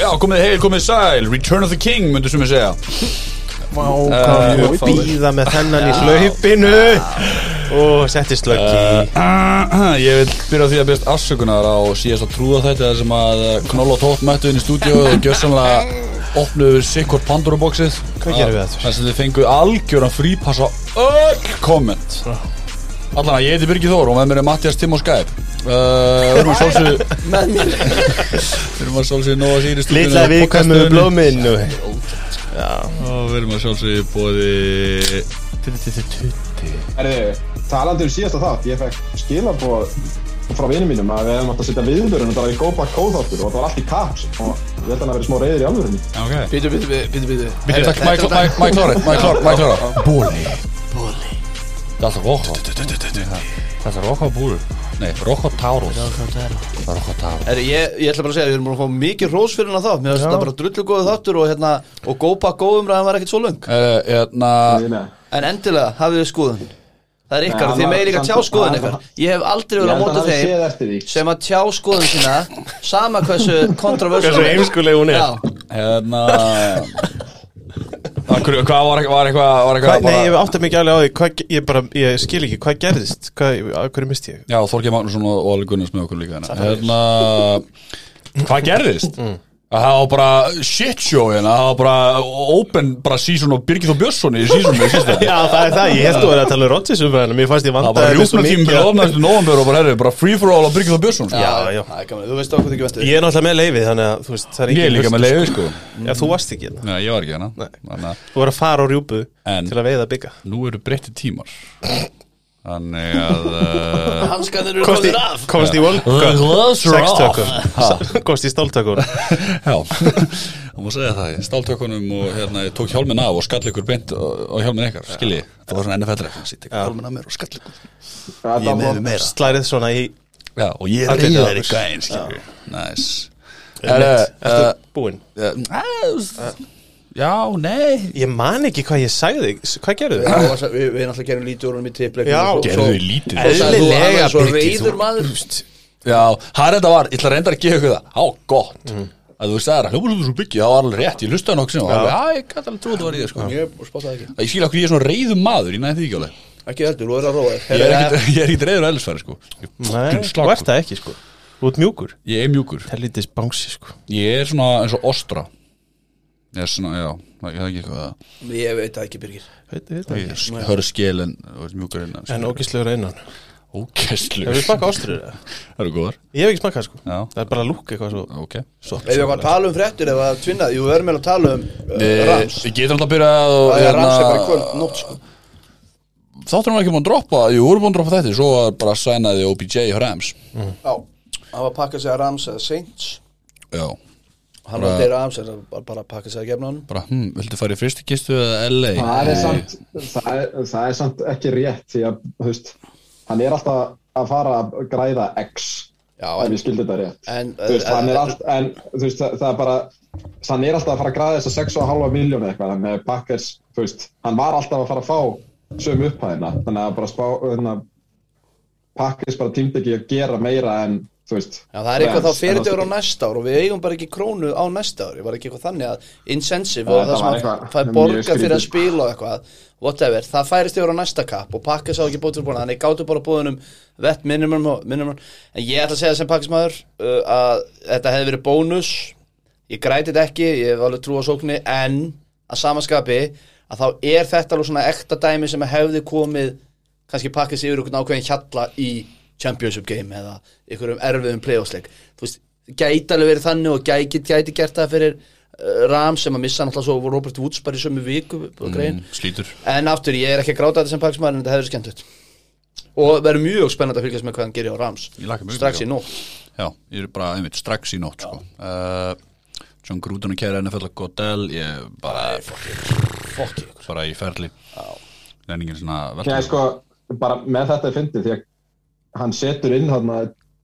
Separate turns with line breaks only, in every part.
Já, komið heil, komið sæl, Return of the King, myndu sem ég segja
Vá, hvað
Eh,
ég býða með þennan í hlaupinu og settist
Eh,
löggi
Uh, Ég vil byrja á því að byrjast afsökunar á síðasta trúða þetta þar sem að eh, Knoll og Tótt mættu inn í stúdíu og gjössanlega opnuðu sikkur Pandora-boxið
Hvað gerum við aftur?
Þess að þið fenguð algjöran frípass á öll komment Allan að ég heiti Birgir Þór og með mér er Mattias Timm og Skype Uh, við erum að sjálfsögðu
með mér
Við erum að sjálfsögðu Nóa Sýri
Lilla viðkvæmur blóminu
Og við erum að sjálfsögðu bóði
Herði, talandi um síðasta þátt, ég fekk skilabóð frá vinum mínum að við hefum átt að setja viðbörunum bara í gópa kóðáttur og það var allt í kaps og ég held að hann að vera smá reyður í alvörunni.
Ok
Býtu, býtu, býtu, býtu, býtu
Bíddu, takk, Mike Mike- Mike Klára, Mike Klára, Mike Klára Bóli
Bóli
Það er alltaf Rokko Það er Rokko Búl Nei, Rokko Taurus Rokko Taurus
Herri, ég, ég ætla bara að segja, við erum búin að fá mikið rós fyrir hennar þátt Mér finnst þetta bara drullu góðu þáttur og hérna Og gópa góðum ræðan var ekkert svo lung
Hérna
Nei, nei.
En endilega, hafið við skoðun Það er ykkar,
Nei,
og þið
hann
meir
var-
ykkar tjá
samt-
skoðun
hann-
ykkar Ég hef aldrei
Ég
verið
held
á
að
móta
hann hafi séð
þeim
eftir því.
Sem að tjá skoðun sína Sama hversu kontroversum
Hversu heimskuleg hún er.
Hérna Af hverju- Hvað var eitthvað Var eitthvað var eitthvað
Nei,
bara-
ég átti mikið alveg á því hvað, ge- ég, bara, ég skil ekki, hvað gerðist? Hvað, af hverju misti ég?
Já, Þorgeir Magnússon og Óli Gunnars með okkur líka hérna. Hérna Hvað gerðist? Að það var bara shit show hérna Það var bara open bara season og Birgit og Björnsson í season með sísta
Já, það er það, ég held að vera að tala um Rodgers umræðanum, ég fannst
Það
ég
var
vandaði
bara rjúpna tímur og ofnaðist um november og bara herri bara free for all á Birgit og Björnsson sko.
Já,
Já, já.
já, það er gaman, þú veist okkur ekki vendur
Ég er náttúrulega með leiði, þannig að þú veist, það er
Ég
ekki
er líka með leiði sko
Já, þú varst ekki hérna
Nei, ég var ekki hérna
Nei.
Þannig að
Þú var að fara á rjúpu
En-
til að veiða bygga
nú eru breytti tímar Þannig að uh,
Hanskanir eru komið af
komst í
The gloves are off.
sextökum Komst í stóltökum
Já, það má segja það Ég Stal tökunum og hérna, ég tók hjálmin af og skall ykkur beint á hjálmin ykkar Skilji, það var svona NFL-rekna Sýtt ykkur hjálmin af mér og skall ykkur
Það var bara-
Slærið svona í
Já, og ég er
Allir
eigið
dagur.
þeirri gæn, skilji Næs Eh,
Ertu búinn?
Já, nei
Ég man ekki hvað ég sagði Hvað gerðu þið?
Við við náttúrulega gerum lítið úr honum í tipleik
Já.
Gerðu þið lítið
Og sagði þú, hann
Eðlilega
er svo
Birgir, þú-
reyður maður
Já, það er þetta var, ég ætla að reynda að gefa ykkur það Á, gott Að þú sagðir að hljóma svo byggja, það var alveg rétt Ég hlustaði nokkuð sem, já, ég gæti alveg trúið að þú var í það sko.
Ég spottaði ekki
Ég skil okkur ég er svona reyðum maður, ég næði því ekki alveg
Ekki heldur, þú er að róa
Ég er ekkit, ég er ekkit reyður að elsfæri sko Ég er
Nei,
fucking
þú ert
slakur.
það ekki sko Þú ert mjúkur
Ég er mjúkur
Helvitis bánsi sko
Ég er svona eins og ostra Ég er svona, já, það er ekki eitthvað að-
Ég veit það ekki, Birgir
Veit, veit það
Ég
ekki
er hörskil en þú veist, mjúkur innan
En ógislegur að innan
Ókestlur
Hefur við
Það
smakað ástrur eða?
eru góðar
Ég hef ekki smakað sko
Já.
Það er bara lúk eitthvað svo
Ok
Ef við eitthvað að tala um fréttur eða að tvinna Jú, við erum meðal að tala um uh, Rams
Ég getur alltaf að byrja að og,
Það er
hérna,
Rams er bara í kvöld, nótt sko
Þáttur hann var ekki búin að droppa Jú, voru búin að droppa þetta Svo var bara að sænaði OBJ og Rams
Já, hann var að pakka sig að Rams eða Saints
Já
Hann var að deyra Rams eða bara- bara að pakka sig að gefna hann
Bara, hm, viltu fara í fyrstu kistu eða LA?
Það er samt, það er, það er samt ekki rétt því að, þú veist, hann er alltaf að fara að græða X
Já,
ef
en-
ég skildi þetta rétt.
en-
þú veist, hann er
en-
alltaf, en þú veist, það, það er bara, hann er alltaf að fara að græða þess að 6,5 miljónu eitthvað, þannig að Packers, þú veist, hann var alltaf að fara að fá sömu upphæðina, þannig að bara spá, þannig að Packers bara týmdi ekki að gera meira en, þú veist.
Já, það er eitthvað þá
Rams, en
fyrirtjóður á næsta ár og við eigum bara ekki krónu á næsta ár Ég var ekki eitthvað þannig að incentive
Já,
og það
þetta
sem
var
að
eitthvað
fær
mjög
borga fyrir
skrítið.
að spila og eitthvað whatever, það færist yfir á næsta kapp og pakka sá ekki bótt fyrir búin þannig gátu bara búinum vett minimum, og- minimum um- en ég ætla að segja sem pakkismæður uh, að þetta hefði verið bónus ég græti þetta ekki, ég hef alveg trú á sóknir en að samaskapi að þá er þetta alveg svona ekta dæmi sem hefði komið kannski pakka sig yfir einhvern ákveðin hjalla í championship game eða einhverjum erfiðum playoffsleik þú veist, gæti alveg verið þannig og gæti, gæti gert það fyrir uh, Ram sem að missa náttúrulega svo Robert Woods bara í sömu viku
Mm.
og grein
Hm, Slítur
en aftur, ég er ekki að gráta þetta sem pakkismæður en þetta hefur skemmtilegt og verður mjög spennandi að fylgjast með hvað hann gerir á Rams
Ég lakka mjög
strax
til,
í nótt
Já, ég er bara einmitt strax í nótt sko. uh, John Gruden og kæra NFL og Godell ég bara
fokki ykkur.
bara í ferli Lenningin svona
Já,
velta
sko, bara með þetta er fyndið því að hann setur inn hann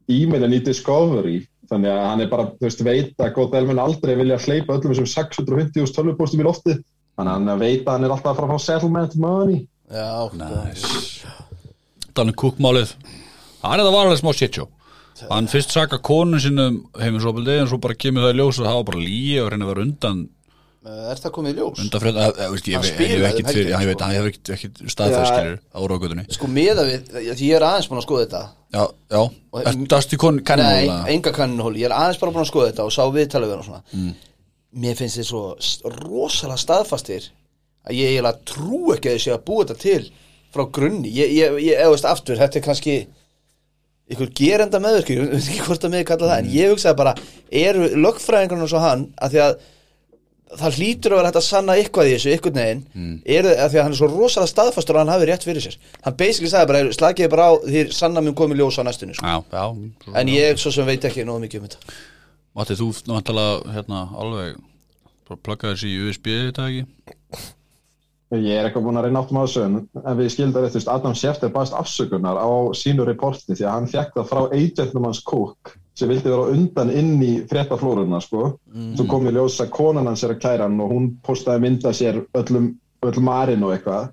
e-mailin í Discovery þannig að hann er bara, þú veist, veit að Godel mun aldrei vilja hleypa öllum þessum 650.000 tölvupóstum í lofti þannig að hann veit að hann er alltaf að fara að fá settlement money
Já, sko.
Næs Danni Cook málið Það er þetta var alveg smá shit show Hann fyrst saka konun sínum heiminsopildi en svo bara kemur það í ljós að það var bara líi og reyna að vera undan
Eh, Er það komið í ljós?
undan frönda, ég, veist, ég, ég,
Hann
ég,
spilaði
hef ekkit
um
fyrir-
helgina,
ég veit,
sko.
hann hefur ekkit, ekkit staðfæðskilur á ráðgötunni
Sko miða við, því ég er aðeins búin að skoða þetta
Já, já, ertu dast í konun
Nei,
kannanúla?
enga kanninhóli, ég er aðeins bara búin að skoða þetta og sá viðtalið við hann og svona Mér finnst þið svo s- rosalega staðfastir að ég eiginlega trú ekki að þið séu að búa þetta til frá grunni Ég, ég, ég eða veist aftur, þetta er kannski ykkur gerenda meðverki, ég veit ekki hvort að mig kalla það en ég hugsaði bara, eru lögfræðingarinn og svo hann, að því að það hlýtur að vera hægt að sanna eitthvað í þessu ykkur neginn, eru, að því að hann er svo rosalega staðfastur að hann hafi rétt fyrir sér hann basically sagði bara, slagiði bara á því sanna mun komið ljós á næstunni sko.
Já, já,
En ég svo sem veit ekki nóðu mikið um þetta
Matti, þú náttúrulega hérna alveg bara pluggaði þessi í USB í dag ekki?
Ég er eitthvað búin að reyna áttum á þessu en, en við skildar eitt, þú veist, Adam Schefter baðist afsökunar á sínu reporti því að hann fekk það frá agentnum hans Cook sem vildi vera á undan inn í fréttaflórunna, sko. Svo kom í ljós að konan hans er að kæra hann og hún postaði mynda sér öllum, öllum marinn og eitthvað.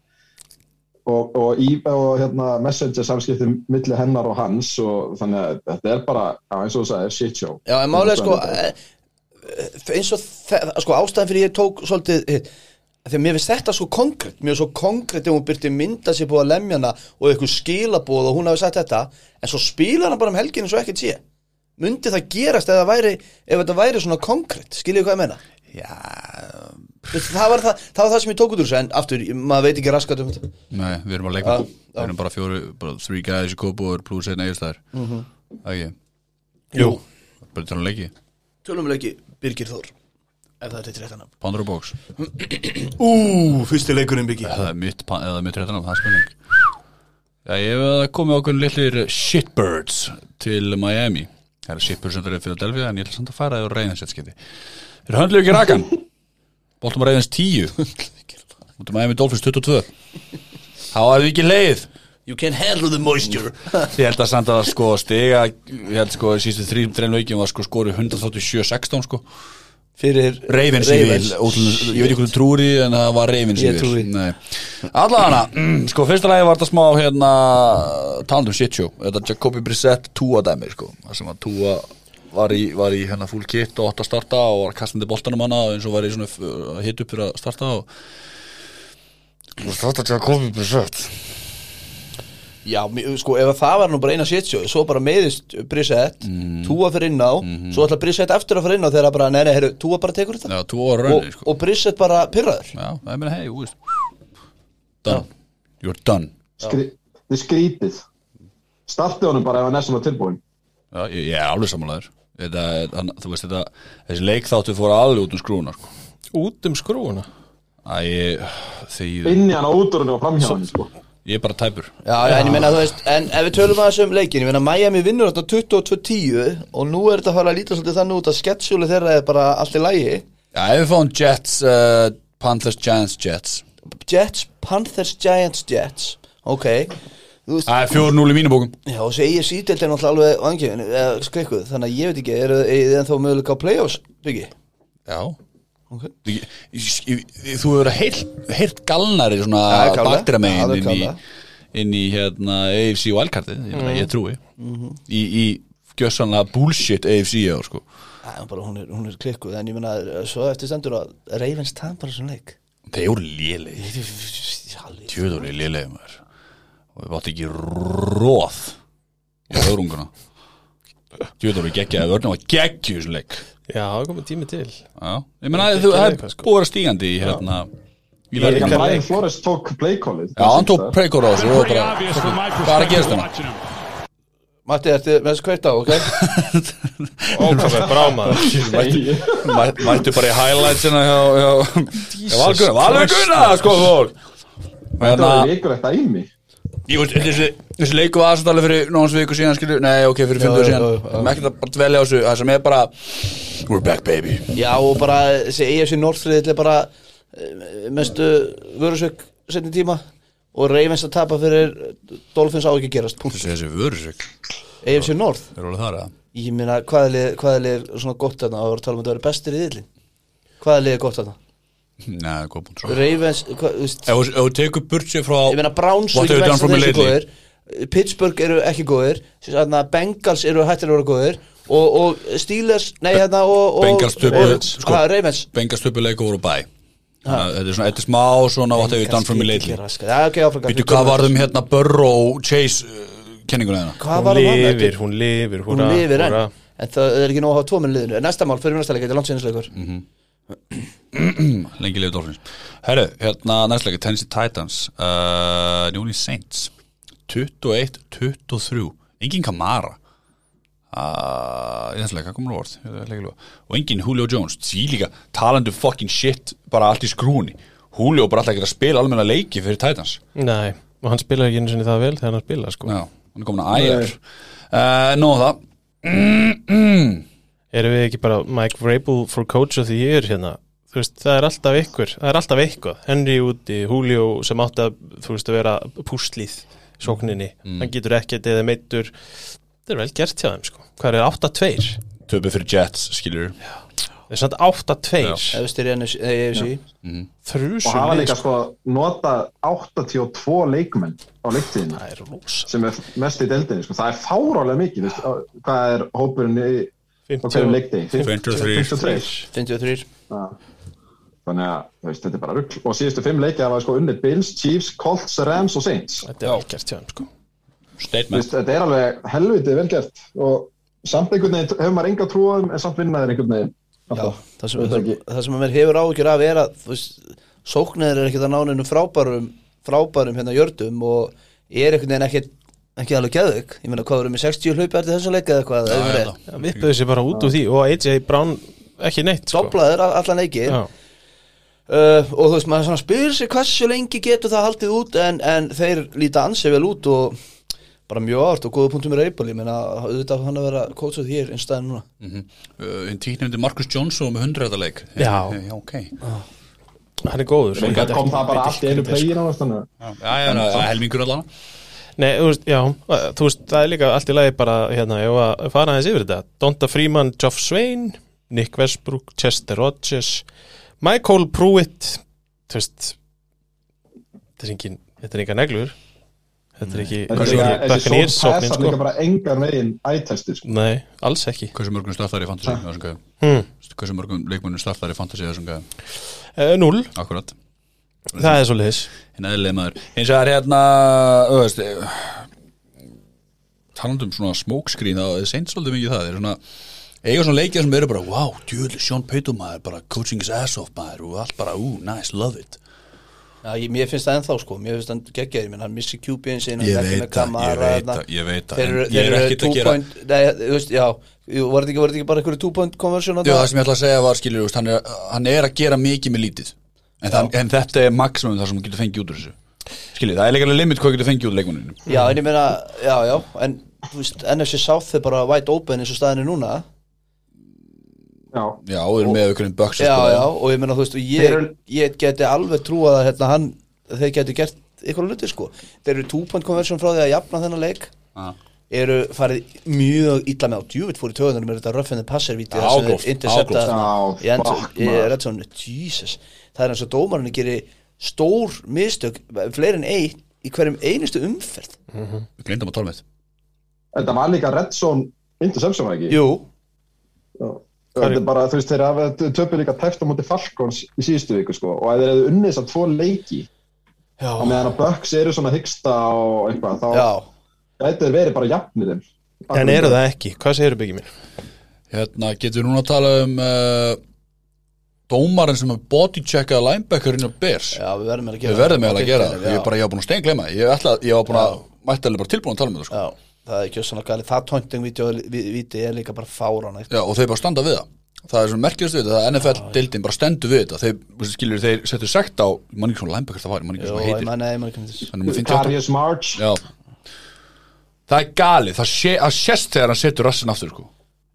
Og, og, í, og hérna, messenger samskiptum milli hennar og hans og þannig að þetta er bara, já, eins og þú sagði, shit show.
Já, en málega sko eh, eins og þe- sko ástæðan fyrir ég tók svolítið eh, hitt Þegar mér finnst þetta svo konkrétt, mér finnst svo konkrétt ef hún byrti mynda sér búið að lemja hana og eitthvað skilabóð og hún hafi sagt þetta en svo spila hana bara um helginu svo ekkert sé Myndi það gerast ef, það væri, ef þetta væri svona konkrétt, skiljið hvað ég meina?
Já
Veistu, Það var það, það var það sem ég tók út úr þessu en aftur, maður veit ekki raskat um þetta
Nei, við erum bara að leika
Já,
Við erum bara fjóri, bara three guys í kópúður pluss einn eiginstæðar Það
Mhm.
mm ekki,
Jú
bara tala um leiki
Tölumleiki Birgir Þór ef það er þetta réttan
Pandora box,
Ú, fyrsti leikurinn byggi
það er mitt, pan- eða mitt réttan af, það er spurning Já, ég hef að komið okkur litlir shitbirds til Miami Það er shitbirds sem það er fyrir Delfið en ég ætla samt að fara það og reyðins eitt skipti Þeir höndlu ekki rakan Bóltum að reyðins 10 Mútum Miami Dolphins 22 Þá er við ekki leið
You can handle the moisture
Ég held að samt að sko stiga Ég held sko sístu þrým trein leikjum var sko skori 137-16 sko
Fyrir
Ravens í vil ótrúlega- Ég veit ekki hvernig trúri en það var Ravens í
Ég trúi.
vil Allavega hana Sko fyrsta lagi var þetta smá hérna Talandum shit show Þetta Jacobi Brissett túa dæmi sko Það sem að túa var í, var í hérna full kit og átt að starta og var kastandi boltanum hana og eins og var í svona uh, hit upp fyrir að starta og Starta Jacobi Brissett
Já, mér- sko, ef það var nú bara eina shitshow Svo bara meðist Brissett
Mm.
Túa fyrir inn á
Mm-hmm.
Svo ætla Brissett eftir að fyrir inn á Þegar bara, nei, nei, heyrðu, Túa bara tekur þetta
Já, túa var
og,
raunni sko
og Brissett bara pyrraður
Já, það er meina hei, úr Done, you're done
Skri, þið skrítið. Startið honum bara ef hann er svona tilbúin.
Já, ég, ég er alveg samanlegaður þetta, er- hann, Þú veist þetta, þessi leikþáttu fóra alveg út um skrúna sko.
Út um skrúuna
Æ, ég, þegið
Inn í hann á útúrunni og framhjá hann, sko.
Ég er bara tæpur
Já, en ég meina, þú veist En ef við tölum aðeins um leikin Ég meina, Miami vinnur þetta 22-10 Og nú er þetta að fara að líta svolítið þannig út Að sketsjúli þeirra er bara allt í lagi
Já, ef við fáum Jets, uh, Panthers, Giants, Jets
Jets, Panthers, Giants, Jets Ok Þú veist,
Það er fjór núl í mínum bókum
Já, þessi EFC deild er náttúrulega alveg vangin, eða skreikuð, þannig að ég veit ekki, eru þið ennþá möguleika á play-offs, byggi?
Já
Ok.
Ég, ég, ég, þú hefur heilt, heilt galnari svona
Já, kalla. Já,
baktiramegin
það er
inn í,
kalla.
inn í hérna AFC wildcardið, ég,
Mhm.
mm. ég trúi í, í gjössanlega bullshit AFC ég sko
Æ, bara, hún er, hún er klikkuð, en ég meina, svo eftir stendur að Ravens tapar þessum leik.
Þeir eru lélegir
Halli.
Tjöðunni lélegir maður Og við bátt ekki róð Í höfrunguna Tjöðunni geggjaði vörnum og geggju þessum leik
Já, það er komið tími til
Já, ég meina að þú
Geggjaður
það er
leik, sko.
búið að vera stígandi í hérna Í
Ég
leikana
kann
leik.
Brian Flores tók play-callið
Já, hann tók preikur á þessu og
Pretty
bara
obvious from my
Hvað er að
perspective
gerast hérna?
watching him.
Matti, ertu með þessu kveita, ok?
Ókvæmlega brámaður
Hey,
Mæ- Mættu bara í highlights hérna hjá, hjá hjá Valgunna, Valgunna, sko fólk
Þetta
Hérna,
var líkur eitt æmi
ég veist, þessi, þessi leiku var aðsatali fyrir náðans viku síðan, skilju Nei, ok, fyrir
Já,
fyndu
já,
síðan
já, já.
Við erum ekkert að bara dvelja á þessu, það sem er bara We're back baby
Já, og bara þessi EFC Northriðill er bara eh, mestu vörusök setni tíma og Ravens að tapa fyrir Dolphins á ekki að gerast, punkt.
Þessi, þessi vörusök,
EFC North,
er alveg þar eða?
ég meina, hvaða lið, hvaða lið er svona gott þarna, og við erum að tala um að þetta verið bestir í þillin. Hvaða lið er gott þarna?
Nei, góð búin svo Ef
Ravens, hvað, þú veist,
þú ef þú tekur burt sér frá
ég meina Browns
What
og
have you done for me
Jackson,
lately?
þessi góðir. Pittsburgh eru ekki góðir þarna, Bengals eru hættir að vera góðir og, og Steelers, nei hérna og, og
Bengals töpuðu,
Ravens.
sko.
Ha, Ravens
Bengastöpuleiku voru bæ Þannig að Þetta er svona, þetta er smá svona What have you done for me lately
ja, okay, áfram,
Býtu, hvað varðum hérna Burrow Chase uh, kenninguna þeirna?
hvað
Hún
var um hann? Þetta
lifir,
er-
hún lifir,
hún
húra,
lifir enn
húra.
en það er ekki nóg að hafa tvo minn liðinu En næsta mál, fyrir mér næsta leik, þetta er landsinsleikur
Mhm.
mm.
lengi liðið Dolphins Herru, hérna næstlega, Tennessee Titans uh, New Orleans Saints 21-23 engin Kamara uh, næstlega, hvað komur á orð Ég veit ekki alveg. og engin Julio Jones, því líka talandi um fucking shit, bara allt í skrúni Julio bara alltaf ekki að spila almenna leiki fyrir Titans
Nei, og hann spilaði ekki einu sinni það vel þegar hann spilaði sko.
Já, hann er komin að æjar uh, Nóð það
Erum við ekki bara Mike Vrabel for coach of the year hérna? Þú veist, það er alltaf ykkur, það er alltaf eitthvað. Henry úti, Julio sem átti að, þú veist, að vera púslið í sókninni. Hann getur ekkert eða meittur. Þetta er vel gert hjá þeim sko. Hvað er 8-2?
Töpu fyrir Jets, skilur
Það er samt 8-2.
efstir í NFC AFC.
og hafa
Þrjusum
líka sko nota 82 leikmenn á leiktíðinu
Það er rosa.
sem er mest í deildinni sko. það er fárálega mikið veist, á- hvað er hópurinn í á
50
hverjum leiktíð
23
53
53
Já. þannig að þú veist, þetta er bara rugg og síðustu fimm leikið hafa sko unnið Bills, Chiefs, Colts, Rams og Saints
Þetta er vel gert hjá þeim sko.
Þú
Statement
veist, þetta er alveg helviti velgert og samt einhvern veginn hefur maður enga trúum en samt vinnaðir einhvern veginn alltaf
það
Ég
sem,
veit
það,
ekki.
það sem mér hefur áhyggjur af er að þú veist, sóknir er ekkert að náninu frábærum frábærum hérna jördum og er einhvern veginn ekkert ekki alveg geðug, ég meina hvað eru með 60 hlaupi eftir þessu leik eða eitthvað, eða
Já,
verið
já, já.
Vippuðu sér bara út úr því og AJ Brown ekki neitt sko.
doblaður all- allan leiki uh,
Já.
og þú veist, maður svona spyr sér hversu lengi getur það haldið út en, en þeir líta ansið vel út og bara mjög árt og góða punktum er eipal ég meina, auðvitað á hann að vera kótsað hér einnstæðin núna
Uh, hinn tíknefndi Marcus Johnson með 100 þetta leik Eh,
Já.
já ok já,
Hann er góður sko.
Reyndar kom það bara allt í einu playin á þannig að-
já, já, já, helmingur allan
Nei, þú veist, já, uh, þú veist, það er líka allt í lagi bara, hérna, ég var að fara aðeins yfir þetta Donta Freeman, Geoff Swain Nick Westbrook, Chester Rogers Michael Pruitt þú veist þetta er engin, þetta er engin neglur þetta er ekki,
Þetta
þetta er
er-
ekki
þessi
Buccaneers
sókn
sóknin,
passar
sko.
líka bara engan veginn ætæstir sko.
Nei, alls ekki
hversu mörgum startar í fantasy þessum gæðum
Hmm.
Veistu hversu mörgum leikmönnum startar í fantasy þessum gæðum
Eh, Núll,
akkurat
það er svo liðis
hinn eðlileg maður eins og það er hérna þú veist, eh, talandi um svona smoke screen það er seint svolítið mikið það þeir eru svona eiga svona leikja sem eru bara wow djúli Sean Payton maður bara coaching his ass off maður og allt bara ú nice love it
Já, ég, mér finnst það ennþá sko, mér finnst það geggjæðir minn, hann missi kjúbin sín, hann
Ég
er ekki
veit
með
það,
kamara
ég veit
þarna.
það, ég veit það,
Þeir
en
eru-
ég
þeir
er
eru
ekkert að
two
gera-
point, nei, þú veist, já, jú, var þetta ekki, var þetta ekki bara einhverju two-point conversion
Já,
þarna?
það sem ég ætla að segja var skilur, þú veist, hann, er, hann er að gera mikið með lítið en, það, en þetta er maximum það sem hann getur fengið út úr þessu skilur, það er leikana limit hvað hann getur fengið út úr leikmaninu
Já, en ég meina, já, já, en þú veist, NFC South er bara wide open eins og staðinu núna,
Já.
Já, og erum með sko. auðvitað böks
já, já, og ég meina, þú veist, og ég,
Þeir-
ég geti alveg trúað að hérna hann, þeir geti gert eitthvað luti sko, þeir eru two-point conversion frá því að jafna þennan leik, eru farið mjög illa með á djúvitt fór í töðunum er þetta röffin þeir passir víti
Já, ágróft, ágróft.
Já, fuck,
í
maður.
reddsónu, Jesus það er eins og dómarinn gerir stór mistök, fleiri en eitt í hverjum einustu umferð
Við glindum að tala með þetta
Þetta var líka Red Zone Interception var ekki
Jú,
Já. Þetta er bara, þú veist, þeir hafa töpu líka tæft á móti Falcons í síðustu viku sko og ef þeir hefðu unnið þess að tvo leiki
já,
og meðan að Bucks eru svona hyggsta og eitthvað, þá
já
gæti þeir verið bara jafnir þeim
En eru það ekki, hvað segirðu byggið mér?
Hérna, getur við núna að tala um uh, dómarinn sem er bodycheckað linebackerinn á Bears
Já, við verðum eiginlega að gera
Við verðum eiginlega að gera
Já.
það, ég er bara, ég var búin að steingleima ég, ætla, ég var búin að, mættalega bara tilbúin að tala með það sko.
Já, það er ekki svona gæli Það tóntingvíti er líka bara fáran
Já, og þeir bara standa við það það er svona merkjast við þetta, það NFL-dildin bara stendur við þetta, þeir, skilur, þeir settu sekt á, mann ekki svona linebacker það var, mann ekki
Jú,
svona
ég
heitir
manna, ég manna ekki um þess
Hann er með 58.
Karius March
Já Það er galið, það, sé, það sést þegar hann setur rassin aftur sko.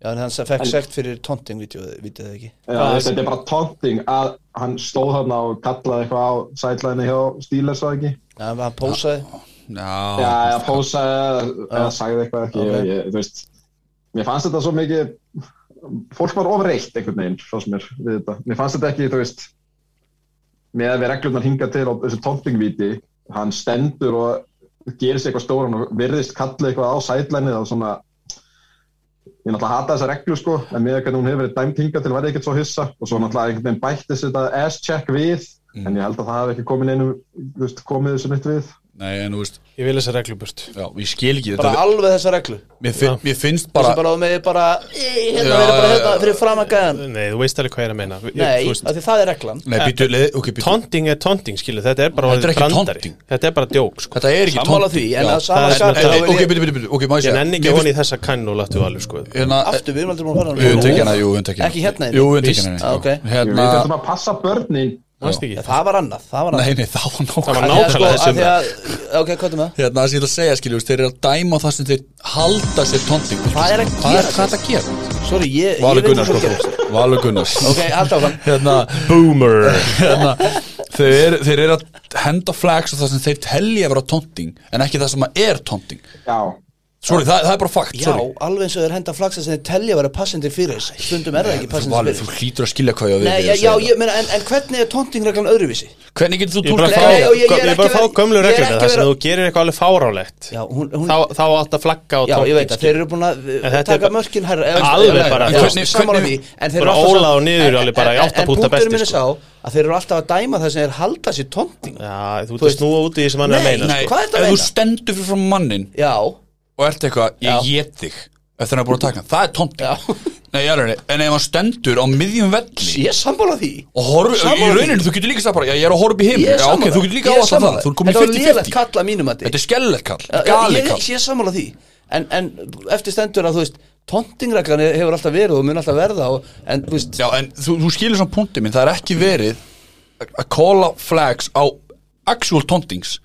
Já, en hann fekk sekt fyrir tóntingvíti Vítið það ekki
Já, þú veist, þetta er bara taunting að hann stóð hann og kallaði eitthvað á sætlæðinu hjá Steelers var ekki
Já, hann pósaði
Já,
Já, eða pósaði eða- eða sagði eitthvað ekki
Ok.
ég, þú veist, mér fannst þetta svo mikið fólk var ofreitt einhvern veginn svo sem er við þetta, mér fannst þetta ekki þú veist, með að við reglurnar hinga til á þessu tauntingvíti, hann stendur og gerir sér eitthvað stóran og virðist kalla eitthvað á sætlænið og svona ég náttúrulega hata þessa reglu sko en með hvernig hún hefur verið dæmt hinga til var ég ekkert svo hissa og svo náttúrulega einhvern veginn bættist þetta ass-check við
Mm.
en ég held að það hafi ekki komið neinum þú veist, komið þessu nýtt við
Nei, en þú veist,
Ég vil þessa regluburt
já, ég skil ekki
bara
þetta
alveg þessa reglu
Mér, finn, mér finnst
bara,
bara
bara og með bara, "Í, hérna
Já,
verið bara
já,
hérna
já.
fyrir framagaðan
Nei, þú veist alveg hvað ég er að meina Ég-
nei,
þú
af því það er reglan
Nei, býtu, leið, ok, býtu
Tonting er tonting, skilu, þetta er bara
Þetta er
orðið
ekki
brandari.
taunting.
Þetta er bara djók, sko
Þetta er ekki
Sammála
tonting.
því, en
Já.
að sama
Það er-
En,
skapi
Þetta
en,
þá vil
Ok,
ég-
býtu, býtu, býtu, ok, má ég
Ég
segja
nenni ekki
Mér
honi í þessa kannu og láttu alveg, sko
hérna,
aftur, við erum aldrei búin að fara
Við höfum tekið
hana.
hana, jú, við höfum tekið hana
Ekki hérna inni?
Jú, við höfum tekið
Ah,
hana
ok.
inni, já.
Jú,
Hérna
við þurfum að passa börnin
Manstu ekki?
Já, það var annað það var
Nei,
annað
nei, það var nákvæmlega
var
Af því að,
nákvæmlega
sko,
þessi
af því að- ok, hvað er með það?
Hérna, það sem ég ætla að segja, skiljum, þeir eru að dæma það sem þeir halda sér tónting
Hvað er að
Hvað
gera?
er hvað er að gera?
sorry, ég, ég
Valur
veit
Gunnars,
ekki hvað
sko,
gerist.
þú. Valur Gunnars
ok, halda áfram
Hérna,
Boomer
hérna þeir, eru- þeir eru að henda flags og það sem þeir telja að vera tónting En ekki það sem að er tónting
já,
Sorry, það, það er bara fakt,
já,
sorry
alveg eins og þeir henda flaksa sem þeir telja að vera passendir fyrir þess stundum er það ekki
Þú,
passendir
Valur,
fyrir
þú hlýtur að skilja hvað ég á við
Nei,
þegar
já,
ég
já,
segi
ég meina, en, en hvernig er tóntingreglan öðruvísi?
þetta. Hvernig getur þú
Ég er
túlkað
bara að
Nei,
fá,
nei, og ég- ég er
ég er bara
ekki
að fá
verið-
gömlu
ég er
reglur
ekki
Það sem
verið-
þú gerir eitthvað alveg fárálegt
Já, hún, hún,
Þá þá átt að flagga á
já ég
tónting
veit að þeir eru búin að uh,
En þetta er
taka
bara-
mörkin herra
Alveg bara,
þú
já,
veist,
sammála því
hvernig-
en þeir
bara
alltaf
ólað
svo-
og niður
en-
alveg bara í
en-
átta punkta besti,
en punkturinn minn er
sko.
sá að þeir eru alltaf að dæma það sem þeir halda sér tónting
Já, þú
Þú
ert að
veist-
snúa út í því sem hann er að
Nei,
meina
Nei,
Hvað ertu að
ef þú
meina?
stendur fyrir frá mannin
já,
og ert eitthvað, ég
Já.
get þig eftir hann er búin að taka hann, það er tónting
Já.
Nei, ég er henni, en ef hann stendur á miðjum velli
ég er sammála því
og horf, í
Sammála því.
rauninu, þú getur líka sagt bara, já, ég er að horfa upp í heim
ég er
já, ok,
sammála
þú getur líka
Ég er
áallt að
sammála.
það, þú er komin í
þetta var lélegt
50-50
kall að mínum að
Þetta er skellert kall,
ég,
galið
ég,
kall
ég er sammála því en, en eftir stendur að þú veist tóntingreglan hefur alltaf verið og mun alltaf verða og, en þú veist
Já, en þú, þú skilur svona punkti minn, það er ekki verið að kóla flags á actual tontings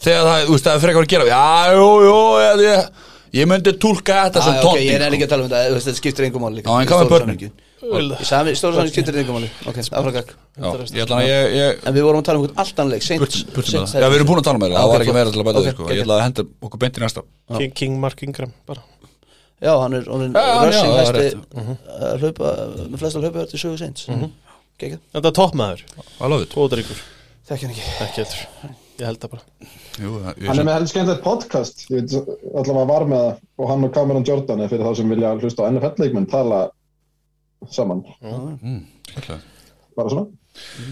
þegar það, þú veist, það er frekar að gera já, jú, jú, ég, ég, ég myndi tólka þetta sem
Æ, ok,
tonting
ég er ekki að tala um þetta, þú veist, þetta skiptir engum máli líka
sko. Já, en
í
hvað með
stóra
börnin?
samhengi. Í sami- stóra saman skiptir þetta engum máli Ok, áfragak
Já, ég ætla að ég, ég
En við vorum að tala um einhvern allt annleik Seint
burtum, burtum
seint-
það. Já, við erum búin að tala með það,
Já,
það
ok,
var ekki
flott.
meira til að bæta
Ok,
þið, sko
ok. hérna.
Ég ætla að henda okkur beint í næsta
sko. King, King Mark Ingram bara
Já, hann er, hann
Já,
er
já,
rushing
já,
hæsti
rétt. Mhm.
uh, hlaupa, með flesta hlaupa til sögu seint Gekið,
Þetta er toppmaður,
I love it
góðaríkur
þekki hann ekki
Ekki heldur, ég held það bara
Jú, það- ég
hann er
sem-
með heldur skemmtilegt podcast ég veit allavega var með það og hann og Cameron Jordan er fyrir þá sem vilja hlusta á NFL-leikmenn tala saman
Klikkaði.
bara svona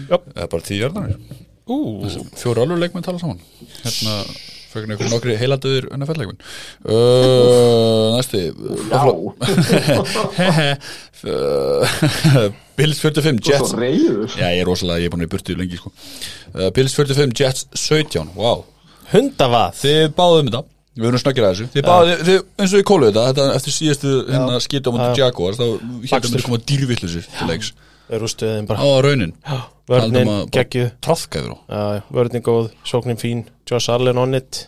Eða bara tíu jarðanir
Ú,
Fjóru alveg leikmenn tala saman Hérna, fyrir einhver nokkri heilandöður NFL leikmenn uh, Næsti
já,
Uh, Bills 45,
og
Jets
svo reyður
Já, ég er rosalega, ég er búin að í burtu lengi sko. uh, Bills 45, Jets 17 Wow,
hundavað
þið báðum þetta Við verðum snakkir að þessu Þið báðu, þið, eins og við kóluðu þetta, þetta Eftir síðastu hérna skýtum á Jaguars Þá hérna
Baxter.
myndir koma dýrvillusir til leiks Á
Rústuðin bara,
raunin
vörnin, geggju
Trafkaður á
Vörnin góð, sóknin fín Josh Allen on it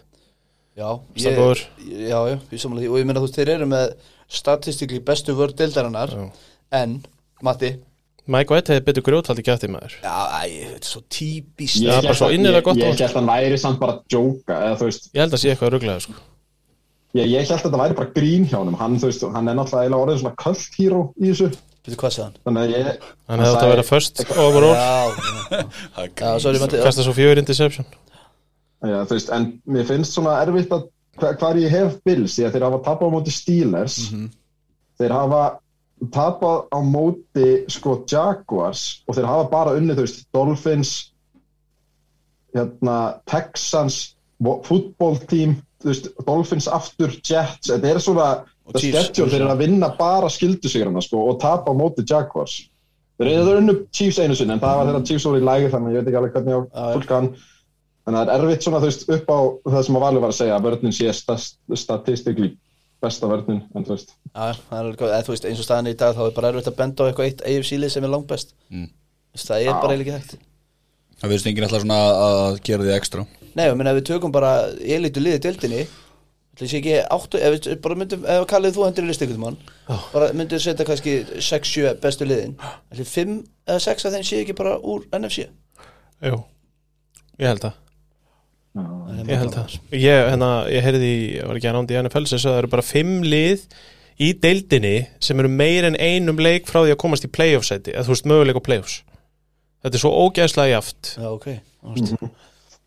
Já,
Veistu það góður?
já, já, ég sammála því Og ég meina þú veist, þeir eru með statistikli bestu vörð deildarinnar En, Matti
Mike White hefði betur grjóthaldi kjátti maður
Já, æ, þetta er svo típist
Ég
Það er bara
hélt
svo
að-
innilega
ég-
gott
Ég
orð.
held að hann væri samt bara að djóka eða þú veist,
Ég held að sé eitthvað rugglega sko.
ég, ég held að þetta væri bara grín hjá honum hann, þú veist, hann er náttúrulega eiginlega orðin svona cult hero í þessu
Veitu hvað sagði hann?
þannig að ég
Hann hefði átt að
sagði-
vera first overall
Já, já, sorry, Matti
Kasta svo fjögur interception
Já, þú veist, en mér finnst svona erfitt að hva- hvar ég hef Bills, því að þeir hafa tapað á móti Steelers
Mhm.
þeir hafa tapað á móti sko Jaguars og þeir hafa bara unnið, þú veist, Dolphins hérna Texans, fútbóltím þú veist, Dolphins aftur Jets, þetta er svona það
Chiefs.
schedule, þeir eru að vinna bara skildusigrana sko og tapa á móti Jaguars þeir eru unnu Chiefs einu sinni en það var þeirra Chiefs voru í lægi þannig að ég veit ekki alveg hvernig ég á
Já, já.
fólkan Þannig að það er erfitt svona þú veist upp á það sem að Valur var að segja að vörnin sé stast, statistikli besta vörnin en þú veist
Já, það er alveg góð, eða þú veist, eins og staðan er í dag þá er bara erfitt að benda á eitthvað eitt AFC-lið sem er langbest mm. Það er bara eiginlega ekki hægt
Það verðist enginn alltaf svona að gera því ekstra
Nei, ég meina, ef við tökum bara elitu liðið deildinni ætli sé ekki áttu, ef við bara myndum ef Kallið þú hendur í listi einhvern mann bara myndum setja kannski 6-7 bestu liðin ætli 5 eða 6 af þeim sé ekki bara úr NFC
Jú Ég held það
já,
Ég held það Ég, hérna, ég heyrði, í- ég var ekki að nándi í NFL sem sagði að það eru bara fimm lið í deildinni sem eru meir en einum leik frá því að komast í playoffs seti eða þú veist möguleik á playoffs Þetta er svo ógeðslega jaft
Já, ok, ást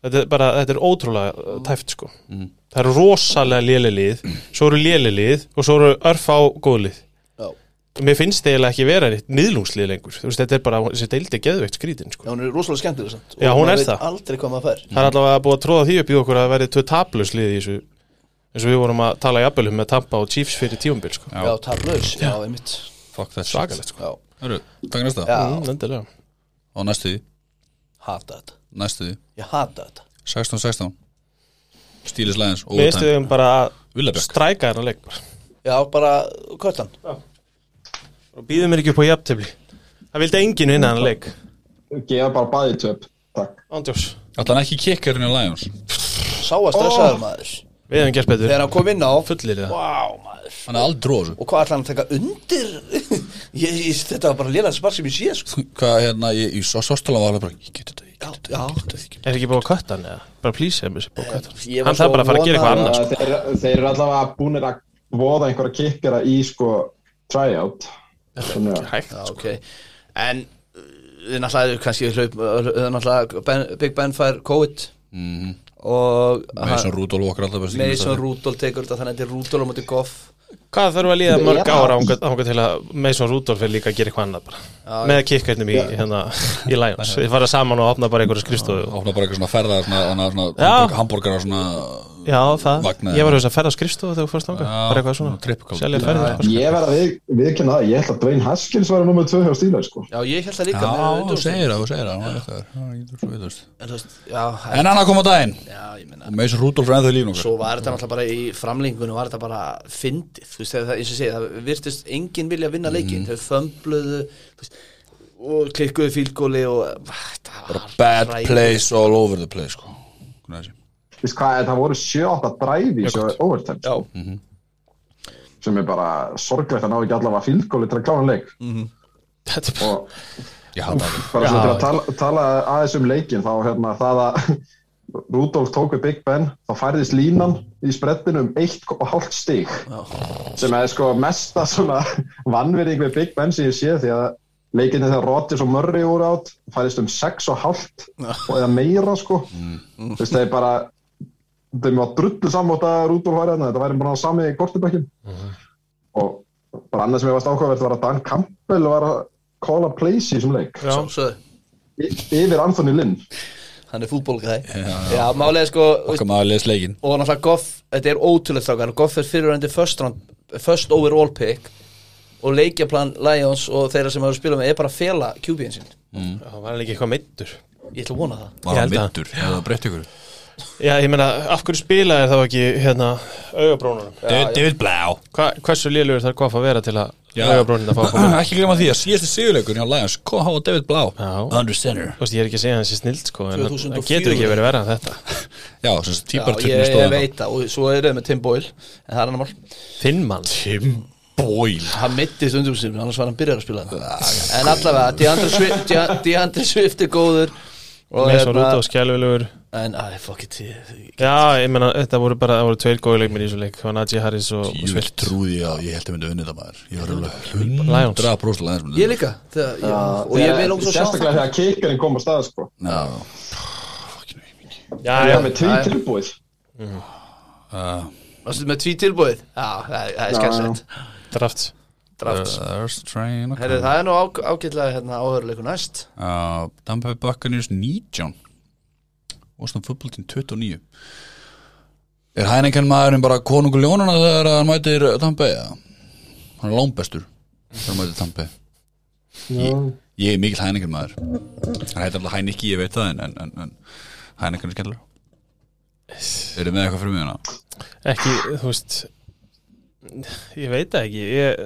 þetta er bara, þetta er ótrúlega uh, tæft sko
Mhm.
það eru rosalega lélilið svo eru lélilið og svo eru örfá góðlið
Já.
mér finnst það eiginlega ekki vera neitt miðlungslið lengur þú veist, þetta er bara, þessi deildi geðveikt skrítin sko.
Já, hún er rosalega skemmtileg samt
Já,
Og
hún
maður
er
veit
það.
Aldrei hvað maður fær
það er allavega búið að tróða því upp í okkur að það verði tvö taplauslið í þessu eins og við vorum að tala í appelum með Tampa og Chiefs fyrir tíumbil sko.
Já.
Já, taplaus, já, einmitt
Fuck that shit
svakalegt sko.
Já,
Hörru, takk næsta
já,
mm, endilega.
Og næstu því,
hata þetta
næstu því
Ég hata þetta
16-16 Stílis Lions
við eistum bara að
Villabjörg
stræka þennan leik bara.
Já, bara köttan
og býðum mér ekki upp á jafntefli það vildi enginn vinna þennan leik
gefa bara bæði töp takk
ándjós,
Alltaf hann ekki kikkarinn í Lions
Sá að stressaður maður
við hefum gert betur
Þegar hann kom inn á
fullir það
Vá, maður
Hann er aldrei á
Og hvað ætla hann að taka undir? ég, ég, þetta var bara lélega spark sem ég sé sko.
þessu Hvað hérna, ég, ég svo svartala var alveg bara Ég get þetta, ég
Já,
get þetta,
já
ég get þetta ég get
Er ekki búið að kötta hann eða? Bara plýsa þeim þessi búið að kötta hann
Ég var
Hann
svo
þarf bara að fara að gera eitthvað
vonaður
annars
Uh, þeir, þeir eru allavega búinir að voða einhverja kikkara í sko tryout Þannig að-
Hægt
Já, ok En uh, við náttúrulega kannski hlaup uh, uh, náttúrulega ben, Big Ben fær COVID
Mhm.
og
þetta Mason Rudolph okkar alltaf besti
Mason
knattspyrnumaður.
Rudolph tekur þetta þannig að þetta er Rudolph á móti Goff
Hvað þarf að líða mörg
Já.
ára ánga til að Mason Rudolph er líka að gera eitthvað annað bara Með að kikka hennum í, hérna, í Lions Þið fara saman og opna bara einhverja skrifstofu
Opna bara eitthvað svona ferða svona, svona, svona
Já.
hamborg- hamborgara svona
Já, það
Vagnaði.
Ég var að hugsa að ferða á skrifstofu þegar þú fórst ánga
Já,
Bara eitthvað
svona trippkál.
svona Selja ferðið
ég verð að við, viðkynna það ég held að Dwayne Haskins var nummið 2 hjá stíla sko.
Já, ég held
Já,
það líka með
þú
Rudolph.
segir það, þú segir það hann var réttaður. Hann var ekki svo vitlaus.
En þú veist, já, hæ-
En hann að koma á daginn
já, ég meina
Og Mason Rudolph er ennþá í lífnum
Svo var þetta náttúrulega bara í framlengunum var þetta bara fyndið, þú veist, þegar það, eins og ég segi, það virtist enginn vilja vinna
Mhm.
leikin, þau fömbluðu, þú veist, og klikkuðu fílgóli og Vá, þetta var
Bara bad
hræðilegt.
place all over the place sko. Hvernig er þessi?
Veist hvað, það voru 7-8 dræfi svo overtime
Já,
sko,
Mhm.
sem er bara sorglegt að ná ekki allavega fílgóli til að klána leik
Þetta er bara
og
Ég hata það
bara
Já.
svona til að tala, tala aðeins um leikin þá hérna það að Rudolf tók við Big Ben þá færðist línan í sprettinu um 1,5 stig sem er sko mesta svona vannverðing við Big Ben sem ég sé því að leikinni þegar Rodgers og Murray voru átt færðist um 6,5 og eða meira sko þú veist það er bara þau maður drullu sammátt að Rudolf var hérna þetta væri bara sami í kortibækjum og bara annað sem ég varst ákveðvert var að Dan Campbell var að call a place í þessum leik
Já,
svo,
Y- yfir Anthony Lynn
hann er fútbólgæði Já, já málega sko, þú veist,
Okkar maður leðs leikin
og náttúrulega Goff, þetta er ótrúlega þrákar, Goff er fyrirvændi first, round, first overall pick og leikjaplan Lions og þeirra sem hafa spilað með er bara að fela QB-in sinn,
það var hann ekki eitthvað meittur
ég ætla að vona það
Var
Ég
hann
held að-
mittur eða breytti ykkur
Já, ég meina, af hverju spilaði þá ekki, hérna, augabrónunum?
David Blau
Hva, hversu lélugur þarf Goff að vera til að
Já.
augabrónin að fá að koma? inn?
Ekki glema því að síðasti sigurleikur hjá Lions Hvað hafa David Blau
Já.
Under center
Þú veist, ég er ekki að segja hans í snild, sko En hann- hann
2004.
getur ekki verið verið en þetta
Já, sem sagt
Já,
típar
ég,
tryggni
ég
stóðan
veit það og svo er það með Tim Boyle en það er annar mál
Finn mann
Tim Boyle
hann mittist undum sem annars var hann byrjar að spila þetta en allavega, Deandre Swift, Dea- Deandre Swift er góður og
Með svo
hérna-
rúta og skjálfilegur
en að fuck it ég-
Já, ég meina, þetta voru bara, það voru tveir góði leikminn í þessu leik Það var Najee Harris og og
Ég vil
Swift
trúði að ég held að myndi að vinna þetta maður Ég var alveg
Lions.
100% Lions myndi
ég líka þegar, já, og ég vil ógst að sjá
sérstaklega þegar keikarinn kom á stað sko.
Já
Já,
það
já,
er með tvið tilbúið
Uh,
það með tví tilbúið já, það það er
Já,
skærsett
draft
draft
There's a train a
Herri,
coming.
það er nú ák- ágætlega hérna, áhöruleiku næst
Uh, Tampa Bay Buccaneers 19 Washington Football Team 29 Er Heineken maðurinn bara konungur ljónuna þegar hann mætir Tampa Bay eða? Hann er lónbestur þegar hann mætir Tampa Bay. ég, ég er mikill Heineken maður Hann heitir alltaf Heineken, ég veit það en, en, en, en Heineken er skemmtilega Er þið með eitthvað fyrir mig hérna? hana?
Ekki, þú veist Ég veit það ekki ég,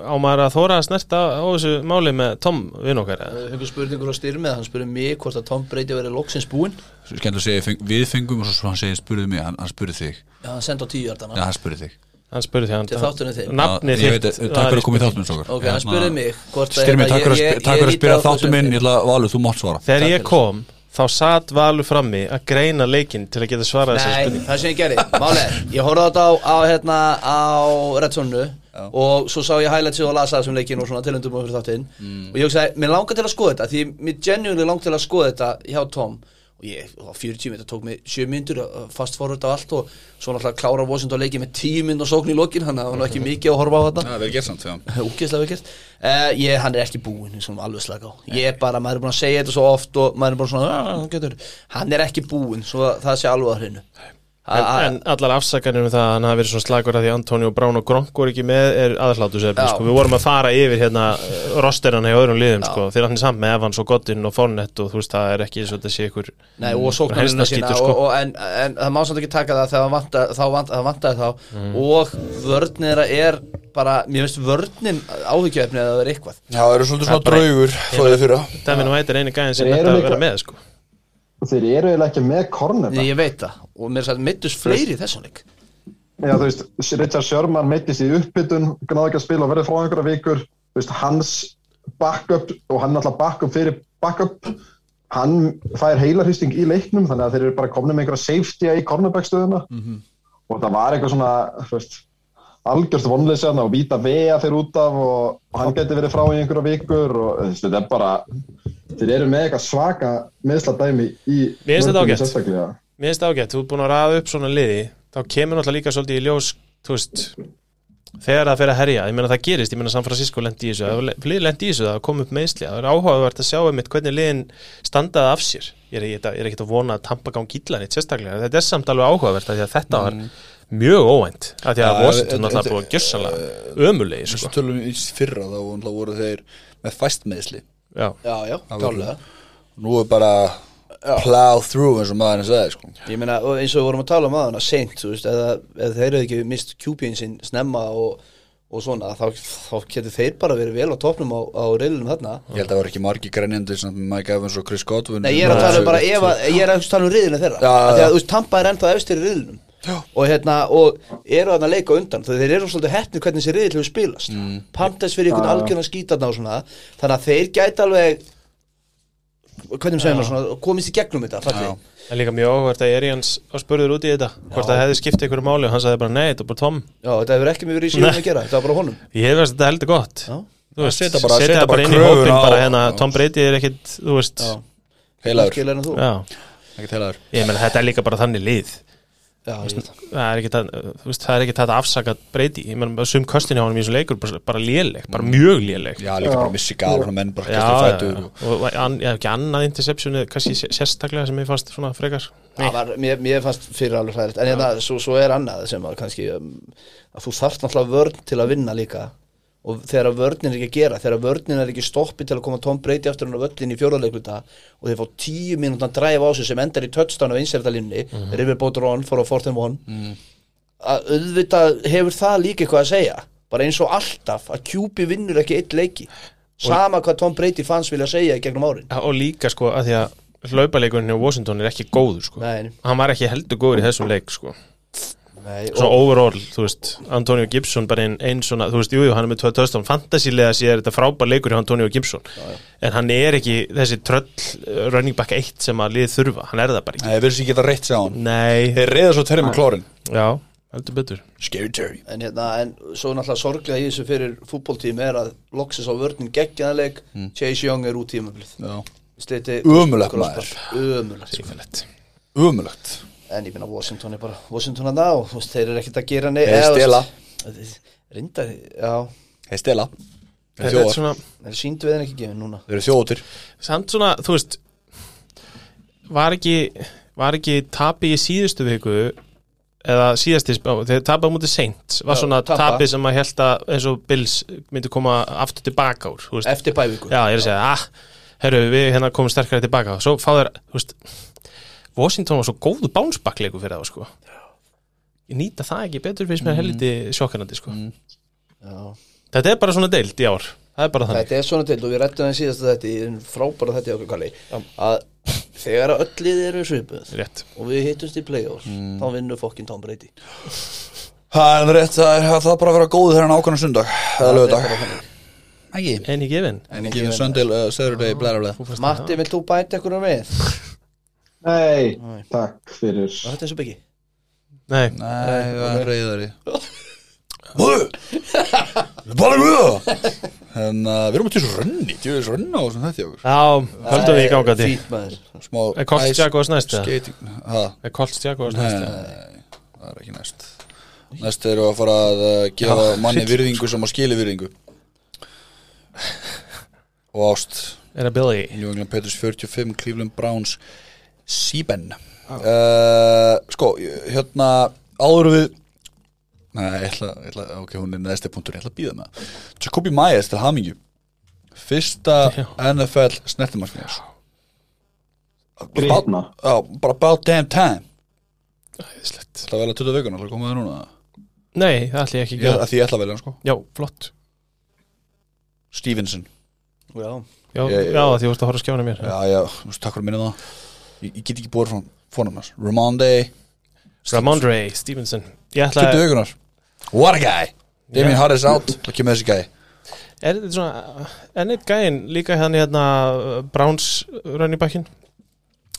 Á maður að þóra að snerta á þessu máli með Tom vinn okkar eða?
einhver spurningur á styrmið, hann spurði mig hvort að Tom Brady verið loksins búinn
Skemmtilega að segja, ég feng, við fengum og svo hann segir, spurði mig, hann, hann spurði þig
já, hann sendi á tíuardana
Já, hann spurði þig
Hann spurði því
Til þátturinn þinn.
hann Nafni
Ég veit, Takk fyrir að koma í þáttum strókar
ok, hann spurði mig hvort að-
Styrmi, takk
ég-
fyrir
ég-
að-
ég
takk fyrir að
líti á
spyrja
það
þáttum
sem-
minn Ég ætla að valið, þú mátt svara
Þegar
Takk
ég
fyrir.
kom, þá satt Valur frammi að greina leikinn til að geta svarað þessu
Nei,
spurning
það sem ég gerði, málega Ég horfði á þetta á, á, hérna, á Redsonu og svo sá ég highlightsið og lasa þessum leikin og svona tilöndum og fyrir þáttinn og ég hugsaði, mér langar til að skoða þetta því mér genuinely langar til að skoða þetta hjá Tom og ég, og 40 minnur, tók mig 7 minnur fast forvörð á allt og svo náttúrulega klára vósind og leikið með 10 minnur og sókn í lokin þannig að það var nú ekki mikið að horfa á þetta
Það er vel gert samt, já
úgeðslega vekkert uh, ég, hann er ekki búinn, eins og hann alveg slaka á ég er bara, maður er búinn að segja þetta svo oft og maður er bara svona, "Ah, getur, hann er ekki búinn svo að það sé alveg að hreinu
En, en allar afsakanir um það að hann hafi verið svona slagur að því Antonio Brown og Gronk voru ekki með er aðhlátu sefni,
Já.
sko. Við vorum að fara yfir hérna rosterana í öðrum liðum, sko. Þegar hann er samt með Evans og Godin og Fournette og þú veist, það er ekki eins og þetta sé ykkur
Nei, og sóknarina
hæsta
sína
skítur,
og,
sko.
og, en, en það má samt ekki taka það þegar vanta, þá vanta, það vantaði þá
Mm.
og vörnir er bara, mér finnst vörnin áhyggjöfni að það er eitthvað
Já, það eru svolítið svona draugur Fóðið fyrra
Devin White er eini gæðin sem
Þeir
þetta
eru
að
líka-
vera með, sko.
þeir eru eiginlega ekki með
Nei,
kornera
ég veit það og mér er satt mittust fleiri í þessum leik
Já, þú veist, Richard Sherman meittist í uppbytun, gnáði ekki að spila og verði frá einhverja vikur, þú veist, hans backup og hann alltaf backup fyrir backup, hann fær heilarhýsting í leiknum, þannig að þeir eru bara komni með einhverja safety í cornerbackstöðuna
Mhm.
og það var eitthvað svona, þú veist, algjörst vonleysi hann og víta vega fyrir út af og hann geti verið frá í einhverja vikur og þú veist, þetta er bara, þeir eru með eitthvað svaka meðsladæmi í
Mér finnst þetta
mörgum
ágætt.
sérstaklega.
Mér finnst ágætt, þú ert búin að raða upp svona liði þá kemur náttúrulega líka svolítið í ljós þú veist, þegar það fer að herja ég meina það gerist, ég meina San Francisco lendi í þessu það var lið lendi í þessu, það kom upp meðsli það er áhugavert að sjá einmitt hvernig liðin standaði af sér, ég er, ég, ég er ekkit að vona að tampa gám gílan eitt sérstaklega, þetta er samt alveg áhugavert af því að þetta var mjög óvænt af því að
Ja,
Washington
Mm. þetta-
náttúrulega búið að gjössalega ömulegi,
Svo
sko
tölum við í fyrra þá náttúrulega voru þeir með fæstmeðsli
Já.
Já, já, klálega
Nú er bara plow through eins og maðurinn sagði sko.
Ég meina, og eins og við vorum að tala um aðan að seint, þú veist, eða, eða þeir eru ekki mist kjúpín sinn snemma og, og svona, þá, þá getur þeir bara verið vel á topnum á, á reilunum þarna
Ég held að það voru ekki margi grænjandi samt með Mike Evans og Chris Godwin
Nei, ég er að tala um bara ef að, ég er að tala um riðinu þeirra
Já,
Af Því
já.
að, þú veist, Tampa er ennþá efstir í riðinum Og hérna, og eru þarna að leika á undan Þegar þeir eru svolítið hettni hvernig þessi riðil hefur spilast mm. Pantes fyrir
Já,
einhvern
já.
algjörna skítarna og svona Þannig að þeir gæti alveg Hvernig segir maður svona, komist í gegnum þetta, falli
Já.
En líka mjög áhugavert að Erians var spurður út í þetta hvort það hefði skipt einhverju máli og hann sagði bara nei, þetta er bara Tom
Já, þetta hefur ekki mjög verið í síðan að gera, þetta var bara honum
Ég veist þetta heldur gott
Já.
Þú veist,
Setja bara- setja bara
inn í
kröfuna
hópin
á-
bara hérna,
á-
Tom Brady er ekkit, þú veist
Já,
Já,
Heilaður,
skilur en þú
ekkert heilaður
ég meina þetta er líka bara þannig lið
Já, ég veit það.
Það er ekki það, þú veist, það er ekki það að afsaka Brady, ég meina sum köstin hjá honum í þessu leikur bara, bara léleg, bara mjög léleg
Mm. Já, líka bara missi gaf hann menn bara
já,
kastur
já,
fætur
já.
og-
og an, já, ekki annað interceptionu, kannski sé- sérstaklega sem ég fannst svona frekar
Það var, mér, mér fannst fyrir alveg hræðilegt en hérna, svo, svo er annað sem að kannski um, að þú þarft náttúrulega vörn til að vinna líka og þegar að vörnin er ekki að gera þegar að vörnin er ekki stoppi til að koma Tom Brady aftur hann á völlin í fjóraðleikluta og þeir fá tíu mínútan dræf á sig sem endar í touchdown á insertalínni, mm -hmm. Riverboat Ron for a fourth and one að auðvitað hefur það líka eitthvað að segja bara eins og alltaf að QB vinnur ekki eitt leiki sama hvað Tom Brady fans vilja segja í gegnum árin
og líka sko að því að hlaupaleikurinn hjá Washington er ekki góður sko
Nei.
hann var ekki heldur góður í þessum leik sko
Nei,
svona overall, þú veist, Antonio Gibson bara einn ein svona, þú veist, jújú, jú, hann er með 2000 fantasílega séð er þetta frábær leikur hjá Antonio Gibson en hann er ekki þessi tröll uh, running back 1 sem að liðið þurfa, hann er það bara ekki
Nei, virðist ekki geta reitt sér á hann
Nei,
Þeir reyða svo terri með klórin
já, heldur betur
Scary Terry
en, hérna, en svo náttúrulega sorglega í þessu fyrir fútboltími er að loksis á vörnin geggjaðanleik Chase Young er út tímablið
Mm. Já.
Sliti
Ömurlegt Sko.
Ömulegt
Tífællet.
Umulagt
En ég finna Washington er bara Washington að ná þú veist, Þeir eru ekkert að gera ney
Þeir stela.
Rinda, já
Þeir stela Þeir
Þetta er
þjóðar
svona,
Þeir síndu við þeim ekki gefin núna
Þeir eru þjóðutir
samt svona, þú veist var ekki var ekki tapi í síðustu viku eða síðasti þegar tapið á mútið seint, var
Já,
svona
tapa.
tapið sem að held að eins og Bills myndi koma aftur tilbaka úr, þú veist
Eftir bævíku
Já, ég er að segja, ah, herru, við hérna komum sterkari tilbaka Svo fá þér, þú veist Washington var svo góðu bánsbakleiku fyrir það, sko Ég nýta það ekki betur fyrir sem er helviti sjokkanandi, sko Þetta er bara svona deild í ár Það er bara þannig
Þetta er svona til og við rettum þeim síðast að þetta er frábæra þetta í okkur kalli að þegar að öll lið eru svipuð
Rétt
og við hittumst í play-offs
Mm.
þá vinnur fokkin Tom Brady
Það er rétt, það er það þarf bara að vera góð
hérna
þegar hann ákvæmna sundag eða lögadag Ekki
En ég gefin
En ekki en söndil, uh, söðurdegi, blæra blæra
Matti, vilt þú bæta ekkur um við?
Nei, takk fyrir.
Var þetta eins og byggi?
Nei,
Nei, það er reyðari Móðu Bara guða
En uh, við erum að til þessu rönni, til þessu rönni á þessum þetta okkur.
Já, höldum við í gangandi
Fýt maður
Smá
Er Colts Jaguars næst eða?
skating. Ha,
Er Colts Jaguars
nei,
næst eða?
það er ekki næst. Næst eru að fara að uh, gefa manni virðingu sem að skili virðingu. Og ást.
Er það Billy?
New England Patriots 45, Cleveland Browns 7 uh, Sko, hérna áður við Nei, ég ætla, ég ætla, ok, hún er næsti punktur, ég ætla að býða með það. Jacobi Myers til hamingju Fyrsta
Já.
NFL snertimarsmiðis
Grýtna
Já, bara about damn time
Æðislegt.
Það velja 20 vikuna, ætla að koma það núna
Nei, það ætla ég ekki að
ég,
gera
að Því ég ætla að velja hann sko
Já, flott
Stevenson
Já
Já,
Ég- ég-
já því þú ert að horfa að skjána mér
Já, já, þú veist, takk fyrir að minna það Ég, ég get ekki búið frá fónum hans Ramonde,
Ramondre Stevenson Ég ætla
20 vikunar What a guy Damien
Já.
Harris out, þá kemur þessi gæi
Er þetta svona En eitt gæinn líka hann hérna uh, Browns running backin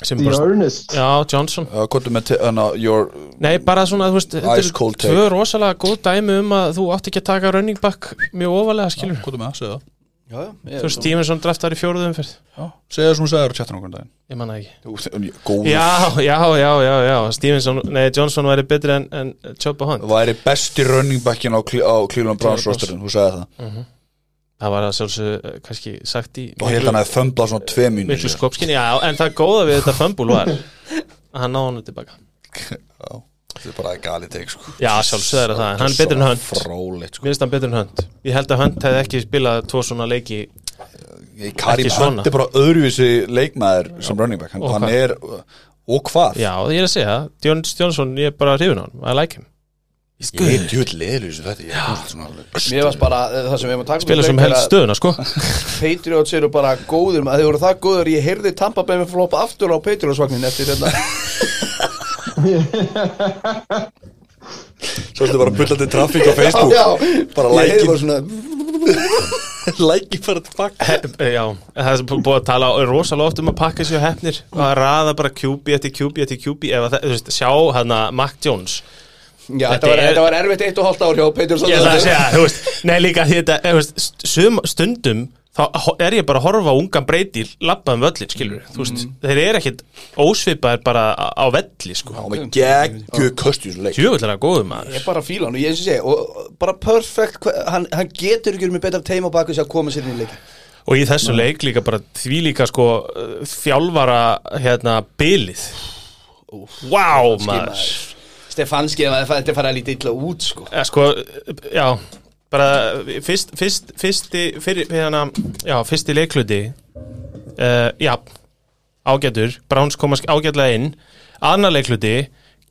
Sem
The
bara
Earnest
Já, Johnson
Uh, Kortum með hana, your
Nei, bara svona, þú veist þetta
Ice
eru
cold
Tvö rosalega góð dæmi um að þú átt ekki að taka running back Mjög ofalega skilur
Kortum með það, segja það
Já, já ég-
Þú veist, Stevenson draftar í fjóruðum fyrst
Já. Segja það sem hún segir á chatunum okkur daginn
Ég manna ekki
Jú, þe- um, Góður
Já, já, já, já, já Stevenson, nei, Johnson væri betri en, en Choppa Hunt
Væri besti running backin á, Cle- á Cleveland Browns
Cleveland Browns.
rosterinn Hún segja það
Það var að sjálfsög, kannski sagt í
Og hérna hann að fömbla svona tvei mínu
miklu skopskinni, já, en það góða við þetta fömbul var að hann náði hann tilbaka
Það er bara gali teik sko
Já, sjálfsögð er það, en hann er betur en Hunt
Frólit sko
Mér finnst hann betur en hönd Ég held að hönd hefði ekki spilað tvo svona leiki
Ég- Karim
ekki svona.
Hunt er bara öðruvísi leikmaður sem running back Hann,
Og
hann
hvað?
er uh, Og hvað?
Já, ég er að segja, Jón Stjónsson, ég er bara hrifin á hann I like him
Ég er djúvill leður þessu þetta Ég er komst svona alveg
Mér varst bara eh, Það sem við erum að taka
Spila sem helst stöðuna, sko
Patriots eru bara góður maður, Þeir voru það góður Ég heyrði Tampa Bay með floppa aftur á Patriots-vagnin Eftir hérna. þetta
Svo ertu bara pullandi trafík á Facebook Bara
Ég
lækir
heyrði bara svona
Læki bara tilbaka
Já, það er búið að tala rosalega oft um að pakka sér hefnir og að raða bara QB eftir QB eftir QB ef að það, þú veist, sjá hana Mac Jones
Já,
Þetta
þetta var,
er-
þetta var erfitt eitt og hálft ár hjá Patriots
Ég ætla að segja, þú veist, nei líka því þetta, þú veist, sum, stundum þá ho- er ég bara að horfa á ungan breytir labbaðum völlin, skilur, þú veist þeir eru ekkit ósvipaðir bara á á velli, sko,
Og með geggu köst í þessu leik
tjöfullega góðum maður
Ég bara fíla hann og ég eins og segja og og bara perfect, hva- hann, hann getur ekki verið með betra teim á baku sér að koma sér inn í leik
og í þessu leik líka bara því líka sko uh, þjálfara hérna bilið Vá maður
Stefanski, ef það- þetta er farið að líta illa út sko.
ja, sko, uh, já bara uh, fyrst, fyrst, fyrsti fyrir, hérna, já, fyrsti leikluti uh, já ágætur, Browns komast ágætlega inn annar leikluti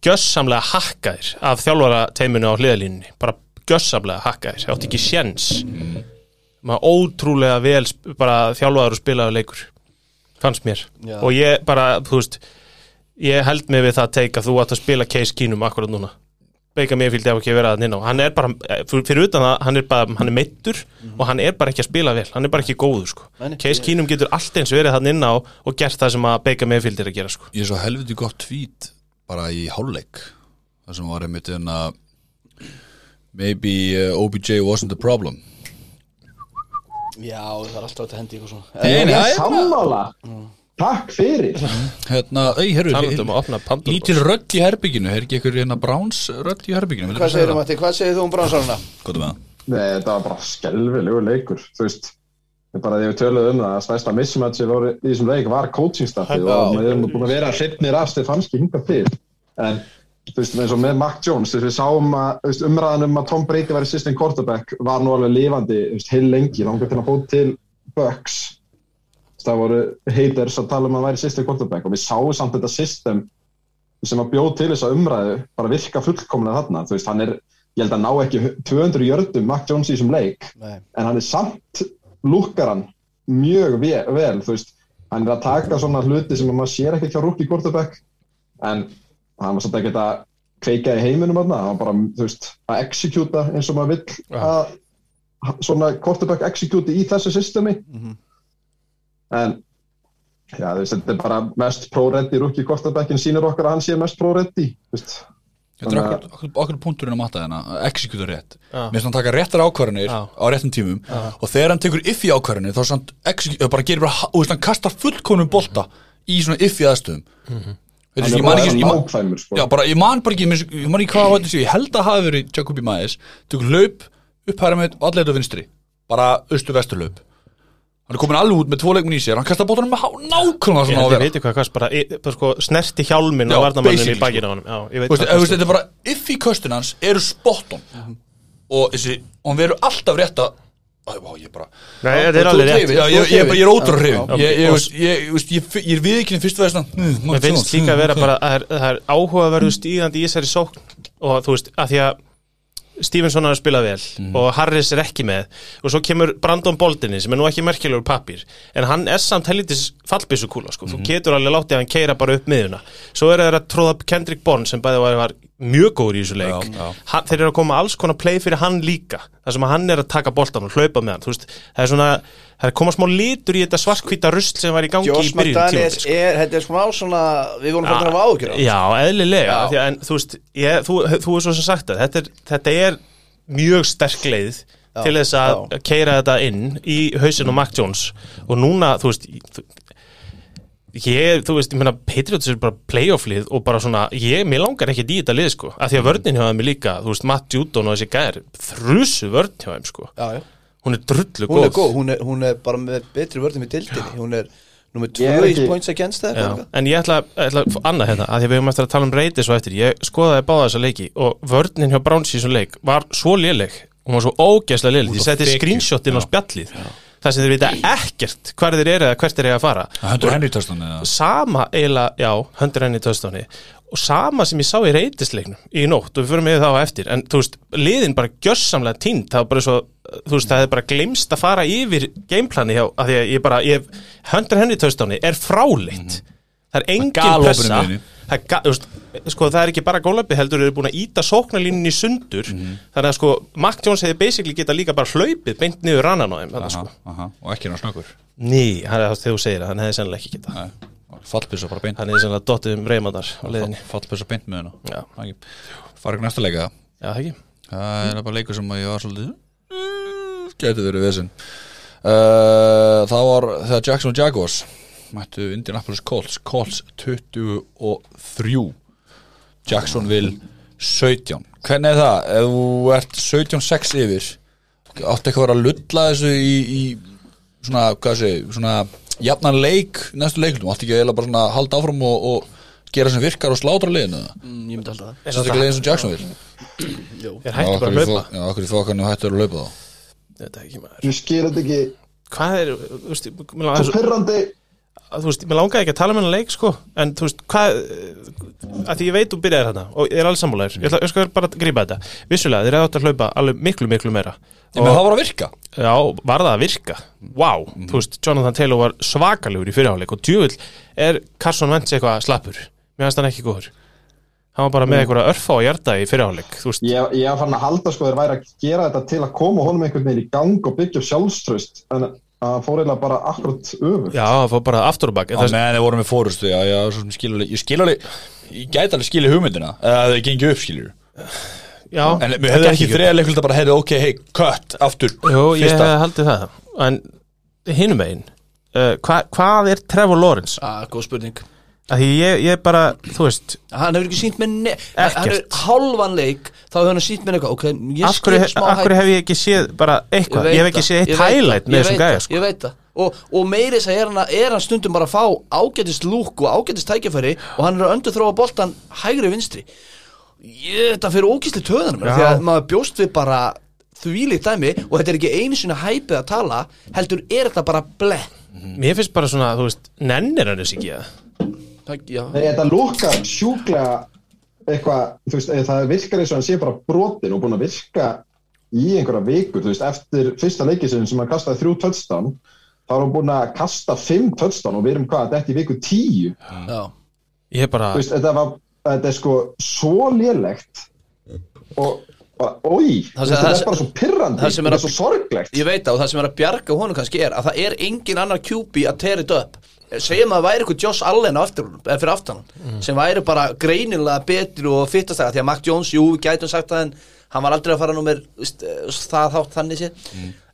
gjössamlega hakkaðir af þjálfara teiminu á hliðalínunni, bara gjössamlega hakkaðir, það átti ekki sjens maður ótrúlega vel sp- bara þjálfaður og spilaður leikur fannst mér
Já.
og ég bara, þú veist ég held mig við það teik að þú átt að spila Case Keenum akkurat núna Baker Mayfield ef ekki að vera það inn á hann er bara, eh, fyr- fyrir utan það, hann er bara hann er meittur
Mhm.
og hann er bara ekki að spila vel hann er bara ekki góður sko
Nei, nei.
Case Keenum getur allt eins verið þann inn á og gert það sem að Baker Mayfield er að gera sko
ég er svo helviti gott tvít bara í hálfleik það sem var einmitt
hérna,
en að maybe uh, OBJ wasn't the problem
Já, það er alltaf hægt að hendi ykkur svona
Nei,
Ég
nei,
er sammála Takk fyrir
hérna, ei,
talandi um
herru
að opna pandum
lítil rödd í herbygginu, er ekki ykkur hérna Browns rödd í herbygginu,
Hvað segir þú Matti, hvað segir þú um Bránssonuna?
gott með það
Nei, þetta var bara skelvilegu leikur þú veist, Ég bara þegar við töluðum um það að stærsta mismatchi voru í þessum leik var coachingstaffið og við erum búin að vera hreppnir af Stefanski hingað til en þú veist, eins og með Mac Jones þú veist, við sáum að þú veist, umræðan um að Tom Brady var í system quarterback var nú alveg lifandi þú veist, heil lengi, langar til að bóta til Bucks Þú veist, það voru haters að tala um að hann væri system quarterback og við sáum samt þetta system sem að bjóð til þessa umræðu bara virka fullkomlega þarna þú veist, hann er, ég held að ná ekki 200 jördum Mac Jones í þessum leik
Nei,
en hann er samt lúkkar hann mjög vel, vel þú veist, hann er að taka svona hluti sem maður sér ekkert hjá rúk í quarterback en hann var samt ekki að kveika í heiminum hann, hann var bara þú veist, að executa eins og maður vill að svona quarterback execute í þessu systemi en já, þú veist, þetta er bara mest pro-ready rúk í quarterbackin sýnir okkar að hann sé mest pro-ready þú veist
Þetta er okkur, okkur, okkur punkturinn að matta þennan, að executa rétt.
Já.
Mér finnst hann taka réttar ákvarðanir
Já.
á réttum tímum og þegar hann tekur iffi ákvarðanir þá er hann execu- bara gerir bara, og veist, hann kastar fullkonum bolta í svona iffi aðstöðum. Mm -hmm.
Mhm. Hann
Veitir, ég
er
man
bara
ekki, ég man,
nákvæmur sko.
já, bara, ég man bara ekki, ég mis- ég man ekki hvað á þetta sé, ég held að hafi verið Jacobi Maes, tekur hlaup, upphæra með allir á vinstri, bara austu-vestur hlaup. Hann er komin alveg út með tvo leikminn í sér, hann kastar bóttanum með há- nákvæmlega
Ég
svona á
held
að
ég
vera.
veit hvað, hvað, bara, e- bara sko, snerti hjálmin
Já,
og varnamanninu í
basically,
bakinu á honum Já, ég veit
Þú veist,
hvað
þú veist, þetta er bara if í köstin hans eru spot on og þessi, og hann verður alltaf rétt að Æ, vá, ég bara
Nei, þetta er alveg rétt
Já, ég, ég, ég, ég er ótrúr hrifin
Já,
Ég, ég,
ok.
veist, ég, ég, veist, ég, ég, ég er viðkynni fyrst Hm, veðisna
Mér finnst
Mm,
líka að vera bara að það er, það er áhugaverðu stígandi í þessari sókn og þú veist, að því að Stevenson har spilað vel
Mm.
og Harris er ekki með og svo kemur Brandon Boldini sem er nú ekki merkilegur pappir en hann er samt helítis fallbissukúla sko.
Mhm.
þú getur alveg látið að hann keira bara upp miðuna svo er það að tróða upp Kendrick Bourne sem bæði var, var mjög góður í þessu leik
Já, já.
Hann, þeir eru að koma alls konar play fyrir hann líka þar sem að hann er að taka boltan og hlaupa með hann þú veist, það er svona, það er að koma smá litur í þetta svartkvíta rusl sem var í gangi
Josh
í byrjun
McDaniels
tímabils, sko.
er, þetta er svona á svona við vorum fyrir að hafa ágjur á
Já, eðlilega
Já.
Því, að- En þú veist, ég, þú, þú er svo sem sagt að þetta er, þetta er mjög sterk leið til þess að
já.
keira þetta inn í hausinn á Mac Jones og núna, þú veist þú- ég, þú veist, ég meina Patriots er bara playoff-lið og bara svona ég, mér langar ekki í þetta lið, sko af því að vörnin hjá þeim er líka, þú veist, Matt Judon og þessi gæðir, þrusu vörn hjá þeim, sko
Já, já.
hún er drullu
hún er góð, hún er, hún er bara með betri vörðum í dildinni hún er nummer
Ég er
2 í
ekki-
points against það
Já, en ég ætla, ætla að annað hérna að því að við höfum eftir að tala um reytis og eftir ég skoðaði báða þessa leiki og vörnin hjá Browns í þessum leik var svo léleg hún var svo ógeðslega léleg, ég seti screenshotin á spjallið þar sem þeir vita ekkert hvar þeir eru eða hvert þeir eru að fara
Höndur henni í töstan eða
sama eiginlega, já, höndur henni í töðstóni og sama sem ég sá í reytisleiknum í nótt og við förum yfir þá á eftir en þú veist, liðin bara gjössamlega tínt það var bara svo, þú veist, það er bara glimst að fara yfir gameplani hjá að því að ég bara, ég, höndur henni í töðstóni er fráleitt Mhm. það er engin
galopin í
pressa
miðjunni.
það er, ga- þú veist, sko, það er ekki bara gólapi heldur eru búin að íta sóknarlínunni í sundur þannig að sko, Mac Jones hefði basically geta líka bara hlaupið beint niður rannan á þeim þannig að sko,
Aha, og ekki hann snökkur
ný, það er það þegar þú segir að hann hefði sennilega ekki geta
Fallpissa bara beint
hann er sannlega dottið um reymandar á leiðinni
Fallpissa beint með
Já.
hennu Fara ekki næsta leika
Já, það ekki
Það er bara leikur sem að ég var svolítið "Mm, Gæti verið vesinn uh, Það var þegar Jackson og Jaguars mættu Indianapolis Colts Colts 23 Jacksonville 17 Hvernig er það? Ef þú ert 17-6 yfir áttu eitthvað að vera að lulla þessu í, í svona, hvað sé, svona jafnan leik, næstu leiklum áttu ekki að eiginlega bara svona halda áfram og, og gera sem virkar og slátra liðinu mm.
ég myndi alltaf
Eh.
það
Sannst ekki leiðin sem Jacksonville
Er hættu bara að hlaupa
Já, okkur í þokkanu hættur að laupa þá
Þetta er ekki maður
Ég skil þetta ekki
Hvað er, þú veist, mér
Svo
langaði,
perrandi
þú veist, mér langaði ekki að tala með hennar leik sko En þú veist, hvað að Því ég veit þú byrjaðir þarna og ég er alls sammálaður Ég ætla, ég skal bara að grípa þetta Vissulega, þeir eru átt að hlaupa alveg miklu, miklu meira
Nei, menn það var að virka
Já, var það að virka Vá, þú veist, Jonathan Taylor var svakalegur í fyrirháleik og djúvill er Carson Wentz eitthvað slappur Mér finnst hann ekki góður Hann var bara með eitthvað örfa á hjarta í fyrirháleik Þú veist,
Ég, ég var farin að halda sko þeir væri að gera þetta til að koma honum einhvern veginn í gang og byggja upp sjálfströst en að það fór eiginlega bara akkurat öfur
já, það fór bara aftur á bak
Já, menn þeir voru með fórustu, já, já, svo sem ég skil alveg Ég skil alveg, ég gæti alveg skilja hugmyndina Eða það gengi upp, skiljur
Já,
En
það
mér hefði
gekk
ekki
upp.
þreja leikult að bara heyrðu, ok, hey, cut, aftur
Jú, ég
fyrsta.
hefði haldið það En hinum megin uh, hva, Hvað er Trevor Lawrence?
ah, góð spurning
Að því ég, ég bara, þú veist
hann hefur ekki sínt með ne hann hann
Ekkert.
er hálfan leik þá hefur hann sínt með eitthvað ok, ég
Af hverju,
skil smá
af hverju hef ég ekki séð bara eitthvað Ég,
veit
hef ekki
það,
séð eitt
ég veit
highlight
það,
með
ég
þessum
veit
gæja
það,
sko.
ég veit það og, og meiri þess að er hann, er hann stundum bara að fá ágætist lúk og ágætist tækifæri og hann er að öndu þróa boltan hægri vinstri ég, þetta fyrir ókýsli töðanum
Já.
því að maður bjóst við bara þvílíkt dæmi og þetta er ekki einu sinni hæpið að tala heldur er þetta bara ble
Mér finnst bara svona, þú veist, nennir hann þess ekki að
það, já,
Nei, þetta lúkar sjúklega eitthvað, þú veist, eða það virkar eins og hann sé bara brotin og búin að virka í einhverja vikur, þú veist, eftir fyrsta leikisinn sem hann kastaði þrjú touchdown þá er hann búin að kasta fimm touchdown og við erum hvað, þetta er í viku tíu
já.
Ég bara,
þú veist, þetta var, þetta er sko svo lélegt og bara, oi,
Það sem-
þetta
það
er
sem-
bara svo pirrandi
það sem er
þetta
að-
er svo sorglegt
Ég veit það og það sem er að bjarga honum kannski er að það er engin annar QB að tera þetta upp segjum að það væri eitthvað Josh Allen á eftir honum, eða fyrir aftan hann, sem væri bara greinilega betur og fittast því að Mac Jones, jú, við gætum sagt það en hann var aldrei að fara númer veist, eh, það þátt þannig sér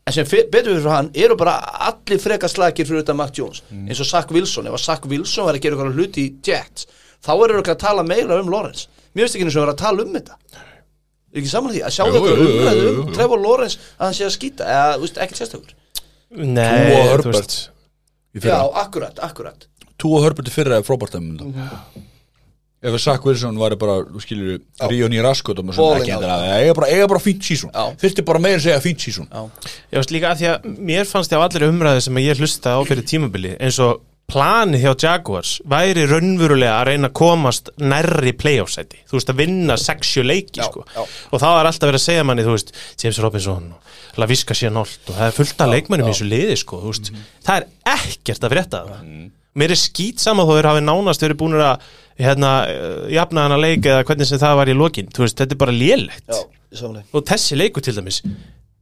en sem fi- betur fyrir hann eru bara allir frekar slagir fyrir utan Mac Jones eins og Zach Wilson, ef að Zach Wilson var að gera eitthvað hluti í Jets, þá eru eitthvað að tala meira um Lawrence, mér finnst ekki eins og vera að tala um þetta ekki saman því, að sjá
Jú,
eitthvað
jú, jú,
umræðu
jú,
um
jú.
Trevor Lawrence að hann sé að skýta, eða, veist, ekkert sérstakur
Nei,
Tua
þú
Herbert.
veist
í
Já,
fyrra
akkurat, akkurat
Túa Hörbjörn fyrra er frábært dæmi um þetta. ef að Zach Wilson var bara, þú skilur, Ríón í raskot og maður svona
Balling
ekki
out.
endur að eiga bara, eiga bara fínt sísón,
Já.
þurfti bara meira að segja fínt sísón
Já,
Ég veist líka að því að mér fannst ég á allir umræðu sem ég hlusta á fyrir tímabili eins og planið hjá Jaguars væri raunverulega að reyna að komast nærri playoffsæti, þú veist að vinna 60 leiki
Já,
sko
já.
og það var alltaf verið að segja manni, þú veist James Robinson og Laviska síðan allt og það er fullt af leikmönnum í þessu liði sko þú veist,
Mhm.
það er ekkert að frétta af það mér er skýt saman þó þeir hafi nánast verið búin að hérna, eh, jafna hana leik eða hvernig sem það var í lokin þú veist, þetta er bara lélegt
já, samanlega
og þessi leiku til dæmis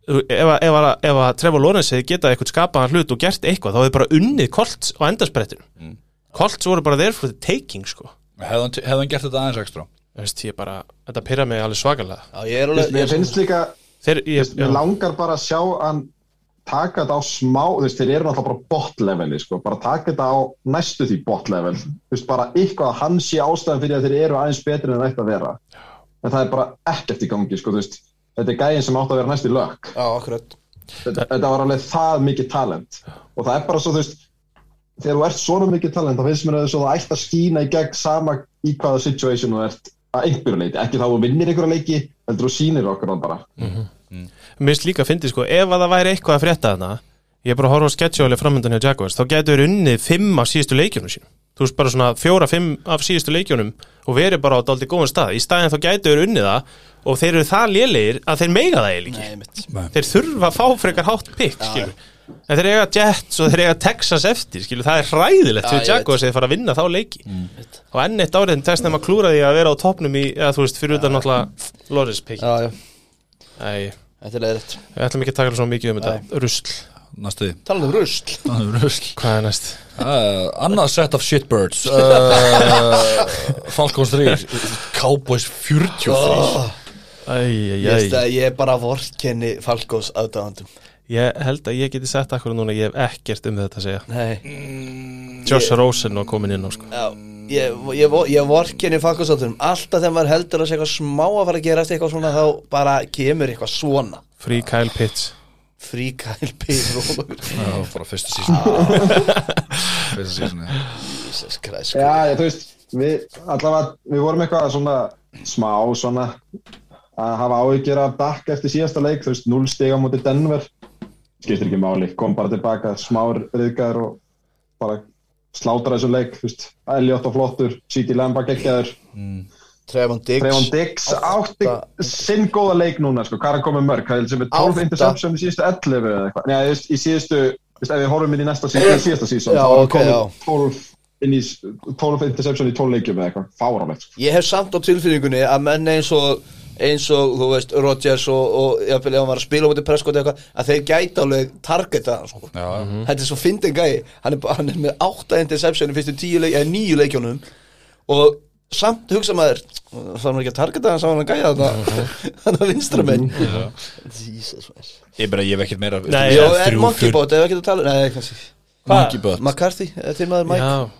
þú- ef, að- ef, að- ef að Trevor Lawrence hefði getað eitthvað skapaðan hlut og gert eitthvað þá hefði bara unnið Colts á endarsprettinum Colts voru bara there for the taking sko.
hefði hann- hefði hann gert þetta aðeins ekstra
Þú veist, ég bara, þetta pyrra mig alveg svakalega
Já, ég er
Þú veist,
alveg
Mér finnst líka
Þeir, ég,
Mér
já,
langar bara að sjá hann taka þetta á smá, þú veist, þeir eru náttúrulega bara botleveli, sko, bara taka þetta á næstu því botlevel, þú veist, bara eitthvað að hann sé ástæðan fyrir að þeir eru aðeins betri en það ætti að vera, en það er bara ekkert í gangi, sko, þú veist, þetta er gæðin sem átti að vera næst í lökk,
Já, akkurat
þetta, þetta var alveg það mikið talent og það er bara svo, þú veist, þegar þú ert svona mikið talent, þá finnst mér að þú ætti að skína í gegn sama í hvaða situation þú ert að einhverju leiti, ekki þá þú vinnir einhverja leiki, heldur þú sýnir okkur hann bara.
mér finnst líka að fyndi sko, ef að það væri eitthvað að frétta þarna ég er bara að horfa á sketsjóli framöndan hjá Jaguars þá getur þeir unnið fimm af síðustu leikjunum sínum þú veist bara svona fjóra, fimm af síðustu leikjunum og verið bara á daldi góðan stað í staðin þá getur þeir unnið það og þeir eru það lélegir að þeir meiga það eiginlega ekki
Nei, mitt
þeir þurfa að fá frekar hátt pick skilur. en þeir eiga Jets og þeir eiga Texas eftir, skilur, það er hræðilegt
Já,
fyrir
ég Mm.
Jaguars að þeir fara að vinna þá leiki og enn eitt árið þeim tekst þeim að klúra því að vera á topnum í, eða þú veist, fyrir utan náttúrulega Loris pick
Já, já,
Æ,
þetta er leðrætt
við ætlum ekki að taka svona mikið um þetta rusl,
næstuði
Talandi um rusl
hvað er næst?
Uh, annað set of shitbirds uh, Falcons 3 Cowboys 43
Æ, æ,
Ég veist
æ,
að ég er bara vorkenni Falkos aðdáðandum
ég held að ég geti sett akkur núna, ég hef ekkert um þetta að segja
Nei
Josh Rosen var komin inn á sko
Já, ég, ég, vo- ég vorkenni Falkos aðdáðandum Alltaf þegar maður heldur að sé eitthvað smá að fara að gerast eitthvað svona þá bara kemur eitthvað svona
Free Kyle Pitts
Free Kyle Payne Robert
Það var bara fyrsta sísón Fyrsta sísón
Jesus Christ sko.
Já, ég, þú veist, við allavega, við vorum eitthvað svona smá svona að hafa áhyggjur af Dak eftir síðasta leik, þú veist, 0 stiga múti Denver skiptir ekki máli, kom bara tilbaka smár riðgæður og bara slátra þessu leik, þú veist Elliot og flottur, Siti Lamba geggjaður
Trevon Diggs
Trevon Diggs átti sinn góða leik núna, sko, hvað er komið mörg, hvað er sem er 12
Átta.
interception í síðustu 11 eða eitthvað, neða, þú veist, í síðustu þú veist, ef við horfum inn í næsta síðan, síðasta síðan
Já,
þá er
ok,
komið
já.
12 inn í s- 12 interception í 12 leikjum eða eitthvað, fáránlegt, sko.
Ég hef samt á tilfinningunni að menn eins og eins og, þú veist, Rodgers og, og jafnvel, ef hann var að spila á mútið Prescott eða eitthvað að þeir gæta alveg targeta hann sko.
Já, já.
þetta er svo fyndin gæi hann er, bara- hann er með átta interception í fyrstu tíu leik, eða nýju leikjónum og samt hugsa maður það var ekki að targeta hann, það var hann að gæja
Mhm.
þetta hann að vinstra með Jesus Christ.
Ég bara, ég hef ekkert meira
Nei,
Já,
Ég
er Monkibot, ef ekki að tala nei, kannski,
Monkibot
McCarthy, eh, þinn maður Mike Ah.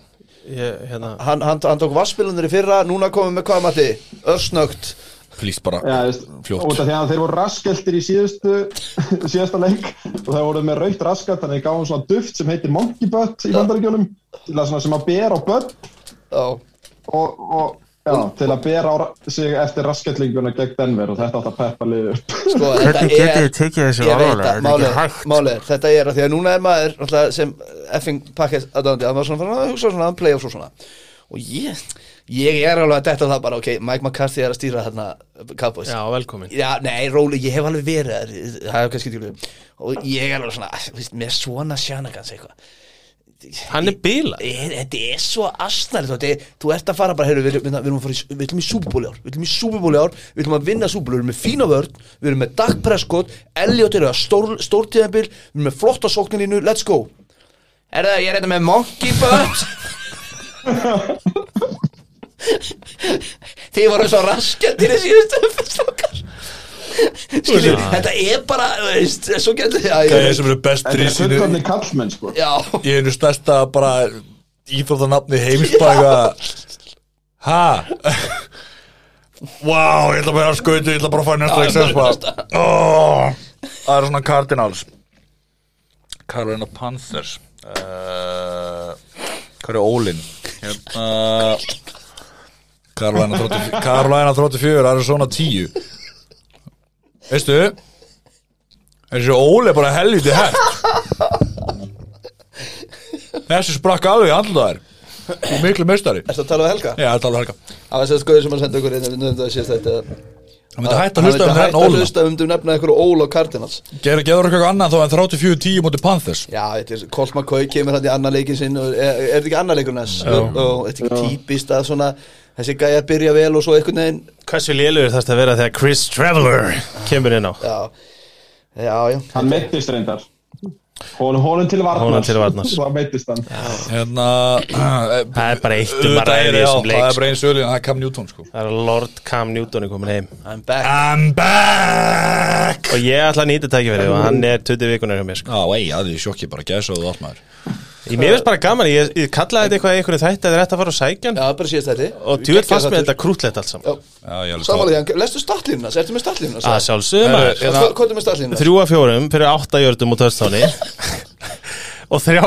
Já, ég, hérna
hann, hann, hann tók vasspilunir í fyrra, núna komum við með hvað mati, örsnögt
Please bara,
Já, þú veist, út
fljótt
af því að þeir voru raskeltir í síðustu síðasta leik og þeir voru með raukt raskat þannig að þeir gáðum svona duft sem heitir Monkey Butt í bandaríkjunum til að svona sem að bera á börn
já
og, og já, til að bera á ra- sig eftir rasketlinguna gegn Denver og þetta átt að peppa liður
sko, þetta
Hvernig
er-
getið þið tekið þessu
ég veit
alvarlega?
að
Þetta er ekki
málið-
hægt.
málið er, þetta er að því að núna er maður alltaf, sem effing pakkes aðdóndi að maður svona fann að hugsa svona um playoffs og svona og ég, ég er alveg að detta á það bara ok, Mike McCarthy er að stýra þarna Cowboys
Já, velkomin
Já, nei, Róli, ég hef alveg verið þar, það er kannski tjúlega og ég er alveg svona, æ, þú veist, með svona sjanagans eitthvað
Hann er bíla
Ég- Eh, Þetta er svo astnæri þú, þetta er- þú ert að fara bara, heyrðu, við, við, við, erum að fara í, við ætlum í súbúli ár Við ætlum í súbúli ár, við ætlum að vinna súbúli Við erum með fína vörn, við erum með Dak Prescott Elliot eru að stór, stórtíðanbíl Við erum með flotta sóknilínu, let's go Er það, ég er hérna með monkey butt Þið voru svo raskjöndir í síðustu umfyrstokkar Skilur, þetta er bara, þú veist, svo getur þið
Það er sem eru best
Þetta er
drísinu
fullorðni kallmenn sko
Já,
Ég er einu stærsta bara íþróttanafni heimsbæka Ha? Vá, ég ætla bara að skautu, Ah, ég ætla bara að fá
Já,
næsta ekki
næsta.
oh, Það eru svona Cardinals Carolina Panthers uh, Hvað er Ólin? Hérna Carolina 34 Carolina 34, Arizona 10 Veistu Þessi Óli er bara helviti hægt Þessi sprakk alveg í andlaðar og miklu meistari
ertu að tala um Helga?
Já, þetta er alveg helga
Það var þessi skoður sem hann sendi okkur inn um þetta síðast þetta
Það myndi hægt að hlusta um hérna
Hætt að
Óli
hlusta um þú nefna einhverju Ól og Cardinals
Gerður gerður eitthvað annað þó en 34-10 mútið Panthers
Já, þetta er, Colt McCoy kemur hann í annar leikin sinn og er, er þetta ekki annar leikurinn hans og, og þetta er ekki típist að svona þessi gæja byrja vel og svo einhvern veginn
Hversu lélugur þarst að vera þegar Chris Traveller kemur inn á
Já, já, já
Hann meittist reyndar Hon, Honum til varnars
Honum til varnar.
Svo meittist hann
Hérna
Það er bara eitt um að
Auðvitað
ræða í
er já,
þessum
það
leik
er
sko.
bara eins öðlíðan, það er Cam Newton sko
Það er Lord Cam Newton er komin heim
I'm back
I'm back
Og ég ætla að nýta tækifæri og hann er 20 vikunar hjá mér sko.
Já, ei, það er í sjokki bara gæsa og þú allt maður
Ég mér finnst bara gaman, ég, ég kallaði þetta eitthvað í einhverju þætti að þetta rétt að fara á sækjan
Já, bara síðast þetta
og djúið fast með þetta krútlegt allt saman
Já, ég alveg
Samanlega, lestu statlínuna, ertu með statlínuna?
Að sjálfsögum
Herru,
að
hérna,
Hvað er með statlínuna?
Ah, þrjú af fjórum fyrir átta jördum og törstáni og þrjá,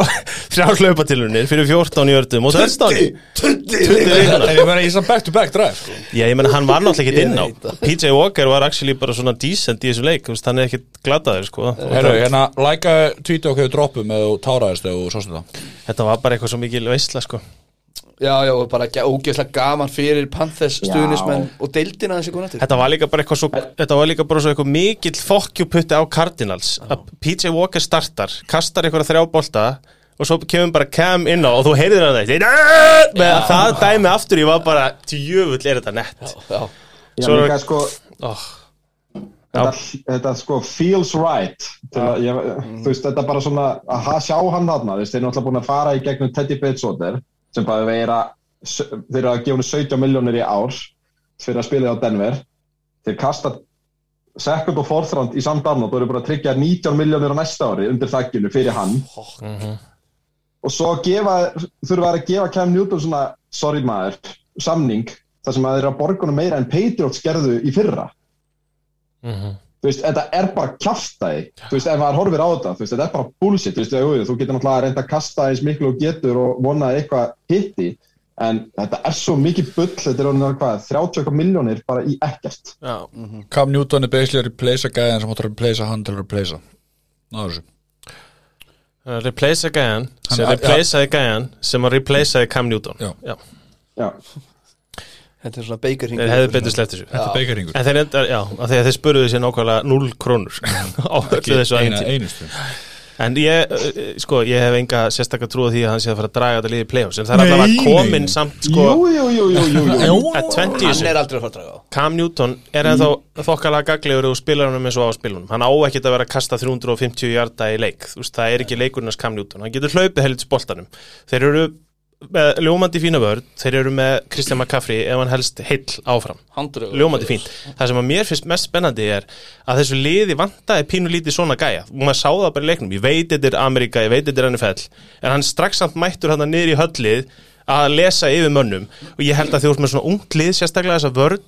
þrjá hlaupatilunir fyrir 14 jördum og törstáni
Tundi
En ég meina, ég sann back to back drive sko
Já, ég menn hann var náttúrulega ekkert
Ég
inn á
veit það.
PJ Walker var actually bara svona decent í þessum leik, þú veist, hann er ekkert glataður sko.
Herru, hérna, læka tweeta okkur droppum eða þú táraðist eða þú sástu það
Þetta var bara eitthvað svo mikil veisla sko.
Já, já, og bara gæ- ógeðslega gaman fyrir Panthers stuðnismenn og deildina þessi konar til
Þetta var líka bara eitthvað svo Þetta var líka bara svo eitthvað mikill fokkjuputti á Cardinals að PJ Walker startar, kastar eitthvað þrjá bolta og svo kemur bara Cam inn á og þú heyrðir hann það með að það dæmi aftur ég var bara djöfull er þetta nett
Já,
Já,
Svo-
líka, sko,
oh.
þetta, þetta sko feels right til að, ég, þú veist, þetta bara svona að ha- sjá hann þarna, þú veist, þeir eru náttúrulega búin að fara í gegnum Teddy Bridgewater sem bara vera, þeir eru að gefa henni 17 miljónir í ár fyrir að spila á Denver þeir kasta second og fourth round í samdarn og þú eru bara að tryggja 19 miljónir á næsta ári undir þakkinu fyrir hann
Mhm,
og svo gefa, þurfa þeir að gefa Cam Newton svona, sorry maður, samning þar sem að þeir eru að borga honum meira en Patriots gerðu í fyrra
mhm.
þú veist, þetta er bara kjaftaði þú veist, ef maður horfir á þetta, þú veist, þetta er bara bullshit, þú veist, jú, jú, þú getur náttúrulega að reynda að kasta eins miklu og getur og vona að eitthvað hitti, en þetta er svo mikið bull, þetta er orðin að hvað 30 eitthvað miljónir bara í ekkert
Cam Newton er basically að replacea gæðan sem átt að replacea hann til að replacea Ná þessu
Uh, Replace a gæjan sem
Hann-
replace a gæjan sem að replace a Cam Newton
Já.
Já.
já,
þetta er svona baker
Þeir hefðu betur sleppt þessu
Þetta er beikaringur
En þeir, endar, já, af því að þeir spurðu sér nákvæmlega 0 krónur sko, á öllu þessu á einum tíma.
einustu
En ég, eh, sko, ég hef enga sérstakka trúið því að hann sé að fara að draga þetta liði í play-offs En það er
Nei,
allavega
nei.
komin samt, sko,
jú, jú, jú, jú, jú, jú.
að 20 í
Hann
þessu
er aldrei að fara að draga á
Cam Newton er ennþá þokkalega gaglegur og spilar hann eins og á spilunum Hann á ekkert að vera að kasta 350 hjarta í leik Þú veist, það er ekki leikurnas Cam Newton Hann getur hlaupið helvits boltanum Þeir eru með ljómandi fína vörð Þeir eru með Kristján McCaffrey ef hann helst heill áfram
Handröðu
ljómandi fínt það sem að mér finnst mest spennandi er að þessu liði vantaði pínu lítið svona gæja og maður sá það bara í leiknum, ég veit þetta er Ameríka ég veit þetta er NFL, en hann strax samt mættur hann niður í höllið að lesa yfir mönnum og ég held að þið voru með svona ungt lið sérstaklega þessa vörn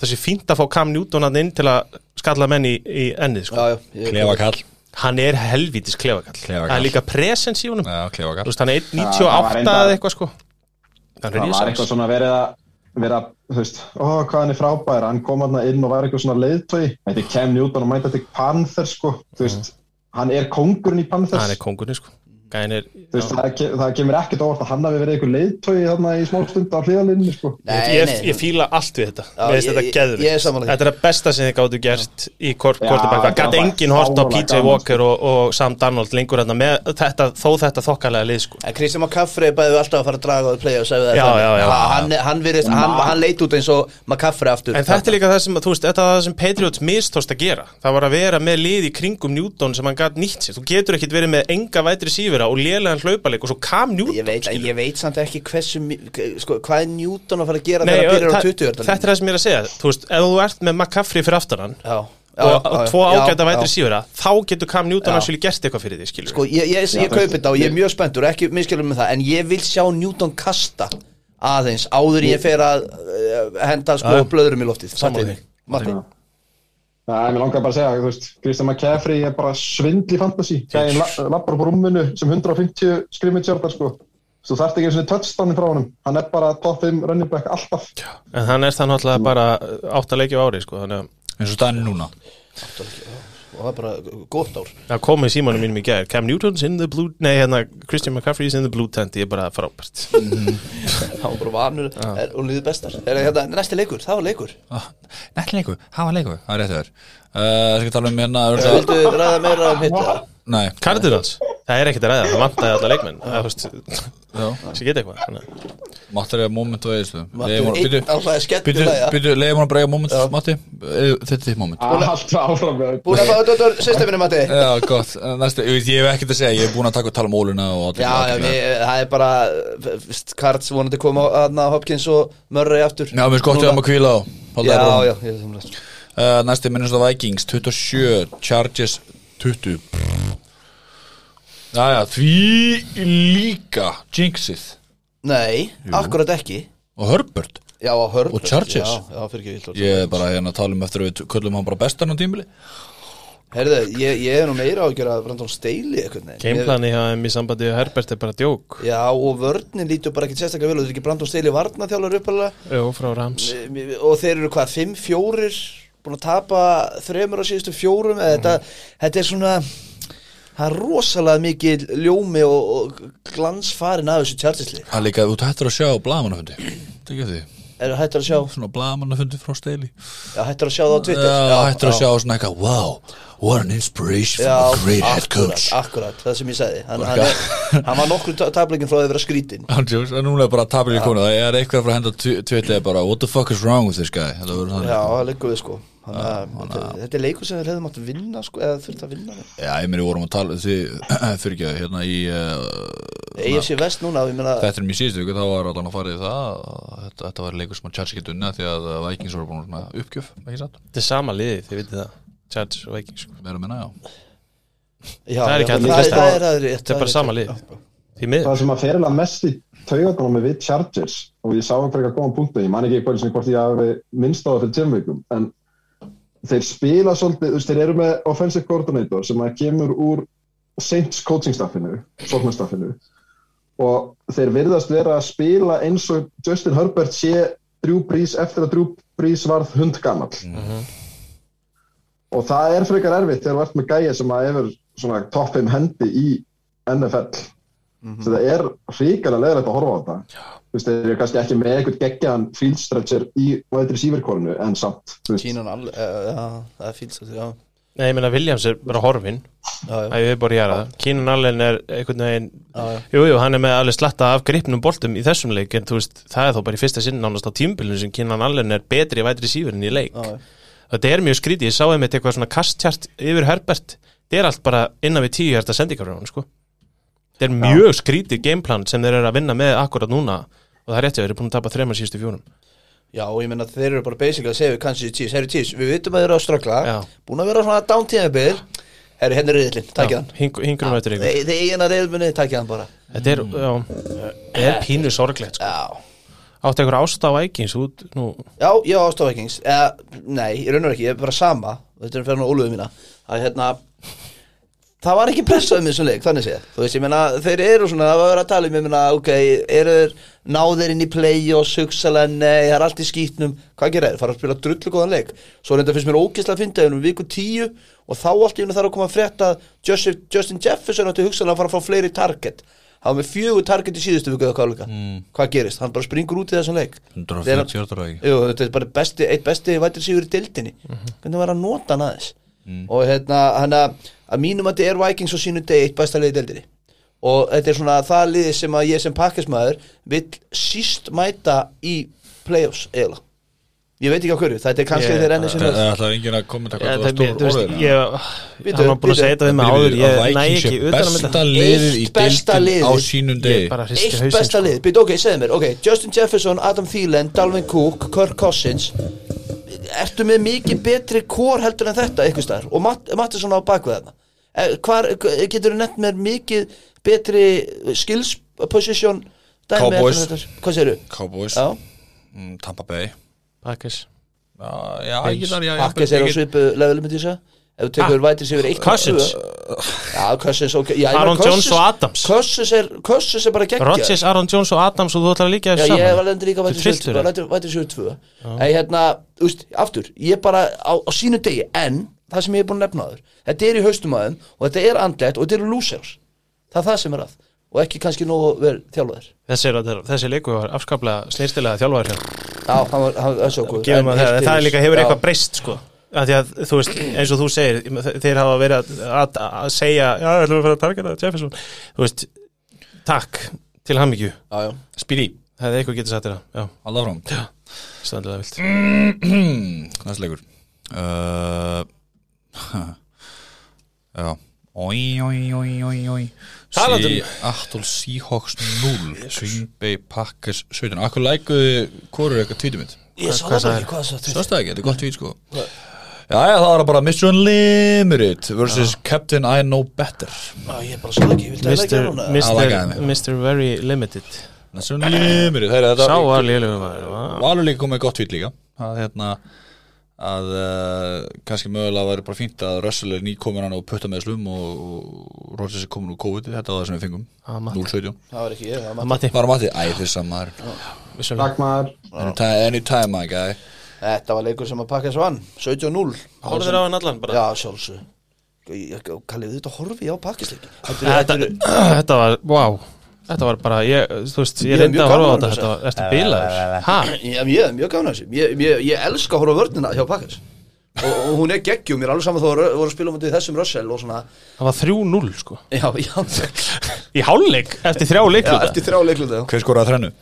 þessi fínt að fá Cam Newton hann inn til að skalla menn í, í ennið sko.
Já, já, ég-
Klefa kall
hann er helvítis klefakall
Klefakall.
það er líka presens í honum
Já, klefa
Þú
kall
veist, hann er
Það var
1.98
reyndar-
eða eitthvað sko hann
það var
er
eitthvað
risavaxinn.
svona verið að vera, þú veist, ó, hvað hann er frábær hann kom hann inn og var eitthvað svona leiðtögi þetta er Cam Newton og mæta til Panthers sko, þú veist, hann er kongurinn í Panthers
Mhm. hann er kongurinn sko Gæin er,
Þú veist, það, ke það kemur ekkert óvart að hann hafi verið einhver leiðtögi þarna í smá stund á hliðalinnu sko.
Nei,
ég,
nei,
ég fíla allt við þetta
Já,
Mér finnst
ég-
þetta
ég-
geður
ég er sammála því.
Þetta er það besta sem þið gáttu gert í kvort,
Já,
kvortabæk Það
þetta
gæti
var
enginn hort á
fáránlega
PJ
gaman,
Walker og, og Sam Darnold lengur hérna með þetta, þó þetta þokkalega lið sko.
En Kristján McCaffrey bæði alltaf að fara að draga á því play og segja það
Já,
þannig.
já, já.
Ha- Hann, hann, virðist, hann, hann leit út eins og McCaffrey aftur
En þetta er líka það sem, þú veist, þetta er það sem Patriots mistóst að gera Það var að vera með lið í kringum Newton sem hann gæti nýtt sér Þú getur ekkit verið með enga vætri síver yfira og lélegan hlaupaleik og svo kam
Ég
Newton
veit, ég veit samt ekki hversu mi- k- sko, Hvað er Newton að fara að gera
Nei,
þegar hann byrjar á
það-
20
þetta er það sem ég er að segja Þú veist, ef þú ert með McCaffrey fyrir aftan hann
já, já,
og,
já,
og
já,
tvo
já,
ágæta
já.
vætri sífura þá getur Cam Newton
Já.
að gert eitthvað fyrir því skilur
Sko, ég, ég, ég, ég kaupi þetta og ég er mjög spenntur ekki miskilum með það, en ég vil sjá Newton kasta aðeins áður en ég fer að uh, henda sko blöðurum í loftið
Sammála
Matti, Matti,
Nei, mér langar bara að segja, þú veist, Kristján McCaffrey er bara svindl í fantasy. Gæðin lappar upp úr rúminu sem 150 skrimmitsjörðar, sko. Þú þarft ekki einu sinni touchdowni frá honum. Hann er bara top 5 running back alltaf.
en hann er það náttúrulega bara átt að leikja á ári sko, þannig að
eins og staðin er núna
og það er bara gott ár
að koma í símanum mínum í gær Cam Newton's in the blue nei hérna Christian McCaffrey's in the blue tent ég er bara frábært
Það var bara vanur er, og liðið bestar er, hérna, Næsti leikur, það var leikur
Nættin Ah, leiku, hafa leiku, það er rétt þér Það skal tala um hérna örgulega-
Vildu ræða meira um hitt eða?
Nei,
Cardinals það er ekkert að ræða það vantaði alla leikmenn það veist sem
já,
geta eitthvað þannig að-
máttar ég að moment og eðislu
Matti, einn á það er skettur
Býtu,
Búin
býtu, leiðum hún að breyga moment, Matti Eh, Þetta er þitt moment
Alltaf áfram með það.
að fá þetta úr systeminu Matti Já,
Já, gott, næstu, ég veit- ég hef ekkert að segja Ég hef búin að taka og tala um óluna og allir-
já,
allir-
við, það er bara Karts vonandi koma aðna Hopkins og Murray aftur
Já, mér skottum um að kvíla á halda
Já,
þér áfram.
já, ég er samlega
Uh, Næsti minnum svo Vikings 27, Chargers 20 Jæja, því líka Jinxið
Nei, akkurat ekki
og Herbert
Já, á Hörn
Og Chargers.
Já, já fyrir ekki vilt
Ég er bara hérna að tala um eftir að við köllum hann bara bestan á tímili
Herðu, ég, ég er nú meira á að gera Brandon Staley eitthvað neginn
gameplani hjá þeim í sambandi við Herbert er bara djók
Já, og vörnin lítur bara ekki sérstaklega vel og þetta er ekki Brandon Staley varna þjálfur uppalega
og frá Rams
og þeir eru hvað, fimm, fjórir búin að tapa þremur á síðustu fjórum eða þetta,
Mhm.
þetta er svona það er rosalega mikið ljómi og, og glansfarin af þessu tjartisli
Það er líka, þú hættir að sjá blaðmannafundi Þetta ekki eftir því
er hættur að sjá,
Svona blaðmannafundi frá Steili
já, hættur að sjá það á Twitter
Já, hættir að sjá svona eitthvað Wow, what an inspiration
Já,
from a great head
akkurat,
coach
akkurat, það sem ég sagði hann, hann, er, hann var nokkur tablingin frá því að vera skrítin
Hann Jóns, en núna er bara að tapir í konu Það er eitthvað frá henda tvitlega bara What the fuck is wrong with this guy Þetta verður þannig.
Já, það liggur við sko Þannig að þetta- Þetta er leikur sem þeir hefðum átt að vinna sko, eða þurft að vinna
Já, ég meiri vorum að tala Því, fyrir ekki hérna í uh,
EFC Vest núna, ég meina
Þetta er mér síðustu viku, þá var allan að fara í það að þetta, þetta var leikur sem að Charles getur unna því að Vikings voru búin að uppgjöf, ekki satt?
þetta er sama liði þið vitið það Chargers og Vikings sko.
Meira að minna, já.
já,
það er ekki
já,
hægt að
það,
treysta
það
á-
er, það er,
þetta er bara sama lið því miður
Það sem að fyrirlega mest í taugatunum við Chargers og ég sá um frekar góðan punktu, ég man ekki hvort, hvort ég hafi minnst á það fyrir tveim vikum, en þeir spila svolítið, þú veist, þeir eru með offensive coordinator sem að kemur úr Saints coaching staffinu, sóknastaffinu og þeir virðast vera að spila eins og Justin Herbert sé Drew Brees eftir að Drew Brees varð hundgamall og það er frekar erfitt þegar þú ert með gæja sem að hefur svona top 5 hendi í NFL
Mhm.
svo það er ríkala leðilegt að horfa á þetta þú veist, þeir eru kannski ekki með eitthvað geggjaðan field stretcher í vætri síverkorinu en samt, þú veist,
Kínan all, uh, já, það er fílt svolítið, já,
Nei, ég meina Williams er bara horfin
já, já.
Það er bara að gera það Keenan Allen er einhvern veginn
Já, já.
Jú, jú, hann er með alveg slatta af gripnum boltum í þessum leik En þú veist, það er þó bara í fyrsta sinn nánast á tímbilinu sem Keenan Allen er betri vætri sífur en í leik
Já, já.
Þetta er mjög skrítið, ég sá einmitt eitthvað svona kasttjart yfir Herbert Þetta er allt bara innan við tíu hjarta sendingar frá hann, sko Þetta er mjög skrítið gameplan sem þeir eru að vinna með akkurat núna Og það er rétt að þeir eru búin að tapa þremar síðustu fjórum
Já, og ég meina þeir eru bara basically að segja við kannski tíðs, herri tíðs, við vitum að þeir eru að ströggla
Já.
búin að vera svona downtíðanbyr herri, hérna henni reyðlinn, takk ég hann
Hingurum vættir um ykkur
Þe- þeir eigin að reyðlunni, takk ég hann bara
Þetta er, já, er pínu sorglegt, sko
Já,
Áttu einhver ást á Vikings út, nú,
já, ég á ástofækings eða, nei, ég raunur ekki, ég er bara sama þetta er fyrir hann óluðu mína að hérna það var ekki pressað um þessum leik, þannig séð þú veist, ég meina, þeir eru svona, það var að vera að tala um ég meina, ok, eru þeir náðir inn í play og hugsalega, nei, það er allt í skýtnum hvað gera þeir, fara að spila drullu góðan leik svo reynda finnst mér ógislega að finna um viku tíu og þá allt í hennu þarf að koma að frétta að Justin, Justin Jefferson átti hugsalega að fara að fá fleiri target það var með fjögur target í síðustu viku eða hvað líka hvað gerist, hann bara springur út í þessum leik
140 hjartar eða ekki.
Jú, þetta er bara besti, eitt besti vætir sigur í dildinni hvernig var að nota hann aðeins og hérna, hann að að mínum að þetta er Vikings og sínu degi eitt besta liði í dildinni og þetta er svona það liði sem að ég sem pakkismæður vill síst mæta í playoffs eiginlega Ég veit ekki á hverju, þetta er kannski
Ég-
þeir enni sinni
Það er alltaf enginn að kommenta
Já,
hvað það
það er mér,
var stór
þú veist,
orðin
ég
Bíddu,
hann var búin að
bíddu.
segja þetta við mig áður ég næ ekki utan um
besta
að mynda
liðið í
Eitt besta
deildin á
liðið.
sínum
ég
degi
bara hristi
Eitt
hausinn,
besta
sko.
lið, býtt ok, segðu mér ok, Justin Jefferson, Adam Thielen, Dalvin Cook Kirk Cousins Ertu með mikið betri kór heldur en þetta ykkur staðar og Matt, Mattisson á bakvið þarna Eh, Hvar, getur þú nefnt mér mikið betri skills position dæmi heldur en
Cowboys.
þetta? Hvað segirðu?
Cowboys,
Já,
mm, Tampa Bay
Pakkis
Já, já, ég get það, já, já,
Pakkes er á
ég get-
svipu level myndi ég segja Ef þú tekur vætir sig yfir eitt
Ah. Cousins.
Já, Cousins, ok já, ég meina
Aaron Jones
Cousins-
og Adams.
Cousins er, Cousins er bara geggja
Rodgers, Aaron Jones og Adams og þú ætlar að líka
Já,
þér
ég
saman
var lendur líka
Þú
vætið sér
trilltur
tvö
þér.
vætið- vætið sér tvö en hérna, úst, aftur ég bara á, á sínu degi, en það sem ég er búin að nefna aður, þetta er í haustum aðeim og þetta er andlegt og þetta eru losers það er það sem er að, og ekki kannski nógu vel þjálfaðir,
þessi, er- þessi leiku var afskaplega snýrstilega þjálfæri hjá
já, hann var, hann, það er svo góð
gefum að það, það er líka hefur eitthvað breyst sko að því að þú veist, eins og þú segir þeir hafa verið að, að, að segja já, við ætlum að fara að targeta Jefferson þú veist, takk til hamingju
já, já.
Speedy,
það hefði eitthvað getur sagt þér að, já,
allar frám
standilega vilt
Næst leikur uh, Já Oi, oi, oi, oi, oi
Talandi um-
Aftól Seahawks 0 Green Bay Packers 17 Akkur lækuðu, hvorur eitthvað tvítum mitt?
ég sá
hvað
það
sagði?
ekki hvað það
Sástu það ekki, þetta er gott tvít sko Já, já, það var bara Mission Limited versus Captain I Know Better
er ég bara sá það ekki, ég vildi að leggja núna
Mist-
Mr.
lagaði mig.
Mr. Very Limited
Mission Limited, þeirra
sá
þetta
var lélugum maður vá.
Valur líka komið með gott tvít líka að hérna að uh, kannski mögulega væri bara fínt að Russell er nýkomin hann og putta með slum og, og Rodgers er komin úr COVID þetta var það sem við fengum,
Ah, Matti.
0-17
það var ekki ég, það var
Að
maður
Matti,
Var Matti? Æ, þeir samar
vissum við
Ragnar,
Anytime, anytime, my guy
Þetta var leikur sem að pakka þessu vann 17-0
Horfðir á hann allan bara?
Já, sjálfsög Kallið þetta horfi á pakkisleikin
þetta, þetta var, wow þetta var bara, ég, þú veist,
Ég
ég
er
reyndi að
mjög
horfa á
gaman
þetta
að
þetta var, ertu bílaður? Hæ?
Já, ég er mjög gafna þessu Ég, ég, ég elska að horfa á vörnina hjá pakkas og, og hún er geggjum, mér er alveg saman þó að rö- voru að spila um þetta í þessum rössel og svona
Það var 3-0 sko
Já, já,
Í hálfleik, eftir þrjá
já
leikluta
eftir þrjá leikluta
Hver skoraði þrennu?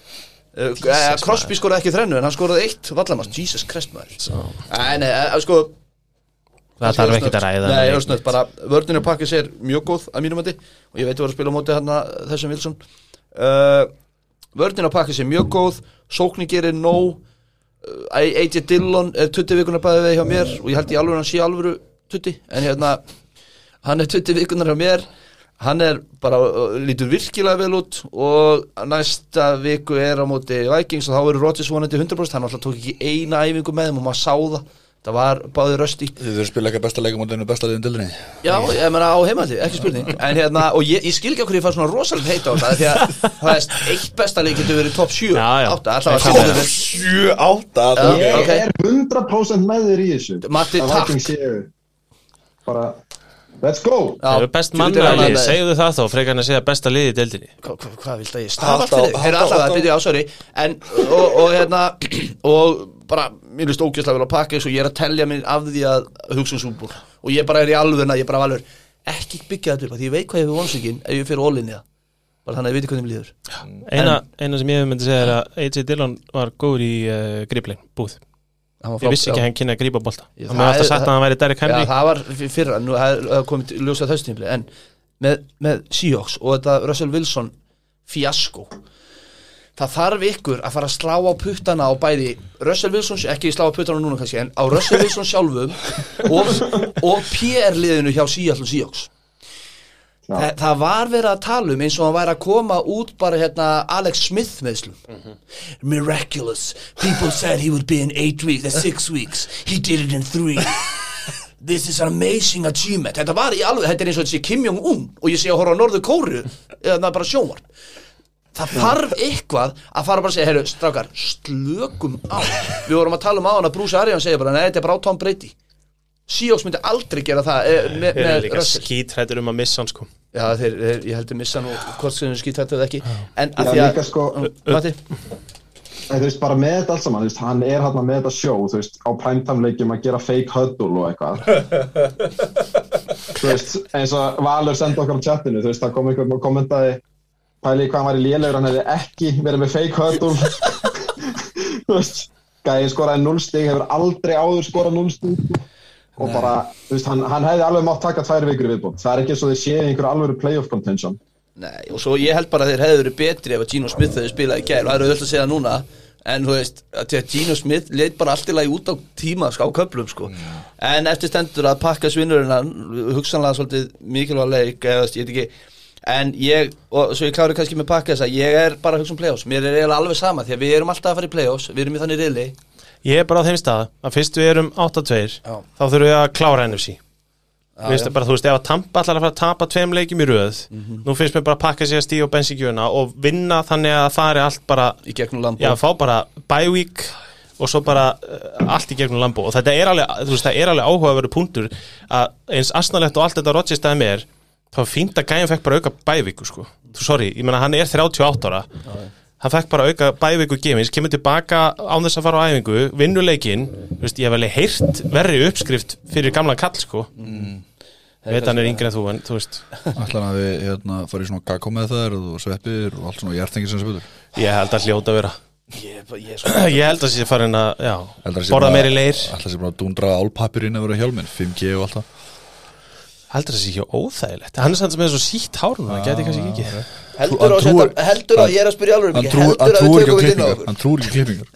uh, Crosby skoraði ekki þrennu en hann skoraði eitt vallamast, Jesus Christ maður Nei, nei, eh, sko
Það þarf ekki að ræða
Nei,
það.
ég er snögt, bara vörninu pakkis er mjög góð að mínum mati og ég veit að voru að spila á móti hann þessum Wilson uh, Vörninu pakkis er mjög góð sóknin gerir nóg uh, AJ Dillon er 20 vikuna bæði við hjá mér og ég held í alveg hann sé alvöru 20 en hérna hann er 20 vikunar hjá mér hann er bara, uh, lítur virkilega vel út og næsta viku er á móti Vikings og þá eru Rodgers vonandi 100% hann alltaf tók ekki eina æfingu með þeim og maður sá það það var báði rösti
Þið þurfum að spila ekki besta leikum á þennu besta liðin dildinni
Já, ég meina á heimaldi, ekki spurning En hérna, og ég, ég skil ekki okkur ég fær svona rosalega heita á það Því að, það veist, eitt besta leik getur verið top 7
Já, já.
8, alltaf að
Ég
skoða
finn
við
7-8
Já.
ég
Ok.
er 100% með þér í þessu
Matti,
Að
takk.
Vikings séu Bara, let's go
Það eru best manna lið, segðu það þá frekar en að segja besta lið í deildinni
Hvað hva, hva vilt að ég stafa allt fyrir
Halda á-
þig? Heyrðu
halda á-
allavega,
halda á-
byrju á, sorry En, og, og hérna, og bara, mér líst ógjörslega vel að pakka þess Og ég er að telja mér af því að hugsa um súbúr Og ég bara er í alvöna, ég bara valur Ekki byggja þetta upp, af því ég veit hvað ég hefur vonsökin Ef ég fyrir ólinni það Bara þannig að ég veit hvernig mér líður
Eina, eina sem ég hef myndið að segja er að AJ Dillon var góður í uh, griplin, búð
Hann var
Ég vissi
já.
ekki að hann kynna að grípa bolta
Ég-
Hann hefði
það
alltaf
er-
sagt að hann væri Derek
Já,
Henry
það var f- fyrra, nú það það kom til ljósað þessu tímli, en með, með Seahawks og þetta Russell Wilson fiasko það þarf ykkur að fara að slá á puttana á bæði Russell Wilson, ekki slá á puttana núna kannski, en á Russell Wilson sjálfum og, og PR liðinu hjá Seattle Seahawks
Já.
Þa, það var verið að tala um eins og hann væri að koma út bara hérna Alex Smith meðslum Miraculous, people said he would be in eight weeks, uh, six weeks He did it in three This is an amazing achievement Þetta var í alveg, þetta er eins og þetta sé Kim Jong-un og ég sé að horfa á Norður Kóru eða það er bara sjónvarp það þarf eitthvað að fara bara að segja heyrðu, strákar, slökum á við vorum að tala um á hann að Bruce Arians segja bara, nei, þetta er bara á Tom Brady Seahawks myndi aldrei gera það eh, með,
Þeir eru
með
líka
Russell
skítrættur um að missa hann sko
Já, þeir, þeir, ég heldur missa nú hvort sem þeir skýttættu eða ekki en
Já,
að því að,
líka sko-
Matti,
en þú veist bara með þetta allt saman þú veist, hann er hann með þetta sjó þú veist, á primetime leikjum að gera fake huddle og eitthvað þú veist, eins og Valur sendi okkar á chatinu, þú veist, það kom einhver og kommentaði pæli hvað hann væri lélegur hann hefði ekki verið með fake huddle þú veist gæði skoraði 0 stig hefur aldrei áður skorað 0 stig og bara, þú veist, hann, hann hefði alveg mátt taka tvær vikur í viðbót, það er ekki eins og þið séð einhver alveg playoff contention
Nei, og svo ég held bara að þeir hefðu verið betri ef að Gino Smith hefði spilað í gær og það eru öll að segja núna en þú veist, að því að Gino Smith leit bara allt í lagi út á tíma, sko, á köflum sko. en eftir stendur að pakka svinnurinn hann, hugsanlega svolítið mikilvæg leik, eða þú veist, ég veit ekki en ég, og svo ég klári kannski með pakka þess að ég er bara að hugsa um playoffs, mér er eiginlega alveg sama því að við erum alltaf að fara í playoffs, við erum í þannig reyli
Ég er bara á þeim stað að fyrst við erum 8-2
Já.
þá þurfum við að klára NFC Vistu, bara, þú veist, ef að Tampa ætlar að fara að tapa tveim leikjum í röð nú finnst mér bara að pakka sér stíð og bensinkjöfuna og vinna þannig að það fari allt bara
í gegnum lampa
já, fá bara bye week og svo bara uh, allt í gegnum Lambo og þetta er alveg, þú veist, það er alveg áhugaveru punktur að eins asnalegt og allt þetta Rodgers dæmi er, þá er fínt að gæjan fekk bara auka bye weeku, sko, þú sorry, ég meina hann er 38 ára, hann fekk bara auka bye weeku gemis, kemur tilbaka án þess að fara á æfingu, vinnur leikinn þú veist, ég hef alveg heyrt verri uppskrift fyrir gamla kall, sko
Mm.
ég veit hann er yngri en þú, en þú veist
Ætlar að við hérna, farið svona kakó með þær og sveppir og allt svona hjartengi sem sem betur
ég held að hljóta að vera
ég, er bara- ég, er sko,
ég held að sé farin að, já,
Heldar að sé
borða
bara-
meiri leir
Ætlar sér bara að dúndra álpapirinn að vera hjálminn 5G og allt það
Heldur það sé ekki óþægilegt Hann er samt með svo sítt hár núna, gæti kannski ekki
heldur, á,
Hann trúir-
þetta, heldur að ég er að spyrja alveg
Hann
mikið,
trúir
heldur að
trú
við tökum við
ekki á
inn á
klippingar
okkur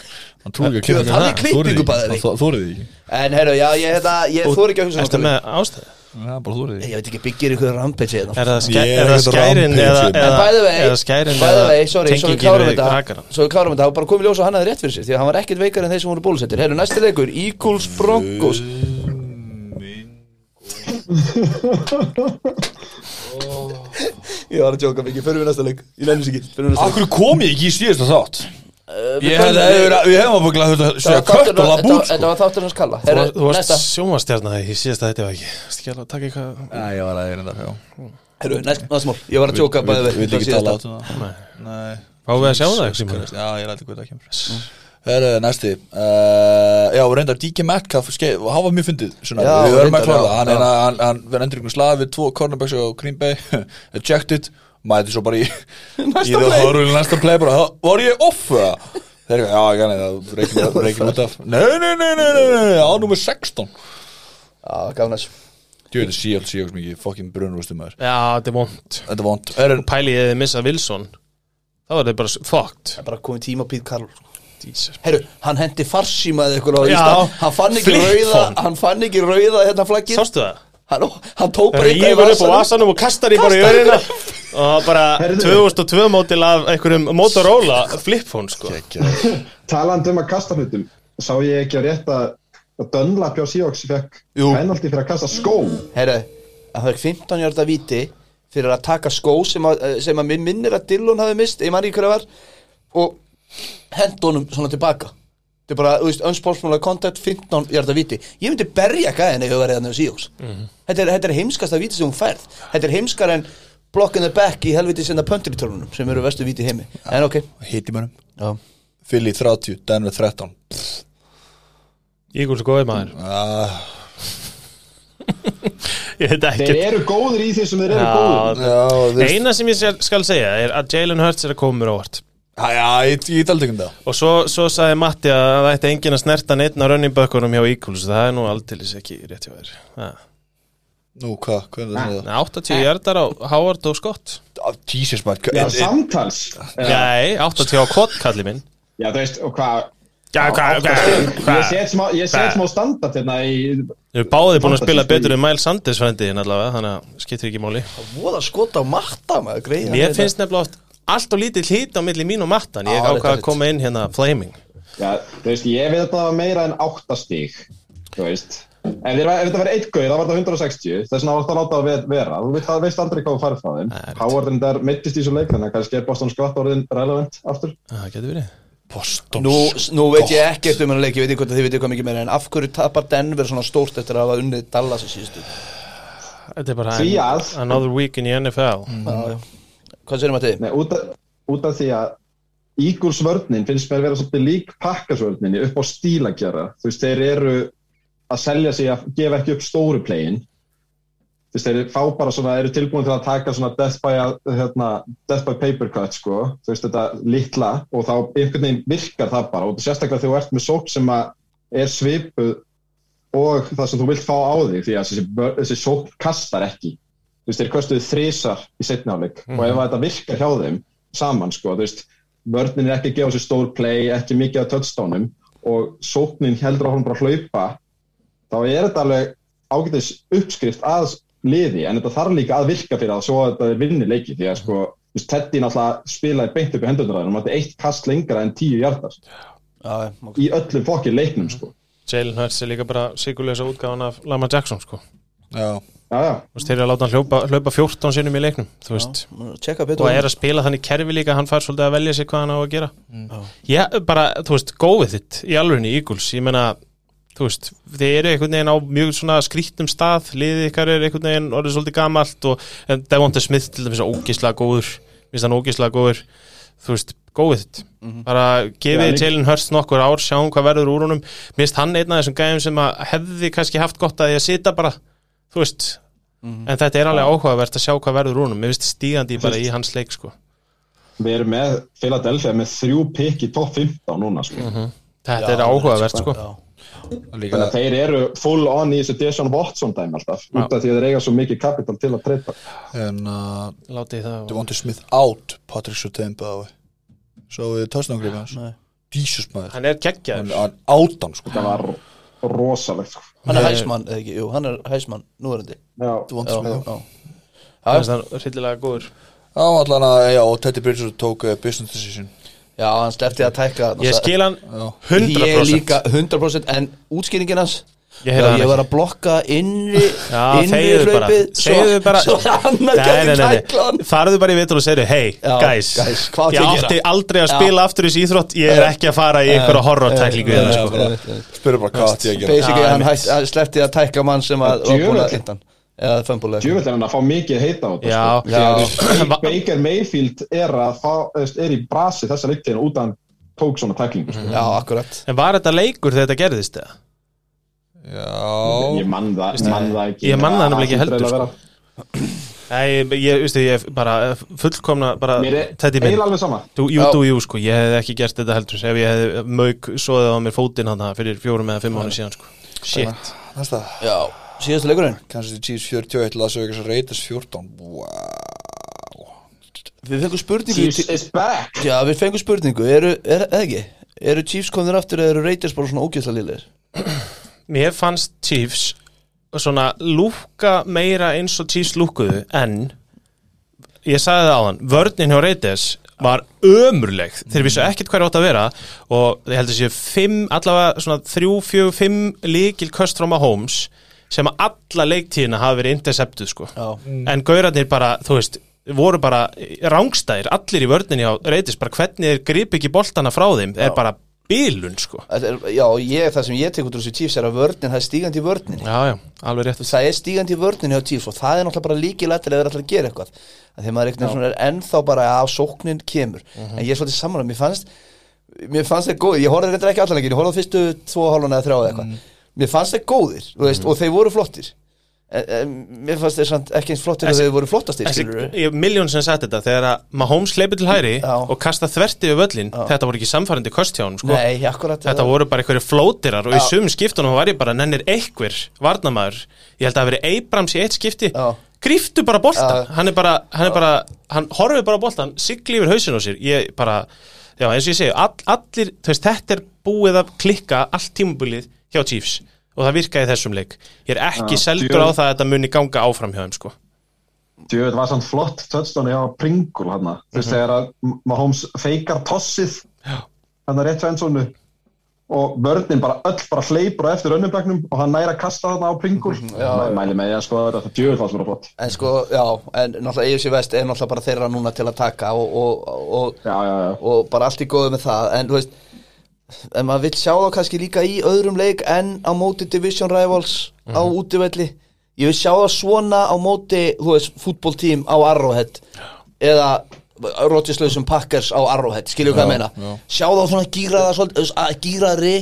Hann trúir ekki á klippingar Hann trúir ekki á klippingar
Það er klippingu,
Þorir
bæði.
því ekki. Það þorið því ekki
en herru, já, ég, þetta, ég þóri ekki að hugsa um
Ertu
okkur.
með ástæðu?
Já, bara þorið því
Ég veit ekki, byggir ykkur rampage hérna
Er það, skæ,
Ég er
er það
ekkert
skærin
rampage
eða,
hérna.
eða,
En bæði vei,
eða skærin
bæði
eða
vei, sorry, svo við klárum
við
þetta
rakaran
Svo við klárum þetta, það var bara komið ljós og hann hafði rétt fyrir sér Því að hann var ekkert veikar en þeir sem voru bólusettir Herru, næsti leikur, Eagles Broncos Ég var að djóka mikið, förum við næsta leik Ég lennum sér ekki, förum við
Akkur kom ég ekki í síðasta þátt Ég hefði
leik
Ég hefði maður búin að þetta Sér að kött og labút
Þetta var þáttur hans kalla
Þú
Herru,
varst- þú varst
næsta
sjónvastjarna í síðasta þetta var ekki Varst ekki alveg að taka eitthvað
Já, ég var að ég reynda já
Herru, næsta næsta mál Ég var að djóka bæði
Við ekki tala
vei
átum það Nei
Fáum við að sjá það ekki sem
Já, ég rætti hvað það
Mm.
kemur Herru, næsti uh, Já, reyndar DK Metcalf skeið, og hann var mjög fyndið svona,
Já,
Við verðum
reyndar,
að klára
já,
það Hann,
já.
hann, hann, hann verður endur ykkur slag við tvo cornerbacks á Green Bay Ejected Mæti svo bara í Í það
play.
horfum næsta play bara "Ha, Var ég off það? Þeir eru, já, ekki hann Það reykir- reykir út af Nei, nei, nei, nei, nei, nei, nei Á númer 16
Já, gaf næst
Þú veit, síðan, síðan, mikið Fucking brunrústum maður
Já, þetta er vond
Þetta er vond Herru,
Pæli eða missa Wilson Þá er þetta bara s- fucked
Það er bara komið tíma á Pete Carroll sko.
Jesus.
Herru, hann hendi farsímaði ykkur á
Já,
Ísland Hann fann ekki
flip
rauða,
phone.
hann fann ekki rauða hérna flaggið
Sástu það?
Hann, hann tók bara
Ég
eitthvað
var upp á vasanum og kastar í bara í
Kastar í-
örina Og bara
Heyrðu.
2002 mótil af einhverjum Motorola flipphone sko
Talandi um að kasta hlutum, sá ég ekki að rétt að að Dunlap hjá Seahawks fekk
Jú.
penalti fyrir að kasta skó
Herru, hann fekk 15 hjörda viti fyrir að taka skó sem að, eh, sem að minn minnir að Dillon hafi mist, ég manni hverja var og henda honum svona tilbaka Þetta er bara, þú veist, unsportsmanlega contact 15 hjarta viti. Ég myndi berja gæðin ef ég verið þannig á síjóks. Þetta er, þetta er heimskasta viti sem hún færð. Þetta er heimskar en block in the back í helviti sinna pöntirítörunum sem eru vestu viti í heimi. En ok.
hitti mönnum
Já.
Philly 30, Denver 13
Ég gúl svo góðið maður
ah,
Ég veit ekki
Þeir eru góðir í því sem þeir eru góðir
Já,
Já, þú veist
eina sem ég skal- skal segja er að Jalen Hurts er að koma mér á óvart
Já, já, ég, ég taldi ekki um það
og svo, svo sagði Matti að það ætti enginn að snerta neitt á running backunum hjá Eagles það er nú aldeilis ekki rétt hjá þér Ha.
Nú, hvað, hvað er það?
Nei, 80 hjartar á Howard og Scott
Ah, Jesus, man
Já,
hvað- en-
samtals Já,
Nei, 80 á Kott kalli minn
já þú veist, og hvað
Já, hvað,
Ég set smá, ég
Hva?
set smá standart hérna í
Við erum báðið búin að spila
Fantasy
betur en Miles Sanders frendiðin allavega, þannig að skiptir ekki máli
Voða skota á matta maður, hérna. greið.
Mér finnst nefnilega oft allt og lítið hlýt á milli mín og Mattan ég
Já, þetta
ákvað
er
að koma inn hérna flaming
Já, þú veist, ég veit að það var meira en 8 stík, þú veist. Ef, þeir, var- ef þetta var eitt gauð, það var það 160, þess vegna var það að láta það ve- vera. Þú veist, það veist aldrei hvað þú farið frá þeim.
Nei, rétt.
Howard en þar mittist í svo leik, þannig að kannski er Boston Scott orðin relevant aftur.
Það getur verið
Boston
Nú, nú veit ég
Gott.
ekkert um hennar leik, ég veit ekki hvort að þið veit eitthvað mikið meira en af hverju tapar Denver svona stórt eftir að hafa unnið Dallas í síðustu
Þetta er bara
Því að-
another week in the NFL
Já, já. Hvað sérum að þið?
Nei, út, af- út af því að Eagles vörninn finnst mér að vera svolítið lík Packers vörninni upp á stílagjara. Þú veist, þeir eru að selja sig að gefa ekki upp stóru playin þú veist, þeir fá bara svona, eru tilbúin til að taka svona death by, a- hérna, death by paper cut, sko, þú veist, þetta litla og þá einhvern veginn virkar það bara og sérstaklega þegar þú ert með sók sem að er svipuð og það sem þú vilt fá á þig því að þessi, vör- þessi sók kastar ekki þú veist, þeir kostuðu þrísar í setnáleik mm. og ef að þetta virkar hjá þeim saman, sko, þú veist vörnin er ekki að gefa sér stór play, ekki mikið af touchdownum og sóknin heldur á hún bara að hlaupa þá er þetta alveg ágætis uppskrift að liði en þetta þarf líka að virka fyrir að svo að þetta er vinni leiki því að sko þú veist, Teddy náttúrulega spilaði beint upp í hendurnar hann mætti eitt kast lengra en tíu hjartar
Já, ok.
í öllum fokki leiknum sko
Jalen Hurts er líka bara sigurlega útgáðan af Lama Jackson sko Þú
já,
já, já,
veist, þeir eru að láta hann hlaupa, hlaupa 14 sinnum í leiknum þú veist,
Tjekka
og
betur
er að spila þannig kerfi líka hann fær svolítið að velja sér hvað hann á að gera Já, bara, þú veist, góðið þitt í alvegni Eagles, ég meina þú veist, þið eru einhvern veginn á mjög svona skrýttum stað, liðið ykkar er einhvern veginn orðið svolítið gamalt og en Devonta Smith til dæmis er ógislega góður minnst hann ógislega góður þú veist, góðið þitt bara
Já,
gefið
líka-
Jalen Hurst nokkur ár, sjáum hvað verður úr honum minnst hann einn af þessum gæðum sem að hefði kannski haft gott að því að sita bara þú veist, en þetta er alveg áhugavert að sjá hvað verður úr honum, mér finnst stígandi bara í hans leik sko
við erum með Philadelphia með þrjú pikk í topp 15 núna sko
Þetta er áhugavert sko
Já.
þannig
líka
að þeir eru full on í þessu Deshaun Watson dæmi alltaf út af því að þeir eiga svo mikið kapital til að treyta
en uh,
Látið það
Devonta Smith out Patrick Sutemba svo við tóðsnágrið hans
Nei.
Jesus maður,
Hann er
hann
keggjaður
hann átan sko
það var rosalegt sko
Hann er
Nei.
hæsmann, eða ekki, jú, hann er hæsmann núverandi
já,
Devonta
Já,
Smith
já.
Mér finnst hann hryllilega góður
já, allan að, já, og Teddy Bridges tók uh, business decision
Já, hann sleppti að tækla þarna,
Ég
sa-
skil hann
Ég
100%
líka 100% en útskýringin hans
Ég
Já,
heyrði hann
ég
ekki.
var að blokka innri
Já,
innri
þegiðu bara.
hlaupið,
Þegiðu bara.
svo, svo annar
Nei, nei,
gæti
nei,
tækla hann
nei. Farðu bara í vitur og segir Hey,
Já,
guys,
guys, hvað átti
Ég
að gera?"
átti aldrei að
Já.
spila aftur í þessi íþrótt Ég er ekki að fara í einhverja horror-tæklingu
Já,
hérna,
já,
sko.
bara-
spyrir bara hvað átti ég að gera
Basically,
Já,
hann
einmitt.
hætt- hann sleppti að tækla mann sem að var búin
Djöfull.
að hinta hann eða fömbulega
djúvill er hann að fá mikið heita á þetta
Já,
sko. Því að,
já.
þú veist, Baker Mayfield er, að fá, þú veist, er í brasi þessa leiktíðin út að hann tók svona
Mhm.
tæklingu sko.
Já, akkurat
En var þetta leikur þegar þetta gerðist eða?
já,
ég mann það, mann það ekki
Ég man það nefnilega ekki
hlýtur
heldur,
eiginlega að
sko. Nei, ég, veistu, ég bara fullkomna bara,
vera- mér
Teddy
er
minn
eiginlega alveg sama
Jú, jú,
Já.
jú, jú, sko, ég hef ekki gert þetta heldur ef ég hef mög svoðið á mér fótinn hann fyrir fjórum eða fimm mánu síðan, sko Shit,
næsta
Já, síðastu leikurinn
Kansas City Chiefs 41 Las Vegas Raiders 14 wow
Við fengum spurningu í
Chiefs
ti-
is back
Já, við fengum spurningu, eru, er, eða ekki Eru Chiefs komnir aftur eða eru Raiders bara svona ógæsla liðir?
mér fannst Chiefs svona lúka meira eins og Chiefs lúkuðu en ég sagði það á hann vörnin hjá Reytes var ömurleg þeir vissu ekkert hvað er átt að vera og ég held að séu fimm, allavega svona þrjú, fjögur, fimm líkil köst frá Mahomes sem að alla leiktíðina hafi verið interceptuð sko
Já.
en gaurarnir bara, þú veist voru bara rángstæðir, allir í vörninni á Reytes, bara hvernig þeir grip ekki boltana frá þeim, er bara bílun sko
Þetta er- Já, ég, það sem ég tek út úr þessu Chiefs er að vörnin, það er stígandi í vörninni
Já, já, alveg rétt
það er stígandi í vörninni á Chiefs og það er náttúrulega bara líkilættir eða það er alltaf að gera eitthvað að þegar maður eitthvað svona er ennþá bara að sóknin kemur
Mhm.
en ég er svolítið saman að mér fannst mér fannst þeir góðir, ég horfði reyndar ekki allanlegin ég horfði á fyrstu tvo hálfuna eða þrjá eða eitthvað
Mhm.
mér fannst þeir góðir þú veist, og þeir voru flottir en, en, mér fannst þeir samt ekki eins flottir og
Þessi-
þeir voru flottastir skilurðu.
Þessi miljón sem sett þetta þegar að Mahomes hleypi til hæri
Já.
og kasta þverti við völlin, þetta voru ekki samfærandi kost hjá honum sko.
Nei, akkurat
þetta voru bara einhverju flótirar og í
Já.
sumum skiptunum var ég bara nennir einhver varnamaður, ég held að það hafi verið Abrams í eitt skipti,
Já.
gríftu bara boltan
Já.
hann er bara, hann er bara hann horfið bara á boltan, sigli yfir hausin á sér ég bara, já eins og ég segi all, allir, þú veist, þetta er búið að klikka allt tímabilið hjá Chiefs og það virkaði í þessum leik ég er ekki
Já,
seldur á
djöfull.
það að þetta muni ganga áfram hjá þeim sko.
djúvill var samt flott touchdown hjá Pringle hann þú veist þegar að Mahomes feikar tossið hann er rétt svensónu og vörnin bara öll bara hleypur á eftir önnumbegnum og hann næra kasta þarna á Pringle Mæ- mæli með ég að skoða þetta djúvill var svona flott
en sko, já, en náttúrulega EFC Vest er náttúrulega bara þeirra núna til að taka og, og, og
já já já
og bara allt í góðu með það en þú veist, en maður vill sjá þá kannski líka í öðrum leik en á móti Division Rivals á
Mhm.
útivelli ég vil sjá það svona á móti þú veist, fútboltím á Arrowhead eða Rodgerslausum Packers á Arrowhead, skilju hvað ég meina sjá þá svona gýraða svolítið, þú veist, að- gýraðri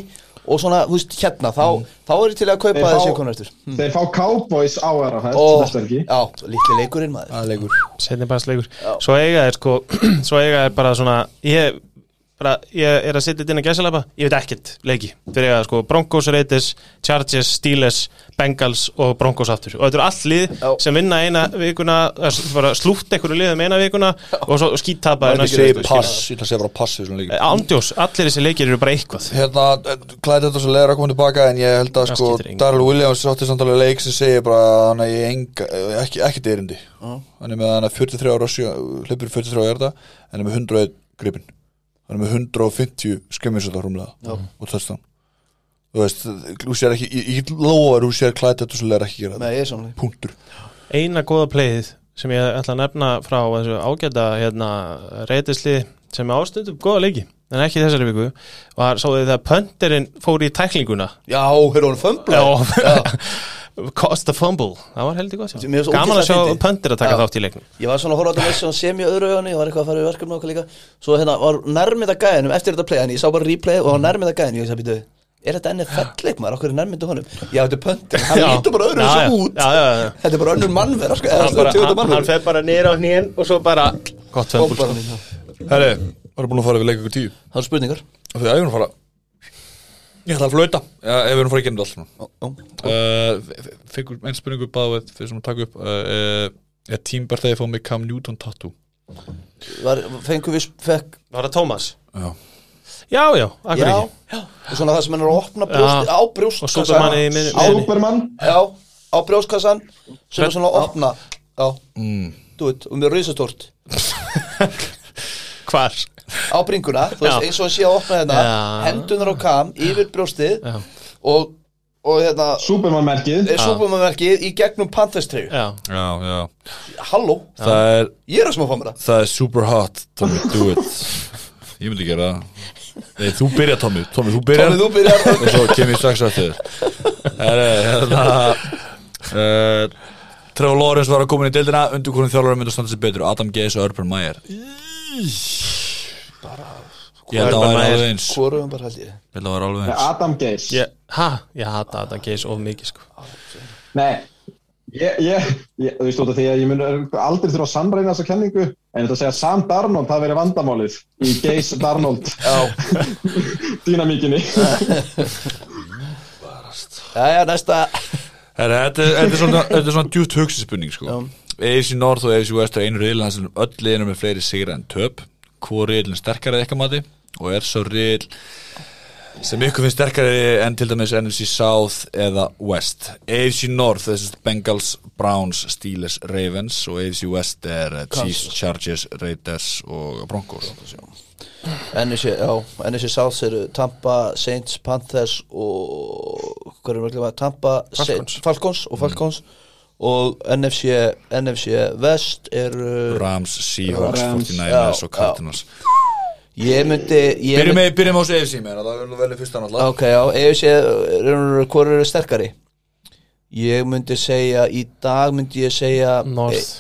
og svona, þú veist, hérna þá, þá er ég til að kaupa
Mm. Þeir fá-
þessi konar eftir
Þeir fá Cowboys á RFS
og,
næsta helgi.
já, litli leikurinn maður
Það er leikur
setni basleikur svo eiga er sko svo eiga er bara svona ég, bara, ég er að setja þetta inn að gæsalapa ég veit ekkert leiki þeir eiga sko Broncos, Raiders, Chargers, Steelers Bengals og Broncos aftur og þetta eru allt lið
Já.
sem vinna eina vikuna eh, s- bara slútt einhverju liðum eina vikuna og svo skíttapa
Ég ætla að segja pass, ég ætla að segja bara pass við svona leik
ándjós, Eh, allir þessi leikir eru bara eitthvað
Eh, Hérna, klæði þetta svo leiður að koma tilbaka en ég held að
Það
sko
skiptir engu.
Darrell Williams átti samtalið leik sem segir bara að hann eigi enga, eh, ekki, ekki deyrindi hann er með hann að 43 ára sjö, hlipur 43 ára hjarta, hann er með 100 gripin, hann er með 150 skemmisöldar rúmlega og törstam þú veist, þú sér ekki ég, ég lofar, þú sér klæði þetta svo leiður ekki gera
með ég er samlega
þetta punktur,
eina góða playið sem ég ætla að nefna frá þessu ágæta hérna, reytisli sem er ástundum góða leiki en ekki í þessari viku var sáðu þið þegar pönterinn fór í tæklinguna
já, hörðu hún fömbla
og cost a fumble það var heldur gott já.
Mér finnst
gaman að
ógeðslega
sjá
fyndið.
pöntir að taka
Já.
þátt í leiknum
ég var svona að horfa á þetta með svona sem í öðru öðunni ég var eitthvað að fara í verkefni og okkar líka svo hérna var nærmið að gæðinum eftir þetta play en ég sá bara replay og var nærmið að gæðinum ég sagði býtu er þetta enni fellik maður okkur er nærmið honum já, þetta er pöntin hann
Já.
lítur bara öðru
Já, já.
þessu út
já, já, já.
þetta er bara önnur mannverð sko,
hann, bara,
hann,
hann, hann fer bara nýra á hnýn og svo bara gott fumble sko.
herri, varum búin að fara við leik ykkur tíu
það er spurningar
og því að ég erum að fara ég ætla að flauta, Já, ef við erum að fara ekki ennum allt svona Fikkur einn spurningu báða við fyrir sem að taka upp uh, Er tímbærtæði fóð með Cam Newton tattoo?
var, fengum við fekk,
var það Thomas?
Já
já, já, akkur
já,
ekki
já og svona það sem hann er að opna
Já.
brjóst, á
og Superman
brjóstkassan
í mið- miðinni
Ábermann,
já, á brjóstkassan sem er svona að opna já,
Mm.
þú veit, og með risastort
hvar?
á bringuna, þú
Já.
veist, eins og hann sé að opna hérna
Já.
hendunar á kam, yfir brjóstið
Já.
og, og hérna
Superman merkið
er súbúmaverkið í gegnum Panthers-treyju
já,
Já, já
halló,
Það er,
ég er að smá fá mér það
það er super hot Tommy, do it Ég myndi gera það Nei, þú byrja Tommy, Tommy, þú byrja
Tommy, þú byrjar.
Og svo kem ég strax að þér Það er, hérna uh, Trevor Lawrence var að koma inn í deildina Undir hvernig þjálfur myndi að standa sér betur Adam Gaze og Urban Meyer Ég held að
Urban
það var
Meyer.
alveg eins Ég
hvorum um bara held ég
held að það var alveg eins
Adam Geis
ég, ha, ég hata þetta geis of mikið sko
Nei, ég, ég, ég, þú veist út af því að ég mun aldrei þurfa að sannreina þessa kenningu en þetta að segja Sam Darnold, það verið vandamálið í Geis Darnold dýnamíkinni
já, já, næsta
Herra, Þetta er- þetta er svona, þetta er svona djútt hugsinspunning sko. AFC North og AFC West er einu riðl hans sem öll liðinu með fleiri sigra en töp hvor riðlinn sterkari ekka mati og er svo riðl sem ykkur finnst sterkari en til dæmis NFC South eða West AFC North, þessi Bengals, Browns Steelers, Ravens og AFC West er eh, Chiefs, Chargers, Raiders og Broncos
NSC, já, NSC South eru Tampa, Saints, Panthers og hvað erum við að glemma Tampa, Saints, Falcons Mm. og Falcons og NFC, NFC West eru
Rams, Seahawks,
Rams,
49ers
já,
og Cardinals
ég myndi ég
Byrjum
myndi-
með, byrjum á þessu AFC meina, það er velið fyrst annað
Ok, já, ef ég sé, hvað eru sterkari? Ég myndi segja, í dag myndi ég segja
North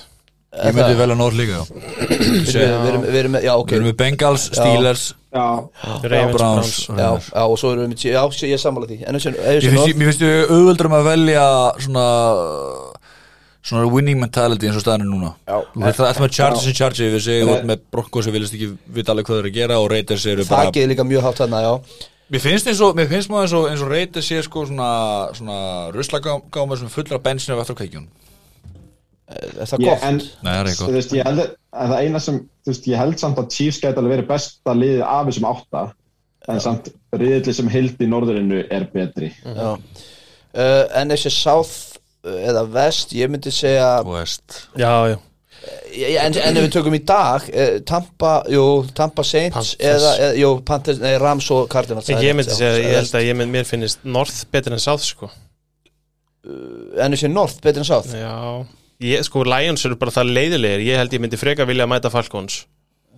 Ég myndi velja North líka já.
Við erum, eh, við erum, við erum, já, ok
Við erum með Bengals, Steelers
Já,
Ravens, Browns
Já, já, og svo erum við, já, sé- ég sammála því En þessi, ef ég
Ég
sé
finnst,
North
mér finnst ég auðvöldur um að velja svona svona winning mentality eins og staðan er núna
Já.
Það er alltaf með Chargers sem Chargers við segjum
Nei.
út með Broncos sem viljast ekki vita alveg hvað þeir eru að gera og Raiders eru bara
Þakið er líka mjög hátt þarna, já
Mér finnst eins og, mér finnst maður eins og, eins og Raiders sé sko svona, svona ruslagáma sem fullra bensinu af eftir kveikjun
Er það
ég,
gott?
en
Nei, það er ekki
þú
gott
veist, ég held að það eina sem þú veist, ég held samt að Chiefs gæti alveg verið besta liðið af þessum átta en samt riðli sem hild í norðurinnu er betri
Já uh, En þessi South uh, eða West, ég myndi segja
West
Já, já,
Ég- ég- En, en ef við tökum í dag eh, Tampa, jú, Tampa Saints
Panthers.
eða, eða, jú, Panthers, nei, Rams og Cardinals það er
ég
rétt,
myndi
já.
segja, ég
Eh,
held að ég myndi, mér finnist North betur en South, sko
En þessi North, betur en South
Já, ég, sko, Lions eru bara það leiðilegir Ég held ég myndi freka vilja að mæta Falcons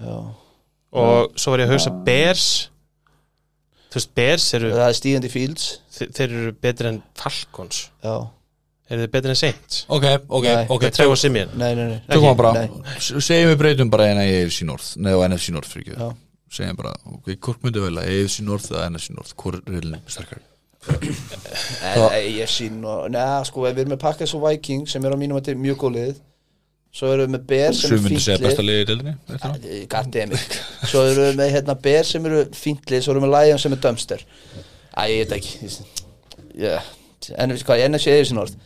Já
Og svo var ég að hugsa Bears Þú veist, Bears eru,
Það er stígandi Fields
þe- þeir eru betur en Falcons
Já,
Eru þeir betur en Saints?
Ok, ok,
Nei.
ok
Þeir trefa Simeon
nei, nei, nei
Tökum að bara,
Nei.
segjum við breytum bara eina í AFC North Nei, og NFC North fyrir
Já.
segjum bara, ok, hvort myndi vel að AFC North eða NFC North, hvort er riðlinn sterkari
En AFC North, neða sko ef við erum með Packers og Vikings sem eru á mínum að til mjög góð lið Svo erum við með Bears sem
Sum
er
myndi segja besta
fínt lið Ah,
liðið í deildinni
Gardemik Svo erum við með hérna, Bears sem eru fínt lið Svo erum við með Lions sem er Dumpster Æ, ég veit ekki yeah. En við hvað, NFC AFC North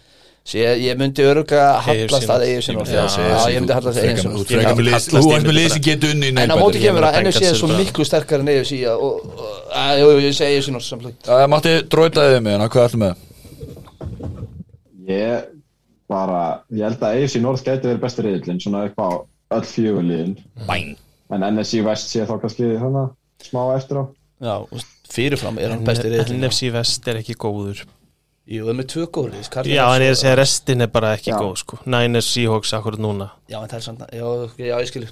Svo ég, ég myndi öruga hallast að AFC North Já, ég myndi hallast að AFC
Þú
North
frekar hérna með lið-
Kallast
þú varst
inn
með
í
lið
þetta.
sem getur unni
En á móti kemur
Ég
að
meina,
NFC er svo
Bengals eru
miklu sterkari en AFC ja, og, og, að, Jú, jú, ég segi AFC North samflug
Uh, Matti, dróitaðið mig, en hvað ætlum við?
Ég bara, ég held að AFC North gæti verið besti reyðlinn, svona upp á öll fjögurliðin.
Bæn
En NSC West sé þá kannski hana, smá eftir á.
Já, og fyrirfram er hann besti reyðin
NFC Vest er ekki góður
Jú, það er með tvö góð lið Cardinals
Já, en ég er
og-
að segja restin er bara ekki
Já.
góð sko. Niners, Seahawks, akkurat núna
Já, en það er samt Já, ok, já ég skilji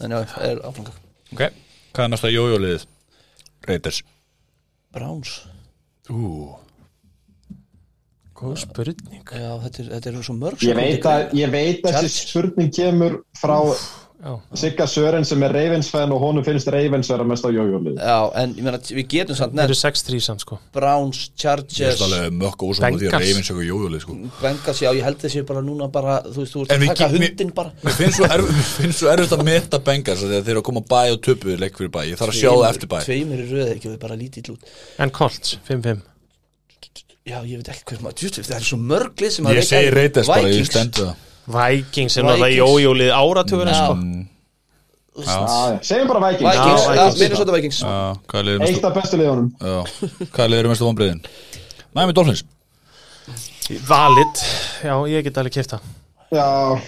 En já, það er áfranga
Ok, hvað er næsta jójóliðið? Raiders
Browns
Ú,
Góð spurning
Já, þetta er, þetta er svo mörg
Ég veit að, ég veit að þessi
Chargers.
spurning kemur frá Sigga Sören sem er Ravens-fæðin og honum finnst Ravens vera mest á jójólið.
Já, en ég meina, við getum samt
Það eru
nefn
6-3 samt sko
Browns,
ég er
Chargers
alveg mökk og ósum á því að
Bengals.
Ravens hefur jójólið sko
Bengals, já, ég held þessi bara núna bara Þú veist, þú ert
En
að
við
taka
getum-
hundin bara
Mér finnst svo erf- mér finnst svo erfitt að meta Bengals af því að þeir eru að koma á bæ og töpu leik fyrir bæ, ég þarf að sjá það eftir bæ
Tveimur í röð, ekki, við bara lítið lút
En Colts, 5-5
Já, ég veit ekki hvað maður djútt Það er svo mörg lið sem að
Ég
leika-
segi Raiders bara, ég
Vikings.
stendu það
Vikings er náttúrulega
Vikings.
jójólið áratugur
Já,
sko.
Ah, Segjum bara Vikings.
Vikings,
Já,
já,
Vikings.
Minnesota Vikings
Já, hvað er liðið
Eitt
mestu-
af bestu liðunum.
Já, hvað er liðið mestu vonbreiðin? Miami Dolphins
Valid, já, ég get alveg kifta
Já,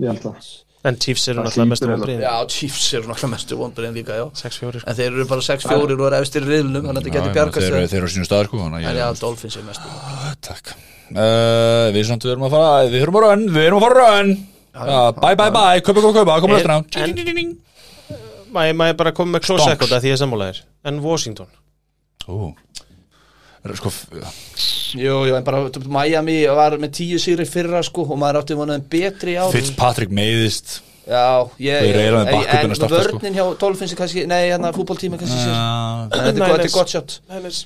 ég held það.
En Chiefs eru
Það
náttúrulega mest
hlýtur
um
Já, Chiefs eru nokkla mestu vonbreyðin líka, já
6-4 sko.
En þeir eru bara 6-4 og eru efstir í riðlunum Þannig að þetta
Já,
getur
ég meina,
bjargast
Þeir
þeirra.
eru- þeir eru á sínu stað sko þannig
En
að
já,
ég-
Dolphins er mestu
Takk uh, Við samt við erum að fara Við þurfum að run Við erum að fara að run Já, bye bye bye Kaupa, kaupa, kaupa Komum eftir á
en-
Ding, ding, ding, ding.
Má ég- má ég bara koma með klósa
Stonks.
ekkert að því ég er sammálaðir En Washington
Ú Er það Sko f-
Jú, jú, en bara t- Miami var með tíu sigri í fyrra sko og maður átti vonaðum betri í ár
Fitzpatrick meiðist
Já, ég,
Þau reyla með
en-
bakkupinn að starta, sko.
vörnin hjá Dolphins er kannski, nei, hérna fútboltíma kannski sér
Já,
En þetta er gott- þetta er gott sjátt
Niners.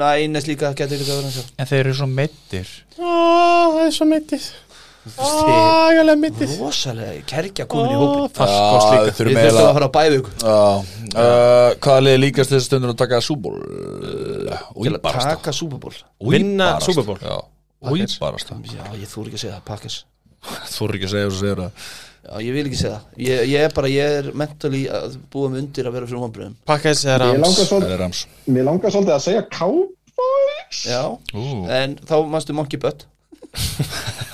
Nænes líka, getur líka verið hans
En þeir eru svo meittir
Á, Það er svo myndið Ægælega myndið
Rosalega, kerkja komin í hópin
Falkos líka
Þeir eru
Við þurftum
meðla
að fara á bæðug
Eh,
Hvað er liðið líkast þessi stundur að taka súból?
til að taka Super Bowl
Vinna Super Bowl.
Új barast það
Já, ég þúr ekki að segja það, pakkis
Þú eru ekki að segja þess að segja það
Já, ég vil ekki segja það Ég, ég er bara, ég er mentally að búa mig undir að vera fyrir vonbröðum
Pakkæs er
Mér
rams
langar
Það
svolítið,
er rams
mér langar svolítið að segja Cowboys.
Já,
Ú.
en þá manstu Monkey Butt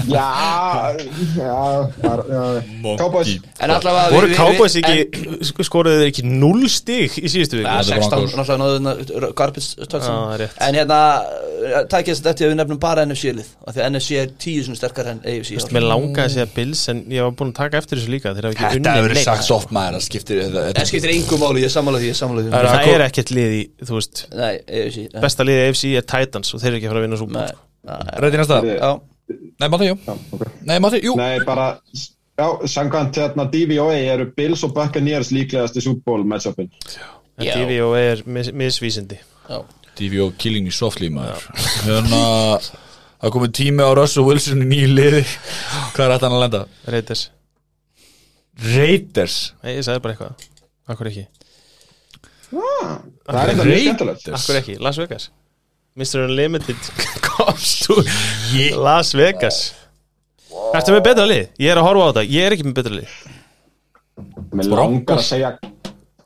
Já, já, bara, já. Cowboys.
En allavega við-
Voru
við-
Cowboys
við- en-
ekki, sk- skoruðu þeir ekki 0 stig í síðustu viku?
Ja,
Þetta er
16,
Broncos.
náttúrulega náðu garbage
Já, það er
touchdown
rétt.
En hérna, uh, takk ég þetta eftir að við nefnum bara NFC-lið Af því að NFC er tíu svona sterkar en AFC í ár.
Mér langaði að segja Bills en ég var búinn að taka eftir þessu líka Þeir hafa ekki
Þetta
unnið
hefur verið
neitt.
sagt oft maður Það skiptir þetta-
Það
þetta-
skiptir engum máli, ég samála því, ég samála því
Það
Það
Kom-
er ekkert lið í, þú veist
Nei, AFC nei.
Besta liðið í AFC er Titans og þeir eru ekki að fara að vinna svo
Nei,
búinn
nei,
Rætti næsta
Já,
Nei, Matti, jú
Já, ok.
Nei, Matti, jú
Nei, bara, já, samkvæmt hérna DVOA eru Bills og Buccaneers líklegast í Super Bowl matchupin.
En
Já.
TV og er mis, misvísindi
já
DVO killing me softly maður hérna það komið tími á Russell Wilson í nýju liði hvað er þetta hann að lenda?
Raiders
Raiders
Nei, ég sagði bara eitthvað Akkur ekki
Það er þetta mjög skemmtilegt.
Akkur ekki Las Vegas Mr. Unlimited Komst úr Las Vegas Ertu með betra lið? Ég er að horfa á þetta Ég er ekki með betra lið
Mér langar að segja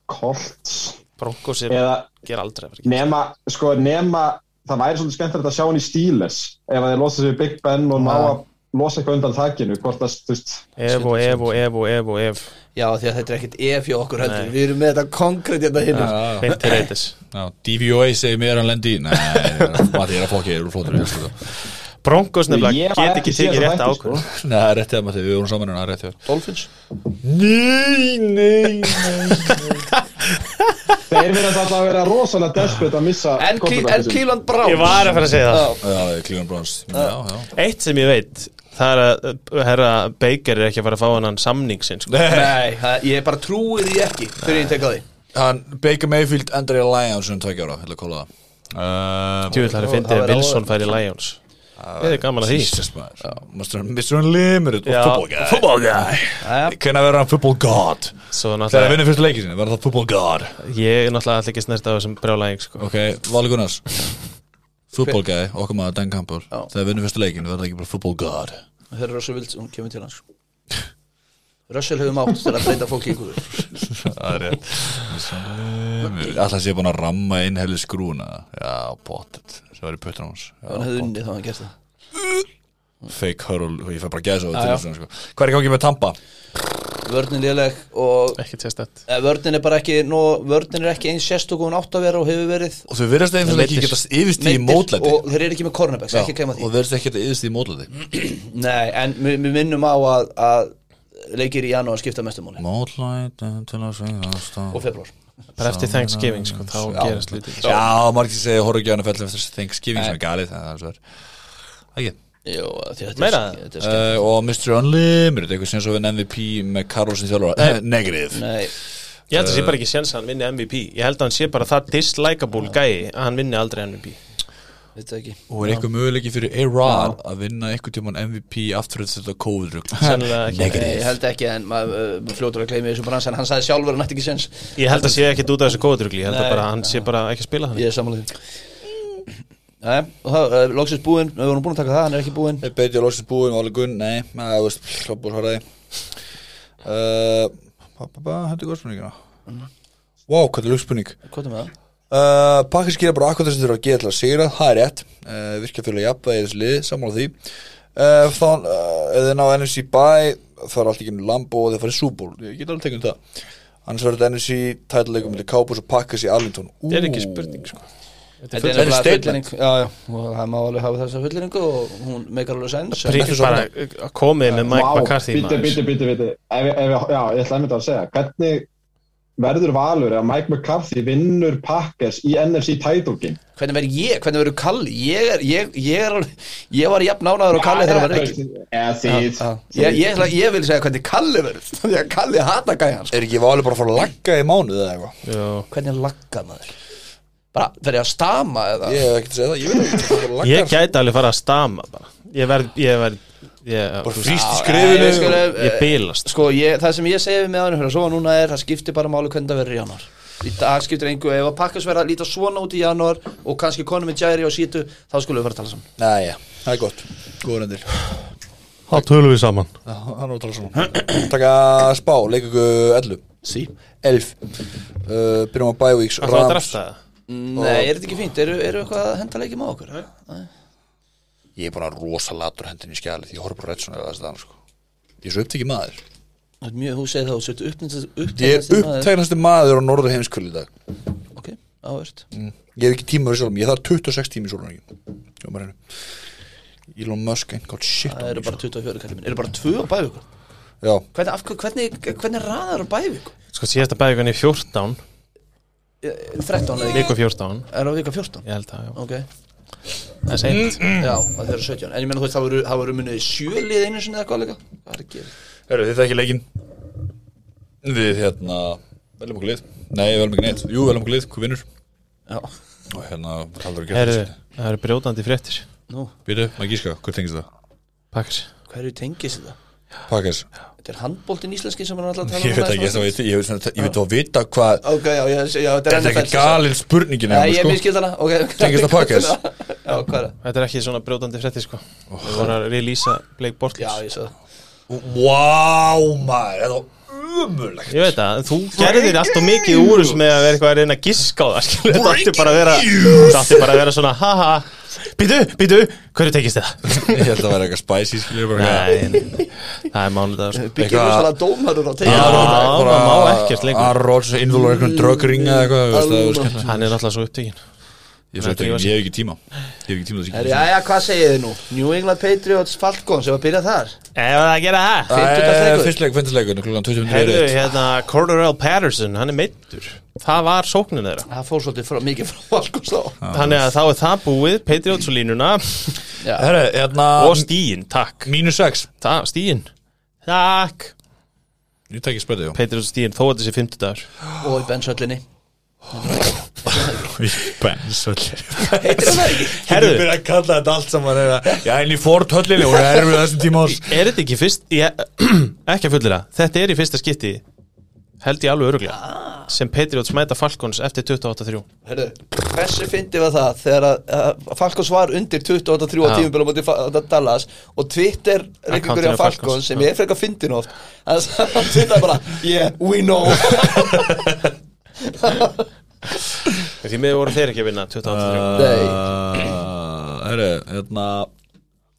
Colts.
Broncos er
Eða
Ger aldrei að vera ekki
nema, sko, nema, það væri svolítið skemmtilegt að sjá hann í Steelers ef að þeir losa sig við Big Ben og ná að losa eitthvað undan þakkinu, hvort að, þú veist,
Ef og ef og ef og ef og ef
Já, því að þetta er ekkert E ef hjá okkur heldur Við erum með þetta konkrétt hérna hinn
Beint til reytis
DVOA segir mér að hann lendi í nei, Matti, ég er að fokki, ég er úr flótur ég er sko.
Broncos
Ég
nefnilega
var
get
ekki
ekki
síðan
tekið
að
rétt
þætti, sko.
ákvörð
nei, það er réttið að Matti, við vorum saman en það er réttið
Dolphins
nei, nei, nei
þeir verðast alltaf að vera rosalega desperate að missa
En Cle-
quarterbackið
en
sinn.
Cleveland Browns
Ég var að fara að segja það
sko. Já,
já, Cleveland Browns já, já
Eitt sem ég veit Það er að uh, herra Baker er ekki að fara að fá hann samning sinn sko.
Nei, það- ég bara trúi því ekki Fyrir ég teka á því
hann, Baker Mayfield, Andre Lyons um tveikja ára, hefði að kóla það
uh,
Tjúvill það er fyndið að Wilson fær í Lions Við erum gaman að því
Jesus maður Já, Mr. Mr. Unlimited og
Já.
football guy Football guy Hvernig verður hann football god
Svo
Þegar hann
náttúrulega
vinnur fyrst leikið sinni, verður það football god
Ég er náttúrulega allir ekki snert af þessum brjálæðing sko.
Ok, Vali Gunnars Football guy, okkur maður Dan Campbell
Já.
Þegar vinnur fyrst leikinu verður það ekki bara football god
Þegar Russell Wilson kemur til hans Russell hefur mátt til að breyta fólki ykkur
Það er rétt
Alltaf sé búin að ramma inn heilu skrúna Já, pottet Það var í puttur hans Já,
Hann hefði
pottet.
unnið þá hann gert það
Fake hurl, ég fæ bara að gæsa á þetta tilhugsunum, sko. Hvað er ekki með Tampa?
Vörnin léleg og
Ekki test þetta
eh, vörnin er bara ekki nó, Vörnin er ekki eins sérstök og hún átt að vera og hefur verið
Og þau virðast eins og
Meiddir.
ekki getast yfirst í
meiddir
mótlæti
og þeir eru ekki með cornerbacks,
Já,
ekki kemma því
Og virðast ekki getast yfirst í mótlæti
Nei, en við við minnum á að, að leikir í janúar skipta mestumóli
Mótlæti til að svingast á
og februar
Bara eftir Thanksgiving sko, þá
Já.
gerast lítið
Já, margir segja horror ekki á hann að fellja eftir Thanksgiving sem er galið Það er sver Ekki
Jó, því þetta
Meira?
er, þetta er skemmt
Uh, og Mr. Unlimited, eitthvað sem svo við MVP með Karol sem þjálfara, negrið
Nei,
Ég held að það sé
Eh.
bara ekki séns að hann vinni MVP Ég held að hann sé bara það dislikeable gæi að hann vinni aldrei MVP
þetta ekki
og er eitthvað möguleiki fyrir A-Rod að vinna eitthvað tímann MVP aftur þetta COVID-rugl
Sennilega ekki.
Ég
negrið
held ekki en maður uh, fljótur að gleymi þessu brans en hann sagði sjálfur að hann ætti ekki sens
Ég held að sé ekkit út af þessu kóðutrugli Ég held
Nei.
að bara, hann sé bara ekki að spila þannig
Ég er samanlega Nei, og það uh, loksins búinn, við vorum búin að taka það, hann er ekki búinn
Betja loksins búin, Óli Gunn, nei það veist, Eh, hlopur horraði hættu góð spurningina wow, hvað er lúk spurning
Eh,
Hvað er með það?
Uh, Pakkar skýra bara akkur þess að þeir eru að gera til að sigra það er rétt, uh, virkja fyrir að jafnvægi í þessu liði, sammála því uh, þá, uh, ef þeir ná NFC bæ það er allt ekki um Lambo og þeir farið súból ég get alveg tekið um það annars verður þetta NFC, tætluleikum millir Kápus og Pakkars í Arlington Ú,
Þetta er ekki spurning sko Þetta
Þetta
er
er nefnilega
full-
fullyrðing
Þetta er
Já, já, og það má alveg hafa þessa fulleringu og hún meikar alveg sens en-
full-
Ekki
Pri-
svo
bara uh, komið með Mike McCarthy
Bíti,
maður.
bíti, bíti, bíti ef, ef, Já, ég ætla einmitt að segja Hvernig verður valur að Mike McCarthy vinnur Packers í NFC title game
Hvernig verður ég, hvernig verður Kalli? Ég er, ég, ég er alveg, ég var jafn ánaður og Kalli þegar hann var ekki
Eða þið
Já, ég, ég, ætla- ég vil segja hvernig Kalli verður Því að Kalli hata gæjan sko.
er ekki valið bara að fara að lagga í mánuð eða eitthvað
Jú.
Hvernig lagga maður? Bara, verður ég að stama eða?
ég hef ekkert að segja það, ég veit ekki hvað bara
Ég
laggar
gæti alveg fara að stama bara Ég verð, ég verð ég, þú
bara
veist,
frýst í
Ég,
skrifinu
skal,
og-
eh,
ég bilast
Sko, ég, það sem ég segi við með hann fyrir að sofa núna er það skiptir bara máli hvernig það verður í januar Í dag skiptir engu, ef að pakkas verða að líta svona út í januar og kannski konum með Jairi og sítu þá skulum við fara að tala saman
næja, það er gott, góður endir
Há tölum við saman
hann var að tala svona taka spá, leikungu 11
Sí
11 uh, byrjum á bye weeks
Það var að
Rams
drafta það
Nei, er þetta ekki fínt? Eru, eru eitthvað að henda leikið með okkur? Nei.
ég er bara rosa latur hendin í skjali því ég horf bara rétt svona eða þess að þannig sko ég er svo upptekið maður
Það er mjög, þú segir það og sötu uppnýttast
ég er uppteknasti maður á norður heimskvöld í dag
Ok, áhört
Mm. ég hef ekki tíma fyrir sjálfum, ég þarf 26 tíma í sjálfum hérna. Elon Musk ain't got shit sko.
Það
on
eru
me
bara 24 kallið minn Eru bara tvö á bævíkur?
já,
Hvernig, af, hverju- hvernig, hvernig raðar á bævíkur?
Sko síðasta bæðugan er 14
13 eða ekki?
Viku 14
Er það vika 14?
Ég held það, já
Ok,
Það er seint
já, það eru 17 En ég menna þú veist, það voru, það voru munið sjölið einu sinni eða hvað leika Hvað er að gera?
Heru, þið þekkið leikin við hérna veljum okkur lið, nei veljum ekki neitt jú veljum okkur lið, hvað vinnur
Já,
og hérna, kallar að gera
Heyrðu,
þessu
Það eru brjótandi fréttir
nú,
býtu, maður gíska, hvað tengist það?
Pakkars
hverju tengist þetta?
Pakkars
Þetta er handbóltin íslenski sem hann alltaf um
Ég veit ekki, ég veit- ég veit- ég veit að vita hvað
Ok, já, já, já, já þetta er
Er þetta
NFL,
ekki galin spurningin
Nei, ég
sko?
miskild hana okay.
Tengist það Packers?
Já, hvað er það?
Þetta er ekki svona brjótandi fréttir sko Við vorum að releasa Blake
Já,
Bortles
ég svo það
Vá maður, þetta var umulegt
Ég veit það, en þú gerðir allt og mikið úr þessu með að vera eitthvað að reyna að giska á það skilur. Þetta átti bara að vera Þetta átti bara að vera svona ha ha Býtu, býtu, hverju tekist það?
Ég held að vera eitthvað spicy skilur bara eitthvað-
Nei, nei, það er mánudag sko.
Byggir
Eitthvað-
rosalega dómarur á
Já,
tengist
Bara-
það Ah.
bara-
má ekkert lengur.
Aaron Rodgers innvölu eitthvað dröggringa
Mm.
eða eitthvað þú veist, það var
Alveg.
skemmtilegt.
Hann er náttúrulega svo upptíkin
Ég svo ekki, ég hef ekki tíma Ég hef ekki tíma
Herri, já,
þessi
já, hvað segið þið nú? New England Patriots Falcons, ef að byrja þar
Ef það gera það
fimmtudagsleikur.
Fyrstleik, fyrstleik, klukkan 20 minnir
Herðu,
er rétt
hérna, Cordarell Patterson, hann er meittur Það var sóknin þeirra
Það fór svolítið frá, mikið frá Falcons þá
Þannig að þá er það búið, Patriots og línuna
Já,
Herra, hérna
Og stíin, takk
Mínus 6
Það, stíin Takk
Ég tek ekki spöldið,
um.
já
Petri og Stíðin, þó að þessi fimmtudagur
og í bensöllinni
Bensöllir
heitir það ekki
Herðu.
Ég byrja að kalla þetta allt saman eða, Já, en í Ford höllinni og erum við þessum tíma ás
Er þetta ekki fyrst, ég, ekki að fullera Þetta er í fyrsta skipti Held ég alveg öruglega Sem Patriots mæta Falcons eftir 28-3
Herðu, hversu fyndi var það þegar að, að Falkons var undir 28-3 á
Já.
tímubil á móti Fa- á Dallas og Twitter reyngur
Accountinu
á Falkons
Falcons,
sem
já.
ég er frekar fyndin oft þannig að hann Twitter bara yeah, we know
Því miður voru þeir ekki að vinna 28-3
Herru, hérna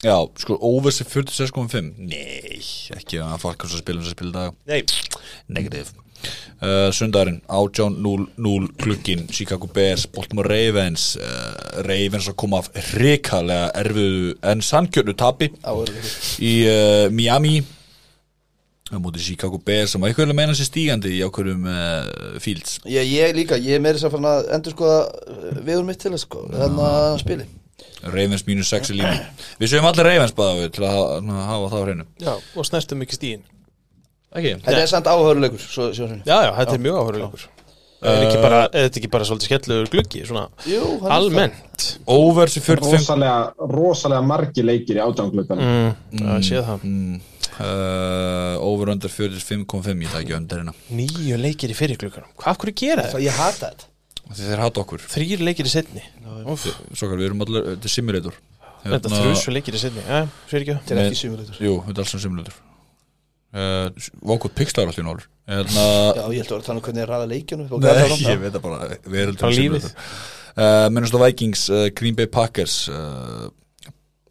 Já, sko, oversi 46.5 Nei, ekki að um falka svo spilum sem spilum dag
Nei,
Negativ uh, Sundarinn, 18.00 klukkin Chicago Bears, Baltimore Ravens uh, Ravens að koma af hrikalega erfiðu en sannkjörnu tapi
Á, öruglega.
í uh, Miami á móti Chicago Bears sem að eitthvað er að meina sér stígandi í ákvörðum uh, Fields
Já, ég líka, ég er meira þess að fara að endur skoða uh, viður mitt til þess sko, þannig að spili
Ravens mínus 6 í línu við sögum allir Ravens bæða við til að ha- hafa það á hreinu
já, og snertum ekki Stíðin
ekki
Þetta er samt áhörulegur, svo sjá sinni
Já, já, þetta er mjög Uh, áhugulegur Er ekki bara, er þetta ekki bara svolítið skellur gluggi svona
Jú, hann er
Almennt
over sem 45
rosalega, rosalega margi leikir í átjánglökan mm.
mm, Það séð það
mm, uh, over under 45.5 ég tæki underina
Nýju leikir í fyrir glugganum Hvað af hverju gera
Það
þeir?
ég hata þetta
þeir þeir hata okkur
Þrýr leikir í setni Úff,
svo við erum allir þetta er simulator
Þetta
Hérna-
þrjus leikir í setni Já, fyrir ekki
Þetta er
Nei.
ekki simuleitur
jú þetta er alls sem simulator uh, vókuð pixlar allir nálur hérna
Já, ég held að vera að tala um hvernig ég ræða leikjunum og
Nei,
gata honum.
ég veit það bara
Bara
Veröldum
lífið.
uh, Minnast á Vikings, uh, Green Bay Packers uh,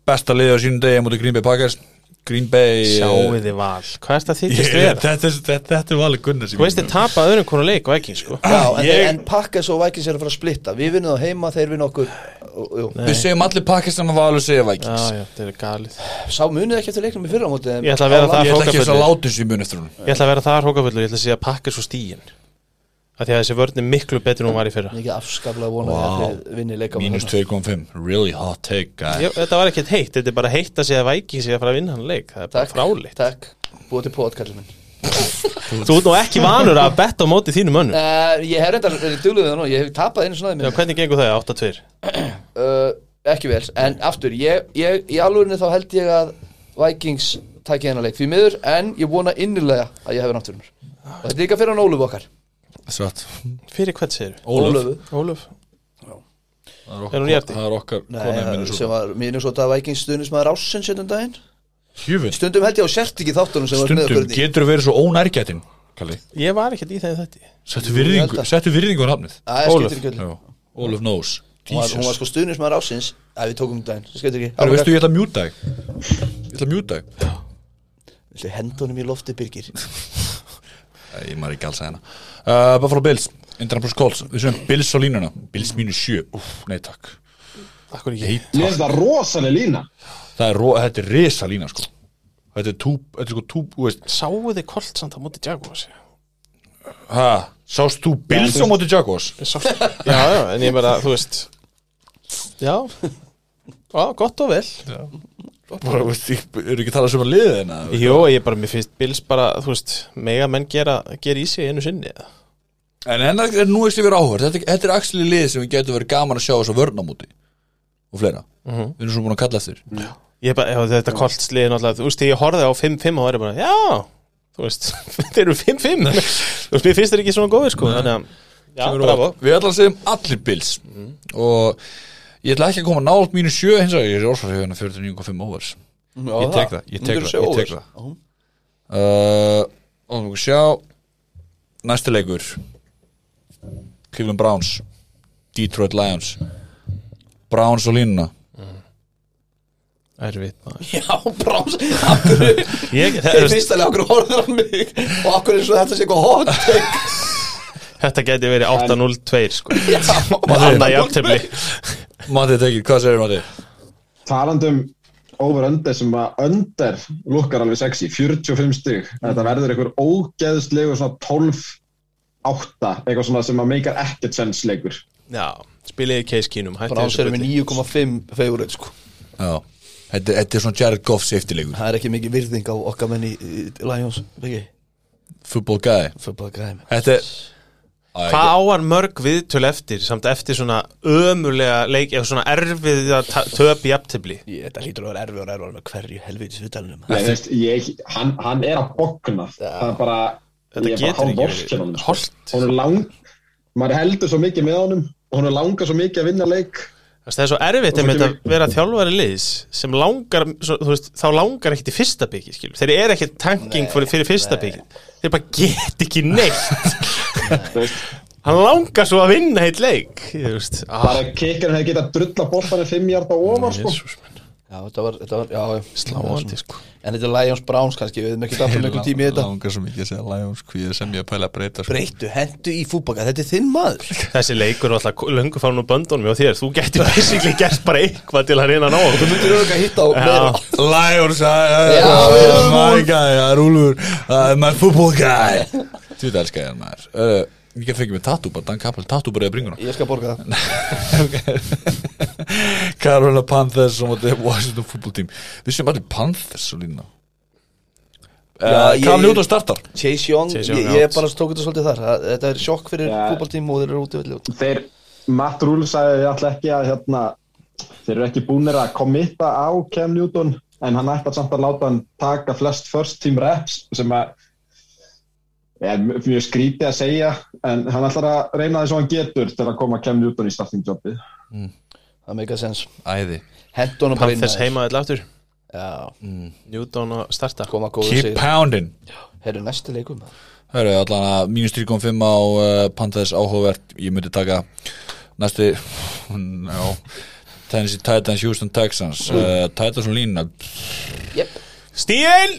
Besta liðið á sínum degi á móti Green Bay Packers Green Bay eh,
Sjáu þið val Hvað er þetta
Ég-
þykist
þetta,
vera?
þetta, þetta, þetta er valið Gunnar sem
Þú veist þið tapað öðrum konar leik og ekki sko
Já, en,
Ég-
ég... en Packers og Vikings eru að fara að splitta Við vinnum þá heima, þeir vinnum okkur og, jú.
Við segjum allir Packers sem að valið segja
Já,
Vikings
já, þetta er galið
Sá munið ekki eftir leiknum í fyrra á móti þeim.
Ég ætla að vera
Á
það
Ég ætla ekki
hrókafullur.
þess að láta þessu í muni eftir hún
Ég ætla að vera það hrókafullur, ég ætla að segja að pakka svo stíin Af því að þessi vörn er miklu betur en hún var í fyrra
Ég er ekki afskaplega vona
Vá.
wow. að þið vinni leika
Mínus 2.5, really hot take guy.
Jó, Þetta var ekkert heitt, þetta er bara heitt að segja að væki sig að fara að vinna hann leik Það er bara
Takk.
fráleitt
Takk, búið til pótkallið minn
Þú ert nú ekki vanur að betta á móti þínu mönnu
uh, Ég hef reyndar dugluðið það nú, ég hef tapað einu svona
Já, hvernig gengur það 8-2?
uh, Ekki vel, en aftur ég, ég, Í alvörinni þá held ég að Vikings takki hennar leik því miður En ég vona innilega að ég hefur náttúrunar Og þetta er líka fyrir hann Óluf okkar
Svart
Fyrir hvern segir
Ólaf
Ólöf
Það er
Er hún í
okkar-
eftir?
það er okkar kona
Nei,
minnus
Eh, sem var Minnesota Vikings stuðnismæður ásinn sjöndum daginn
Hjúfin
Stundum held ég á sért ekki þáttunum sem var með okkur
Stundum
þarna í.
getur verið svo ónærgætin Kalli
Ég var ekkert í þeim þetta
Settu
ég held
virðingu
að-
Settu virðingu á nafnið
Æ, skiptir
Ólöf.
ekki öllu.
Já. Ólaf Nose
Hún var, hún var
Jesus
sko stuðnismæður ásins að við tókum daginn, það skemmt ekki
Herra, veistu, ég ætla að mjúta þig Ég ætla að mjúta þig
Viltu henda honum í lofti Birgir
Æ, Ég maður ekki alls að hérna uh, Buffalo Bills, Indianapolis Colts Við séum Bills á línuna Bills mínus 7 Úf, nei takk
Akkur ekki
Nei,
Mér finnst það rosalega lína
Það er, ro- þetta er risa lína sko Þetta er tú, þetta er sko tú, þú veist
Sáu þið kolt samt á móti Jaguars
ha, Sást þú Bills
Já,
á móti Jaguars?
Ég sá- Já, já, en ég bara, þú veist Já Já, gott og vel
Bara, þú veist, ég- eru ekki að tala hérna? sem að liða þeirna
Jó, ég bara, mér finnst Bills bara, þú veist, mega menn gera, gera í sig einu sinni eða?
En enn að nú er stifir áhverð Þetta, þetta er axli lið sem við getum verið gaman að sjá þess að vörna móti Og fleira Við erum svo búin að kalla eftir
Ég bara, já, þetta koltsliði náttúrulega, þú veist, þegar ég horfði á 5-5 og var ég bara, já, þú veist, þeir eru 5-5 Þú veist, mér finnst þeir ekki svona góðir, sko, þannig að Já,
Kemur
bravo
óvart. Við ætlum að segja um allir Bills Og ég ætla ekki að koma nált mínu sjö hins vegar, ég er hérna, ósvarsjöfuna 49.5 overs Ég tek það, ég tek það, ég tek það uh, Og þú sjá Næsti leikur Cleveland Browns Detroit Lions Browns og línuna
Erfitt maður
Já, bráms, aftur
ég, það,
Þeir
er,
fyrst alveg okkur horfður á mig Og okkur er svo þetta sé eitthvað hot take.
Þetta geti verið 8-0-2, sko
Já,
Anna jafntefli
Matti tekið, hvað segir Matti?
Talandum um over-under sem að under lukkar alveg sexy 45 stygg,
Mm.
þetta verður einhver ógeðslegu svona 12 8, eitthvað svona sem að meikar ekkert sens leikur
Já, spiliði case kínum hættu
Bráms
þessu
eru með
bulli.
9,5 favorite sko
Já, þetta, þetta er svona Jared Goff safety leikur
Það er ekki mikið virðing á okkar menn í í Lions Biggi
football guy
Football græm
Þetta er Æ,
Hvað á hann mörg viðtöl eftir samt eftir svona ömulega leik eða svona erfið að töp í aftabli
Þetta hlýtur að vera erfið og erfið með hverju helvitis viðtalunum
Nei, þú veist, ég, hann, hann er að bogna það er bara,
Þetta
ég er bara
getur
hálf
ekki verið.
vorkin honum sko.
Holt.
hún er lang maður heldur svo mikið með honum og hún er langar svo mikið að vinna leik
Það er svo erfitt
Og svo
einmitt að
kemur-
vera þjálfari liðs sem langar, svo, þú veist, þá langar ekkit í fyrsta byggi, skilur. Þeir eru ekkit tanking fyrir, fyrir fyrsta byggi. Þeir bara get ekki neitt.
þú veist,
Hann langar svo að vinna heitt leik, þú veist. Ah, Mm,
bara kikkarinn hefði getað drulla boltanir fimm hjarta ofar sko.
Já, þetta var, þetta var, já, já.
Sláandi sko
En þetta er Lions Browns kannski, við hefum ekki dætt um einhver tími í þetta
Langar svo mikið að segja Lions Hví ég sem ég að pæla að breyta sko.
Breyttu, hendu í fútbaka, þetta er þinn maður
þessi leikur er alltaf löngu fánu böndunum og þér. Þú getur basically gert bara eitthvað til að reyna að ná. okkur.
Þú eru ekki að hitta á
meira.
Lions æ, æ, æ,
Já,
æ,
við
æ, Oh My guy, það er úlfur Það er my football guy Þú veit elskar ég hann maður Uh, Ég fengi mig tattoo bara, Dan Kappel Tattoo bara eða bringuna
Ég skal borga það
Carolina Panthers og móti Washington football team Við séum allir Panthers og lína
Já, ég-
Kam Newton startar
Chase Young,
Chase Young
ég, ég
out.
bara tók þetta svolítið þar Það- Þetta er sjokk fyrir
Já.
fútballtíma og þeir eru út í velli út
þeir, Matt Rule sagði ég ætla ekki að hérna, þeir eru ekki búnir að komita á Cam Newton en hann ætlar samt að láta hann taka flest first team reps sem að er mjög skrítið að segja en hann ætlar að reyna þess að hann getur til að koma Cam Newton í starting jobbi
Það meika sens
Æði
Hendunum bara inn
Panthers
maður.
heima þetta aftur.
Já,
Newton að starta.
koma góður
Keep
sig
pounding
Herru, næsti leikum
Það eru allan að mínus 3.5 á uh, Panthers áhugavert, ég myndi taka næsti já, Tennessee Titans, Houston Texans uh, Titans og lína
Jep,
Stíl!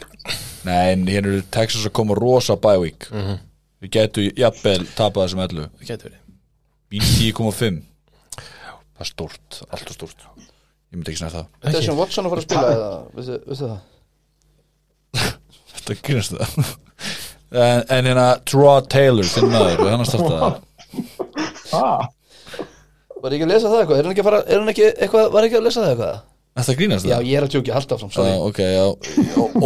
Nei, en hér eru Texans að koma rosa bye week Við gætu jafnvel tapað þessum ellu
Það getur verið.
Mínus 10.5 Það er stórt, alltaf stórt Ég myndi ekki snæða það
Deshaun Watson að fara að spila eða, veistu, veistu það?
Þetta grínast það En, en hérna, Draw Taylor, þinn maður, hann að starta það
ah,
Var ég ekki að lesa það eitthvað? Er hann ekki að fara, er hann ekki eitthvað, var ekki að lesa það eitthvað?
Þetta grínast það
Já, ég er að tjóki, halda áfram, sorry
Já, Ah, ok, já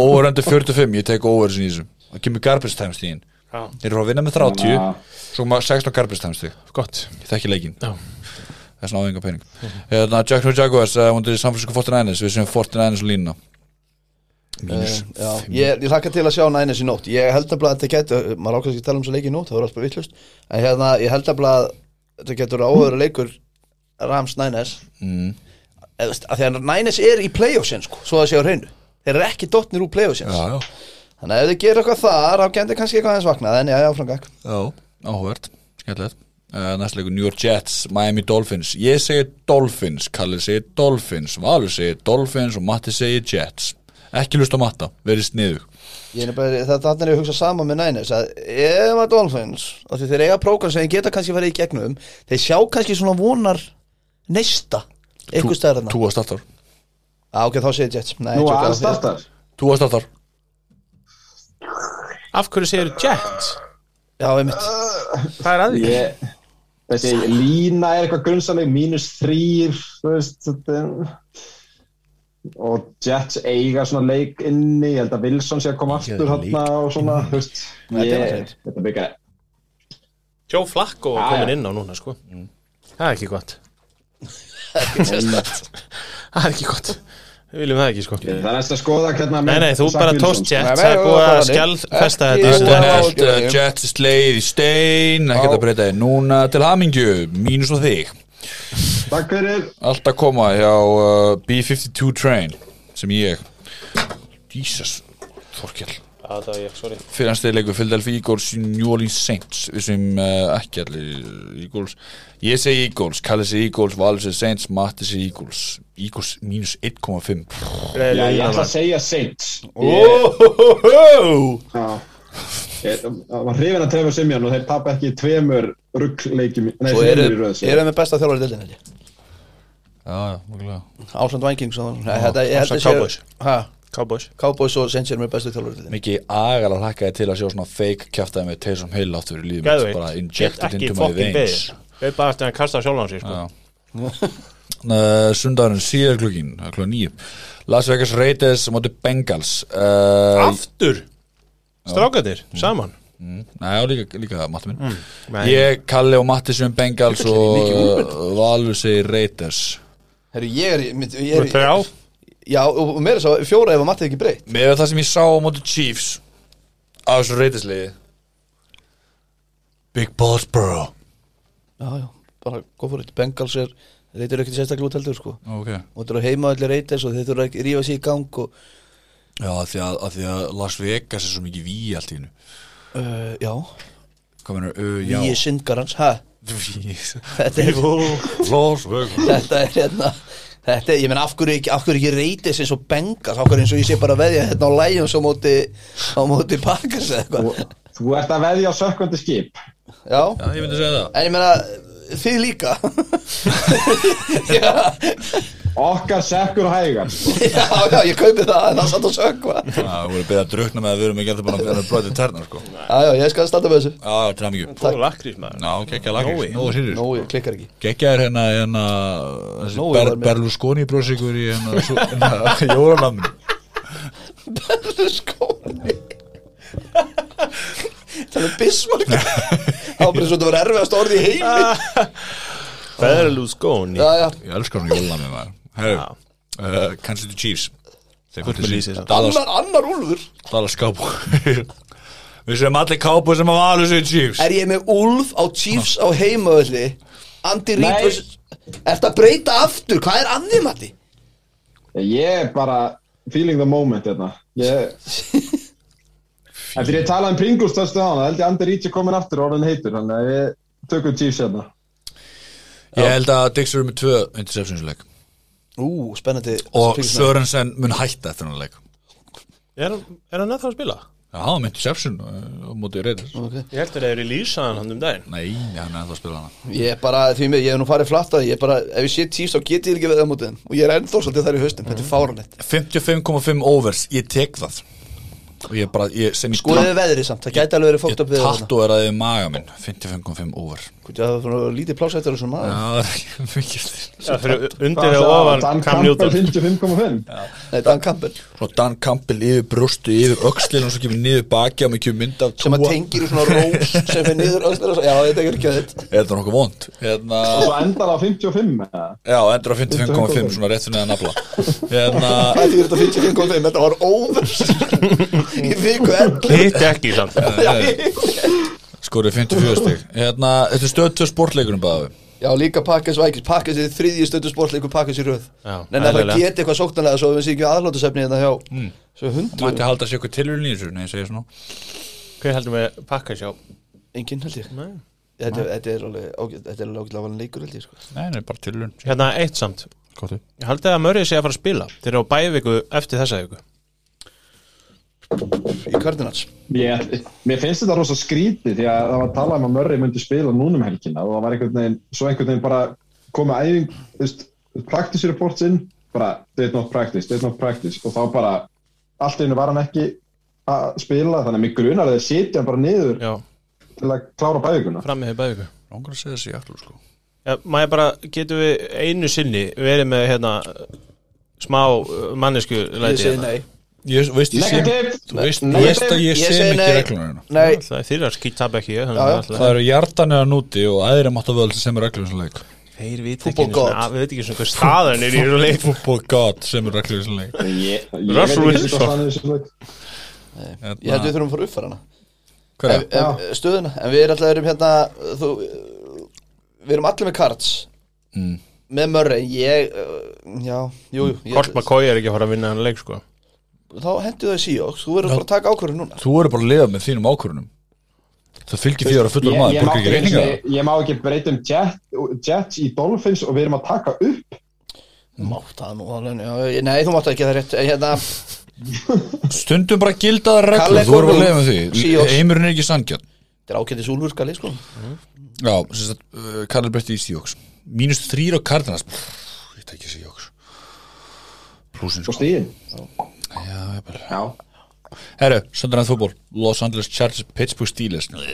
Over under 45, ég tek over í þessu Það kemur garbage time stíðin
Já.
Þeir eru að vinna með 30
Ja.
Svo maður 16 garbage time stíð
Gott.
Ég þekki leikinn
Já. Mhm.
Það er svona áhengar pening Hérna, Jack New Jaguars uh, Undir San Francisco 49ers Við séum 49ers og línuna
Uh,
Mínus
já, ég, ég hlakka til að sjá nænis í nótt Ég held nefnilega að þetta getur, maður ákveðs ekki að tala um þessa leiki í nótt, það voru alltaf vittlust En hérna, ég held nefnilega að þetta getur áhugur leikur Rams nænis
Mm.
Eða, þú veist, af því að nænis er í playoffsin sko, svo það sé á hreinu Þeir eru ekki dottnir úr playoffsins
Já, já,
Þannig að ef þið gerir eitthvað þar, þá getur kannski eitthvað aðeins vaknað En já, já, frangak
já Áhugvert, skemmtilegt uh, Næst leikur New York Jets, Miami Dolphins Ég segi Dolphins, Kalli segi Dolphins Valur segi Dolphins og Matti segi Jets Ekki lust á Matta, verið sniðug
Ég er bara, það, þannig er ég að hugsa sama með Niners að ef að Dolphins, af því þeir eiga prógram sem þeir geta kannski verið í gegnum þeir sjá kannski svona vonar neista, einhver stærðarna
Túa startar
Já, ok, þá segir Jets Nei,
nú að
tjók, já,
hann
þeir-
startar
Túa startar
Af hverju segir Jets?
Já, einmitt
Hvað er að því?
ég, þessi lína er eitthvað grunnsamleg mínus þrýr þú veist þetta er- og Jets eiga svona leik inni, ég held að Wilson sé að koma aftur hérna og svona þú veist,
Þetta er
ég,
alveg.
þetta byggja
Joe Flacco
Já,
komin
já.
inn á núna, sko. Það er ekki gott.
Sérstakt.
Það er ekki gott Við viljum það ekki sko
það er næst að skoða hvernig
Nei, nei, þú bara tóst
Nei,
Jets
nei,
Það er
nei,
búið að
nei, nei.
skjálfesta
Ekki
þetta í
Stefán.
Þetta
staðinn.
er
Já,
uh,
já.
Jets er sleið í stein ekkert að breyta þér núna til hamingju mínus og þig
Takk fyrir
allt að koma hjá uh, B-52 train sem ég Jesus Þorkjall
Já, það var ég, sorry
fyrir hans leikur Philadelphia Eagles New Orleans Saints við sem uh, ekki allir Eagles ég segi Eagles, Kalli segi Eagles Valur segi Saints, Matti segi Eagles Eagles mínus 1,5
Já, ég ætla að segja Saints
Óhóhóhó
Já. Ég ég var hrifin að trefa Simján og þeir tapa ekki tveimur ruggleikjum Nei,
Svo
tveimur í
eru
röð
þeir með besta þjálfari dildin held ég
Já, já, mjögulega
Ásland Vænging svo Nei, þetta, ég held
Ásamt
að séu-
Cowboys.
Ha,
Cowboys
Cowboys og Saints eru með besta þjálfari dildin
Mikið agal að hlakka þið til að sjá svona fake kjaftaði með Taysom Hill aftur í lífum
Gæðveit
bara injected
Ekki
into my
fokkin
veins
beðið Við bara eftir að hann kasta sjálf hans í sko
Já. uh, sundarinn síðar klukkin klukkan nýju Las Vegas Raiders á móti Bengals uh,
Aftur Strákarnir, saman
Næ, já, líka, líka Matti minn
Nei.
Ég, Kalli og Matti sem Bengals og uh, Valur segir Reiters
Herru, ég er, mynd, ég
Þú
er
ert þrjá
Já, og og meira svo, fjóra ef að matið ekki breytt
Með það sem ég sá á móti Chiefs á þessu Reitersliði Big Ballsboro
Já, já, bara góð fór eitt Bengals er, þeir eru ekkert sérstaklega út heldur sko
Ok
Og þeir eru heima allir reytis og þeir eru að rífa sér í gang og,
Já, af því að, að því að Las Vegas er svo mikið ví allt í hennu
uh, Já,
Hvað menar, ö, já
ég er syndarans, hæ
Yes.
Þetta er,
Las Vegas
þetta er hérna Þetta, er- ég menn, af hverju ekki, af hverju ekki reytis eins og Bengals, af hverju eins og ég sé bara að veðja hérna á lægjum svo móti, á móti Packers eða eitthvað,
Og Þú ert að veðja á sökkvandi skip
já
Já, ég myndi segja það
En ég meina, þið líka já,
Okkar sekkur hægar sko.
já, já, ég kaupi það En það satt að sökva Já,
Já, við erum beðið að drukna með að við erum ekki að það bara að vera bröðið ternar sko Já,
já, ég skal standa með þessu
til hann mikið
Þú er lakrís maður
Já, geggja lagir,
Nói.
nógu sýrir
Nó, ég klikkar ekki
Geggja er hérna, hérna þessi
Nói
ber,
var með.
Berlusconi brosíkur í hérna, svo- hérna jólalamni
Skóni Það er bismark Það var bara svo þetta var erfiðast orðið í heimi
Berlusconi
Já, já,
Ég elskar hann jólalamni maður Herru, uh, Kansas City Chiefs Þeir
Fullt með lýsi, samt.
Dallas,
annar, annar úlfur
Dallas Cowboys Við séum allir Cowboys sem að vala sig í Chiefs
Er ég með úlf á Chiefs á heimaölli Andy Reid
Nei.
versus- Ertu að breyta aftur? Hvað er að þið, Matti?
Ég er bara feeling the moment hérna. ég... Eftir ég talaði um Pringles töstu á hana, held ég Ander Ítsi komin aftur og orðin heitur, þannig að ég tökum Chiefs hérna.
Ég held að Dix eru með tvö interceptionsleik
Ú, spennandi
og
Fylgist með.
Sörensen mun hætta eftir hann leik
Er hann- er hann að að spila?
Já, hann var með interception uh, á móti reyðis
Ok.
Ég heldur að það er í lýsaðan hann um daginn
Nei, hann er alltaf að spila hana
Ég er bara, því mér, ég hef nú farið flatt að því, ég er bara, ef ég sé tífs þá get ég ekki veðið á mótið þeim og ég er ennþá svolítið þar í haustum, þetta er fáranlegt
55,5 overs, ég tek það og ég bara, ég, sem ég
Skoðið við veðrið samt, það gæti alveg verið fókt upp við þarna.
tattóeraði maga minn 55,5 over
Hvort ég hafði svona lítið plásættur og svona maður
það er ekki mikið
Já, fyrir undir eða ofan Cam
Campbell
Newton
55,5
Nei, Dan Campbell,
Svo Dan Campbell yfir brustu, yfir öxlin og svo kemur niður baki og mér kemur mynd af
sem að
Tua.
tengir í svona rós sem fyrir niður öðslega, já, þetta er ekki að þetta
Er það nokkuð vond? Hérna,
og svo endar á 55 eða?
já, endur á 55,5 svona rétt fyrir neða nafla Hérna,
Þetta er þetta 55.5, þetta var óvers í viku elli
Hitt ekki samt
skorið 54 stig Hérna, þetta er stöð til sportleikunum bæðu
Já, líka Pakkins Vikings, Pakkins er þriðji stöndu sportleikur Pakkins í röð
Já,
Nei, það
eðlilega.
geta eitthvað sóknarlega svo við séum ekki aðlótusefni hérna hjá Svo
Mætti
hundur,
halda sér eitthvað tilurinn í þessu, nei, segja svona
Hver heldur með pakka sjá?
enginn held ég
Nei.
Þetta, þetta er alveg ágætt- þetta er alveg ágætlega valin leikur held ég sko.
Nei, nei, bara tilurinn
Hérna eitt samt
Góttu
Ég haldið að Mörrið sé að fara að spila Þeir eru á bæviku eftir þessa viku
í Cardinals
Ég, mér finnst þetta rosa skrítið því að það var að tala um að Murray myndi spila núna um helgina og það var einhvern veginn, svo einhvern veginn bara komið æfing, þú veist, practice reports inn, bara did not practice, did not practice og þá bara allt í einu var hann ekki að spila þannig að mig grunar að þeir sitja hann bara niður
Já,
til að klára bæðuguna.
fram með bæviku
Langar að segja þessi jaklu, sko
Já, maður bara, getum við einu sinni verið með hérna smá mannesku
ég
læti
segi
hérna.
nei
Ég veist, ég sé
Negativ!
Þú veist,
Nei,
þú veist að
ég
ég sé
segi
mikið
nei.
regluna hérna
nei,
Það er þeirra skýtt tap ekki ég,
Já, já.
þannig
Það
að
eru hjartan eða núti og aðri máttu völd sem er reglum sem leik
Þeir veit ekki,
Football
einu
god.
sinni- að- Ah, við veit ekki svona hvað staðan er í þessu leik
Football God sem er reglum sem leik
Ég, ég veit
Russell
ekki sem
Wilson.
það stannir þessu leik.
Hérna,
ég held við þurfum að fara upp fyrir hana
Hver
Ef- ef- stöðuna, en við erum alltaf erum hérna þú, við erum allir með cards
Mm.
með Murray, ég uh, já, jú, jú ég,
Kolt McCoy er ekki að fara að vinna hann leik sko
þá hendur það í Seahawks, þú verður bara að taka ákvörðu núna
Þú eru bara að lifa með þínum ákvörunum Það fylgir fyrir að fullur
Ég-
maður
ég má
Borgar ekki
ekki-
reyninga
ég- ég má ekki breyta um Jet- Jets í Dolphins og við erum að taka upp
mátt það nú, alveg, já, ég- nei, þú mátt það ekki það er rétt, en hérna,
Stundum bara gildaðar reglum
Kalle
Þú eru bara að
Kornung,
lifa með því
Seahawks.
Heimurinn er ekki sangjarn
þetta er ákendis úlfur skali, sko
Já, sem sagt, uh, Karl Breytti í Seahawks Mínus þrýr á Cardinals Pff, Ég tekja Seahawks Plúsin
og
sko
stíðin.
Já, ég bara
Já.
Herru, Sunderland fútból Los Angeles Chargers, Pittsburgh Steelers
nei,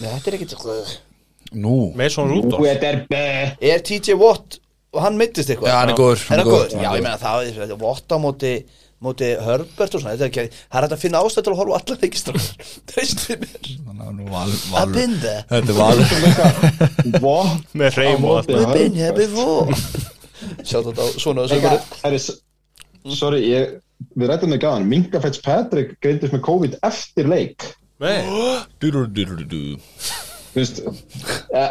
þetta er sko, ekkit,
Nú
Mason
Ú,
Rudolph
þetta er beð.
er TJ Watt og hann mittist eitthvað
Já, hann er góður
Er það
góður,
góður? Já, ég meina það er Watt á móti móti Herbert og svona Þetta er ekki, það er hægt að finna ástæð til að horfa á alla leikistrákar Treystu mér
Þannig að nú valur
I've been there
Þetta er valur
Vot
Með hreim og allt
Já.
We've been here before Sjátt þetta á svona og sögur
Heri, sorry, ég, við rættum þig gafan Minka Fitzpatrick greindist með COVID eftir leik
Nei,
Dúrúrúrúrú
Þú veist, ja,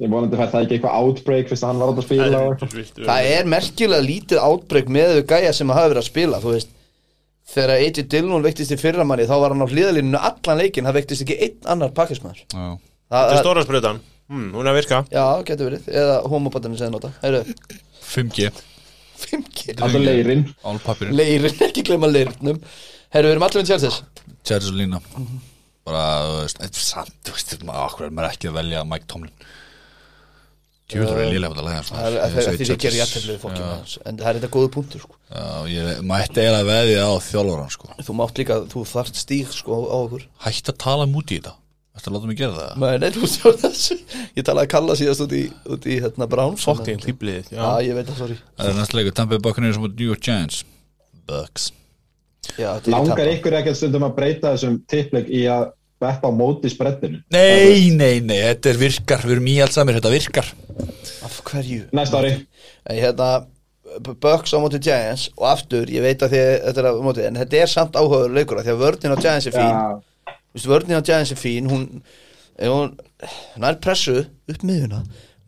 ég vonandi fær það ekki eitthvað outbreak fyrst að hann var átt að
það
spila og
er
eitthvað.
vilt
Það er merkilega lítið átbreyk með þau gæja sem hafa verið að spila, þú veist Þegar Eiti Dillon veiktist í fyrra manni þá var hann á hliðalínu allan leikinn, það veiktist ekki einn annar pakkismæður
Já.
Þetta er stóra sprutan hmm, Hún er að virka
Já, getur verið, eða homobandarinn sem þeir nota Heyrðu,
5G
5G
Alltaf leirinn
Álpapirinn
Leirin, ekki glemma leirinnum Herru, við erum allir með Chelsea
Charles og Lína Bara, þú veist, eitt samt Þú veist, maður okkur er maður ekki að velja Mike Tomlin Djúður er lélega að sko. lega
Það er það er því að gera jættið En það er þetta góðu punktur sko.
Já, ég mætti eiginlega veðið á þjálfóran sko.
Þú mátt líka, þú þarft stíg sko, á okkur
Hætt að tala múti í þetta Þetta láta mig gera það
Nei, nei, þú sjá þessu Ég talaði að kalla síðast út í, út í hérna, Brown
Fokkin hlýbliðið
Já, ég veit það, sorry
Það er næst leikur Tampi Buccaneers og New York Giants Bucks
Já, þetta er
Langar
tapað.
ykkur ekkert stundum að breyta þessum tippleik í að betta á móti spreddinu
Nei, nei, nei, þetta er virkar Við erum í alls samir, þetta virkar
Af hverju?
Næsta ári
En hérna B- Bucks á móti Giants og aftur, ég veit að þið þetta er á móti, en þetta er samt áhugaður leikur af því að vörnin á Giants er fín
Já,
Vist, vörnin á Giants er fín, hún, ef hún nær pressu upp miðuna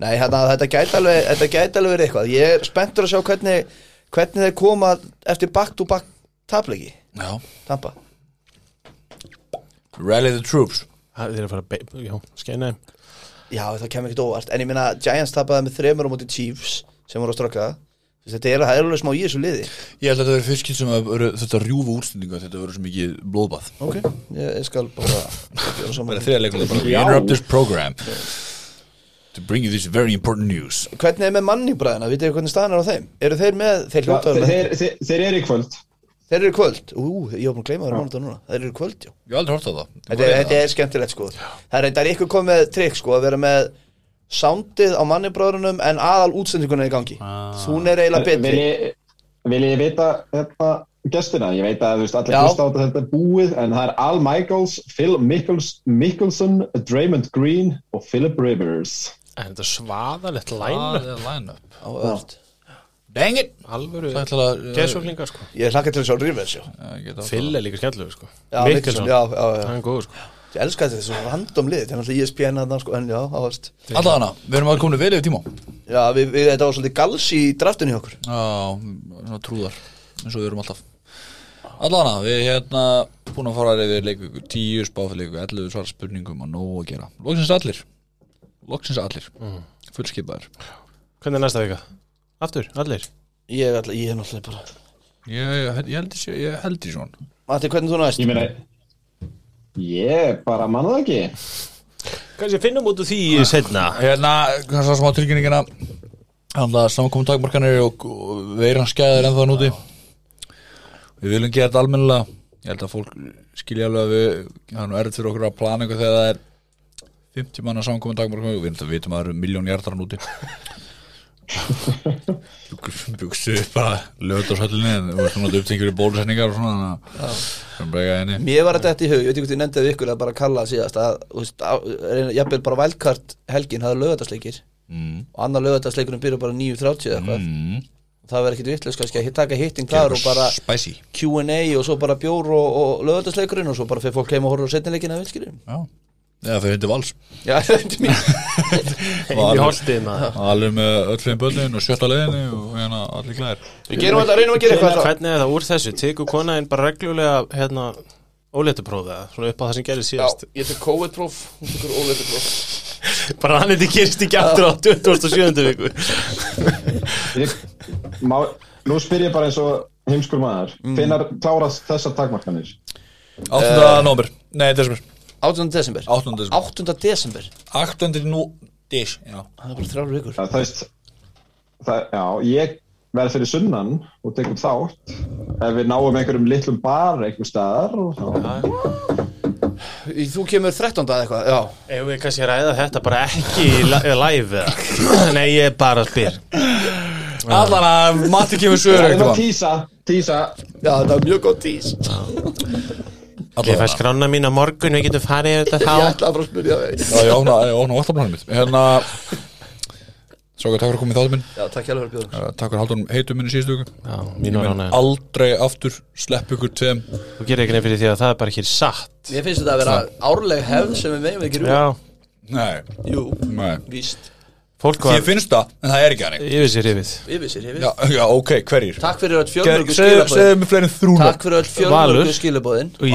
Nei, hérna, þetta gæti alveg, þetta gæti alveg verið eitthvað Ég er spenntur að sjá hvernig, hvernig þeir koma eftir back-to-back tapleiki,
Já
Tampa
Rally the troops
Það er að fara að be- Já, skeina þeim.
Já, það kemur ekkert óvart, en ég meina Giants tapaði með þremur á móti Chiefs sem voru að ströka Þetta er að það er alveg smá í þessu liði
Ég held að þetta verið fyrskinn sem að eru, þetta rjúfa úrstendinga Þetta verið svo mikið blóðbað
Ok, ég, ég skal bara gera saman
Það er þriða leikur bara, We interrupt this program To bring you this very important news
Hvernig er með manningbræðina, vitið þið hvernig staðan er á þeim? Eru þeir með, þeir
Já,
hljótaður
þeir,
með þeir,
þeir, þeir, þeir eru í kvöld
þeir eru í kvöld, ú, ég var búin að gleyma þeir mánuða núna Þeir eru í kvöld, já
Ég hef aldrei hort á það Ég
Þetta,
bara-
er- þetta er skemmtilegt sko Það er reyndar ykkur komið með trikk sko að vera með soundið á manningbræðunum en aðal útsendingunum er í gangi Hún er eiginlega
Vil
betri
ég, vil ég vita hérna, gestina? Ég veit að þú veist allir
Já.
hlusta á þetta þetta er búið en það er Al Michaels, Phil Mikkels, Mikkelson, Draymond Green og Philip Rivers
En þetta er svaðalegt
Það
læna
er line-up
Áhugavert.
Dang it
Alvöru
Það ætla að
Geðsjóklingar sko
Ég hlakka til þess að rífa þessu
Phil er líka skemmtilegur sko
Já, Mikkelson,
Mikkelson
já, já, já
Hann er góður sko
Ég elska þetta, þetta er svo random lið Þetta er náttúrulega ESPN að sko, en já, áhverst
Alla hana, við erum að koma vel yfir tíma
Já, við, við, þetta var svolítið gals í draftinu hjá okkur
Já, svona trúðar eins og við erum alltaf Alla hana, við erum hérna búin að fara yfir leikvíku 10 spáfélíku 11 svara spurningum og nóg að gera Loksins allir Loksins allir Fullskipaður
Hvernig er næsta vika? Aftur, allir
Ég, ætla- ég er náttúrulega bara
Ég, ég, ég held í- ég held í svona
Matti, hvernig þú næst?
Ég meina Ég bara manna það ekki
Kanski finnum út úr því setna
Hérna, hvað svo smá tilkynningina Handla samkomum takmarkanir og, og veiran skæðir ennþá núti Við viljum gera þetta almennilega Ég held að fólk skilja alveg að við Það er nú erfitt fyrir okkur að plana eitthvað þegar það er 50 manna samkomum takmarkanir og við náttúrulega vitum að það eru miljón hjartar núti Bugstu bara lögðu á söllinni en þú veist svona upptengjur í bólusetningar og svona þannig að það er bara ekki henni
Mér var þetta eftir í hug, ég veit ekki hvort ég nefndið ykkur að bara kalla það síðast að, þú veist, að jafnvel bara vælkart helgin hafði lögatarsleikir
Mm.
og annar lögatarleikunum byrja bara 9.30 eða eitthvað
Mm.
það verður ekkit vitlega kannski að hit- taka hitting þar og bara
Spicy
Q&A og svo bara bjór og, og lögatarsleikurinn og svo bara fyrir fólk heim og horfa á setnileikina vilskirum
Já Eða fyrir hundi vals
Já, þetta er mér
Í holtið maður
Allir með öllum börnin og sjötta leiðinni og hérna allir glæðir
Við gerum þetta, reynum að gera eitthvað þá.
Hvernig er það úr þessu? Tekur konaðin bara reglulega hérna óléttuprófið eða Svona upp á það sem gerir
Já,
síðast
ég tek COVID-próf, hún tekur óleitupróf
Bara hann eitthvað gerist ekki aftur á 27. viku
ég, má, Nú spyr ég bara eins og heimskur maður mm. Hvenær klárast þessar takmarkanir?
8. nómur, Eh, nei, desember
8. desember
8. desember
8. desember,
8. nú, dis, já
það er bara þrjálfur vikur
Það, það veist það, Já, ég verð fyrir sunnan og tekum þátt ef við náum einhverjum litlum bar einhver staðar og þá
Þú kemur 13. eða eitthvað, já
Ef við kannski ræða þetta bara ekki í la- eða live eða Nei, ég bara spyr
Allan að Matti kemur sögur
Það er
eitthvað
að tísa, tísa
Já, þetta var mjög góð tís
Ég fæ skrána mín á morgun, við getum farið yfir þetta
Ég
þá
ætla að fara að spyrja þig
Já, ég ofna, ég ofna vatnablanum mitt Hérna Strákar, takk fyrir að koma í þáttum minn
Já, takk hjálfur fyrir bjóðum
Uh, Takk fyrir Halldórum heitum minni síðustu viku
Já,
Ég
mín var
mun
rána
aldrei aftur slepp ykkur tveim
Þú gerir ekki nefn fyrir því að það er bara ekki satt
Mér finnst þetta að vera árleg hefð sem við meðum ekki rúið
Já,
Nei,
Jú,
nei
víst,
fólk
Ég
var
finnst það, en það er ekki hannig
yfir sér yfir
yfir sér, yfir
Já, já, ok, hverjir?
Takk fyrir öll fjölmörgu skilabóðin
Segðu mér fleiri en þrjú nöfn.
Takk fyrir öll
Valur.
fjölmörgu skilabóðin
Og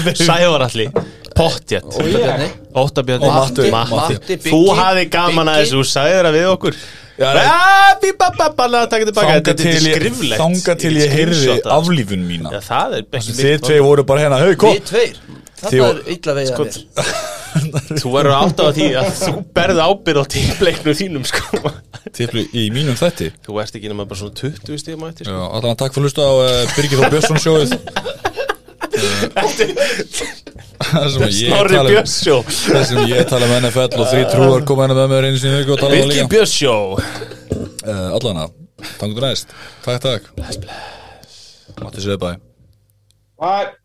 ég Sævar allir Pottjett
Og ég
Óttabjörn
Og Matti.
Matti
Matti, Biggi,
Þú hafi gaman að
Biggi.
þessu Þú sagði þeirra við okkur ah,
Já, nei.
Bíbababala Takk tilbaka
Þanga
Þetta
til
er
ég,
skriflegt
þanga til ég heyrði
Screenshot af-
aflífun
Já,
mína
það er ekki
Þið
mitt
tvei voru bara hérna, hei, kom
Við tveir Þetta
Þjó-
er illa vegið að mér
Þú verður átt á því að þú berði ábyrð á tímpleiknum þínum sko
Tiplu í mínum þætti
Þú ert ekki nema bara svona 20 stíma eftir
Já,
sko.
allan takk fyrir að hlusta á uh, Birgir Þór Björnsson sjóið Eh, Það sem ég
Snorri
tala um-
Björnsjó
Það sem ég tala um NFL og þrý trúar koma hennar með mér einu sinni í viku og tala um það
Birgir
líka
Björnsjó
uh, Allana, tangur næst Takk, takk Bless, bless Matti Sveibæ
Bye.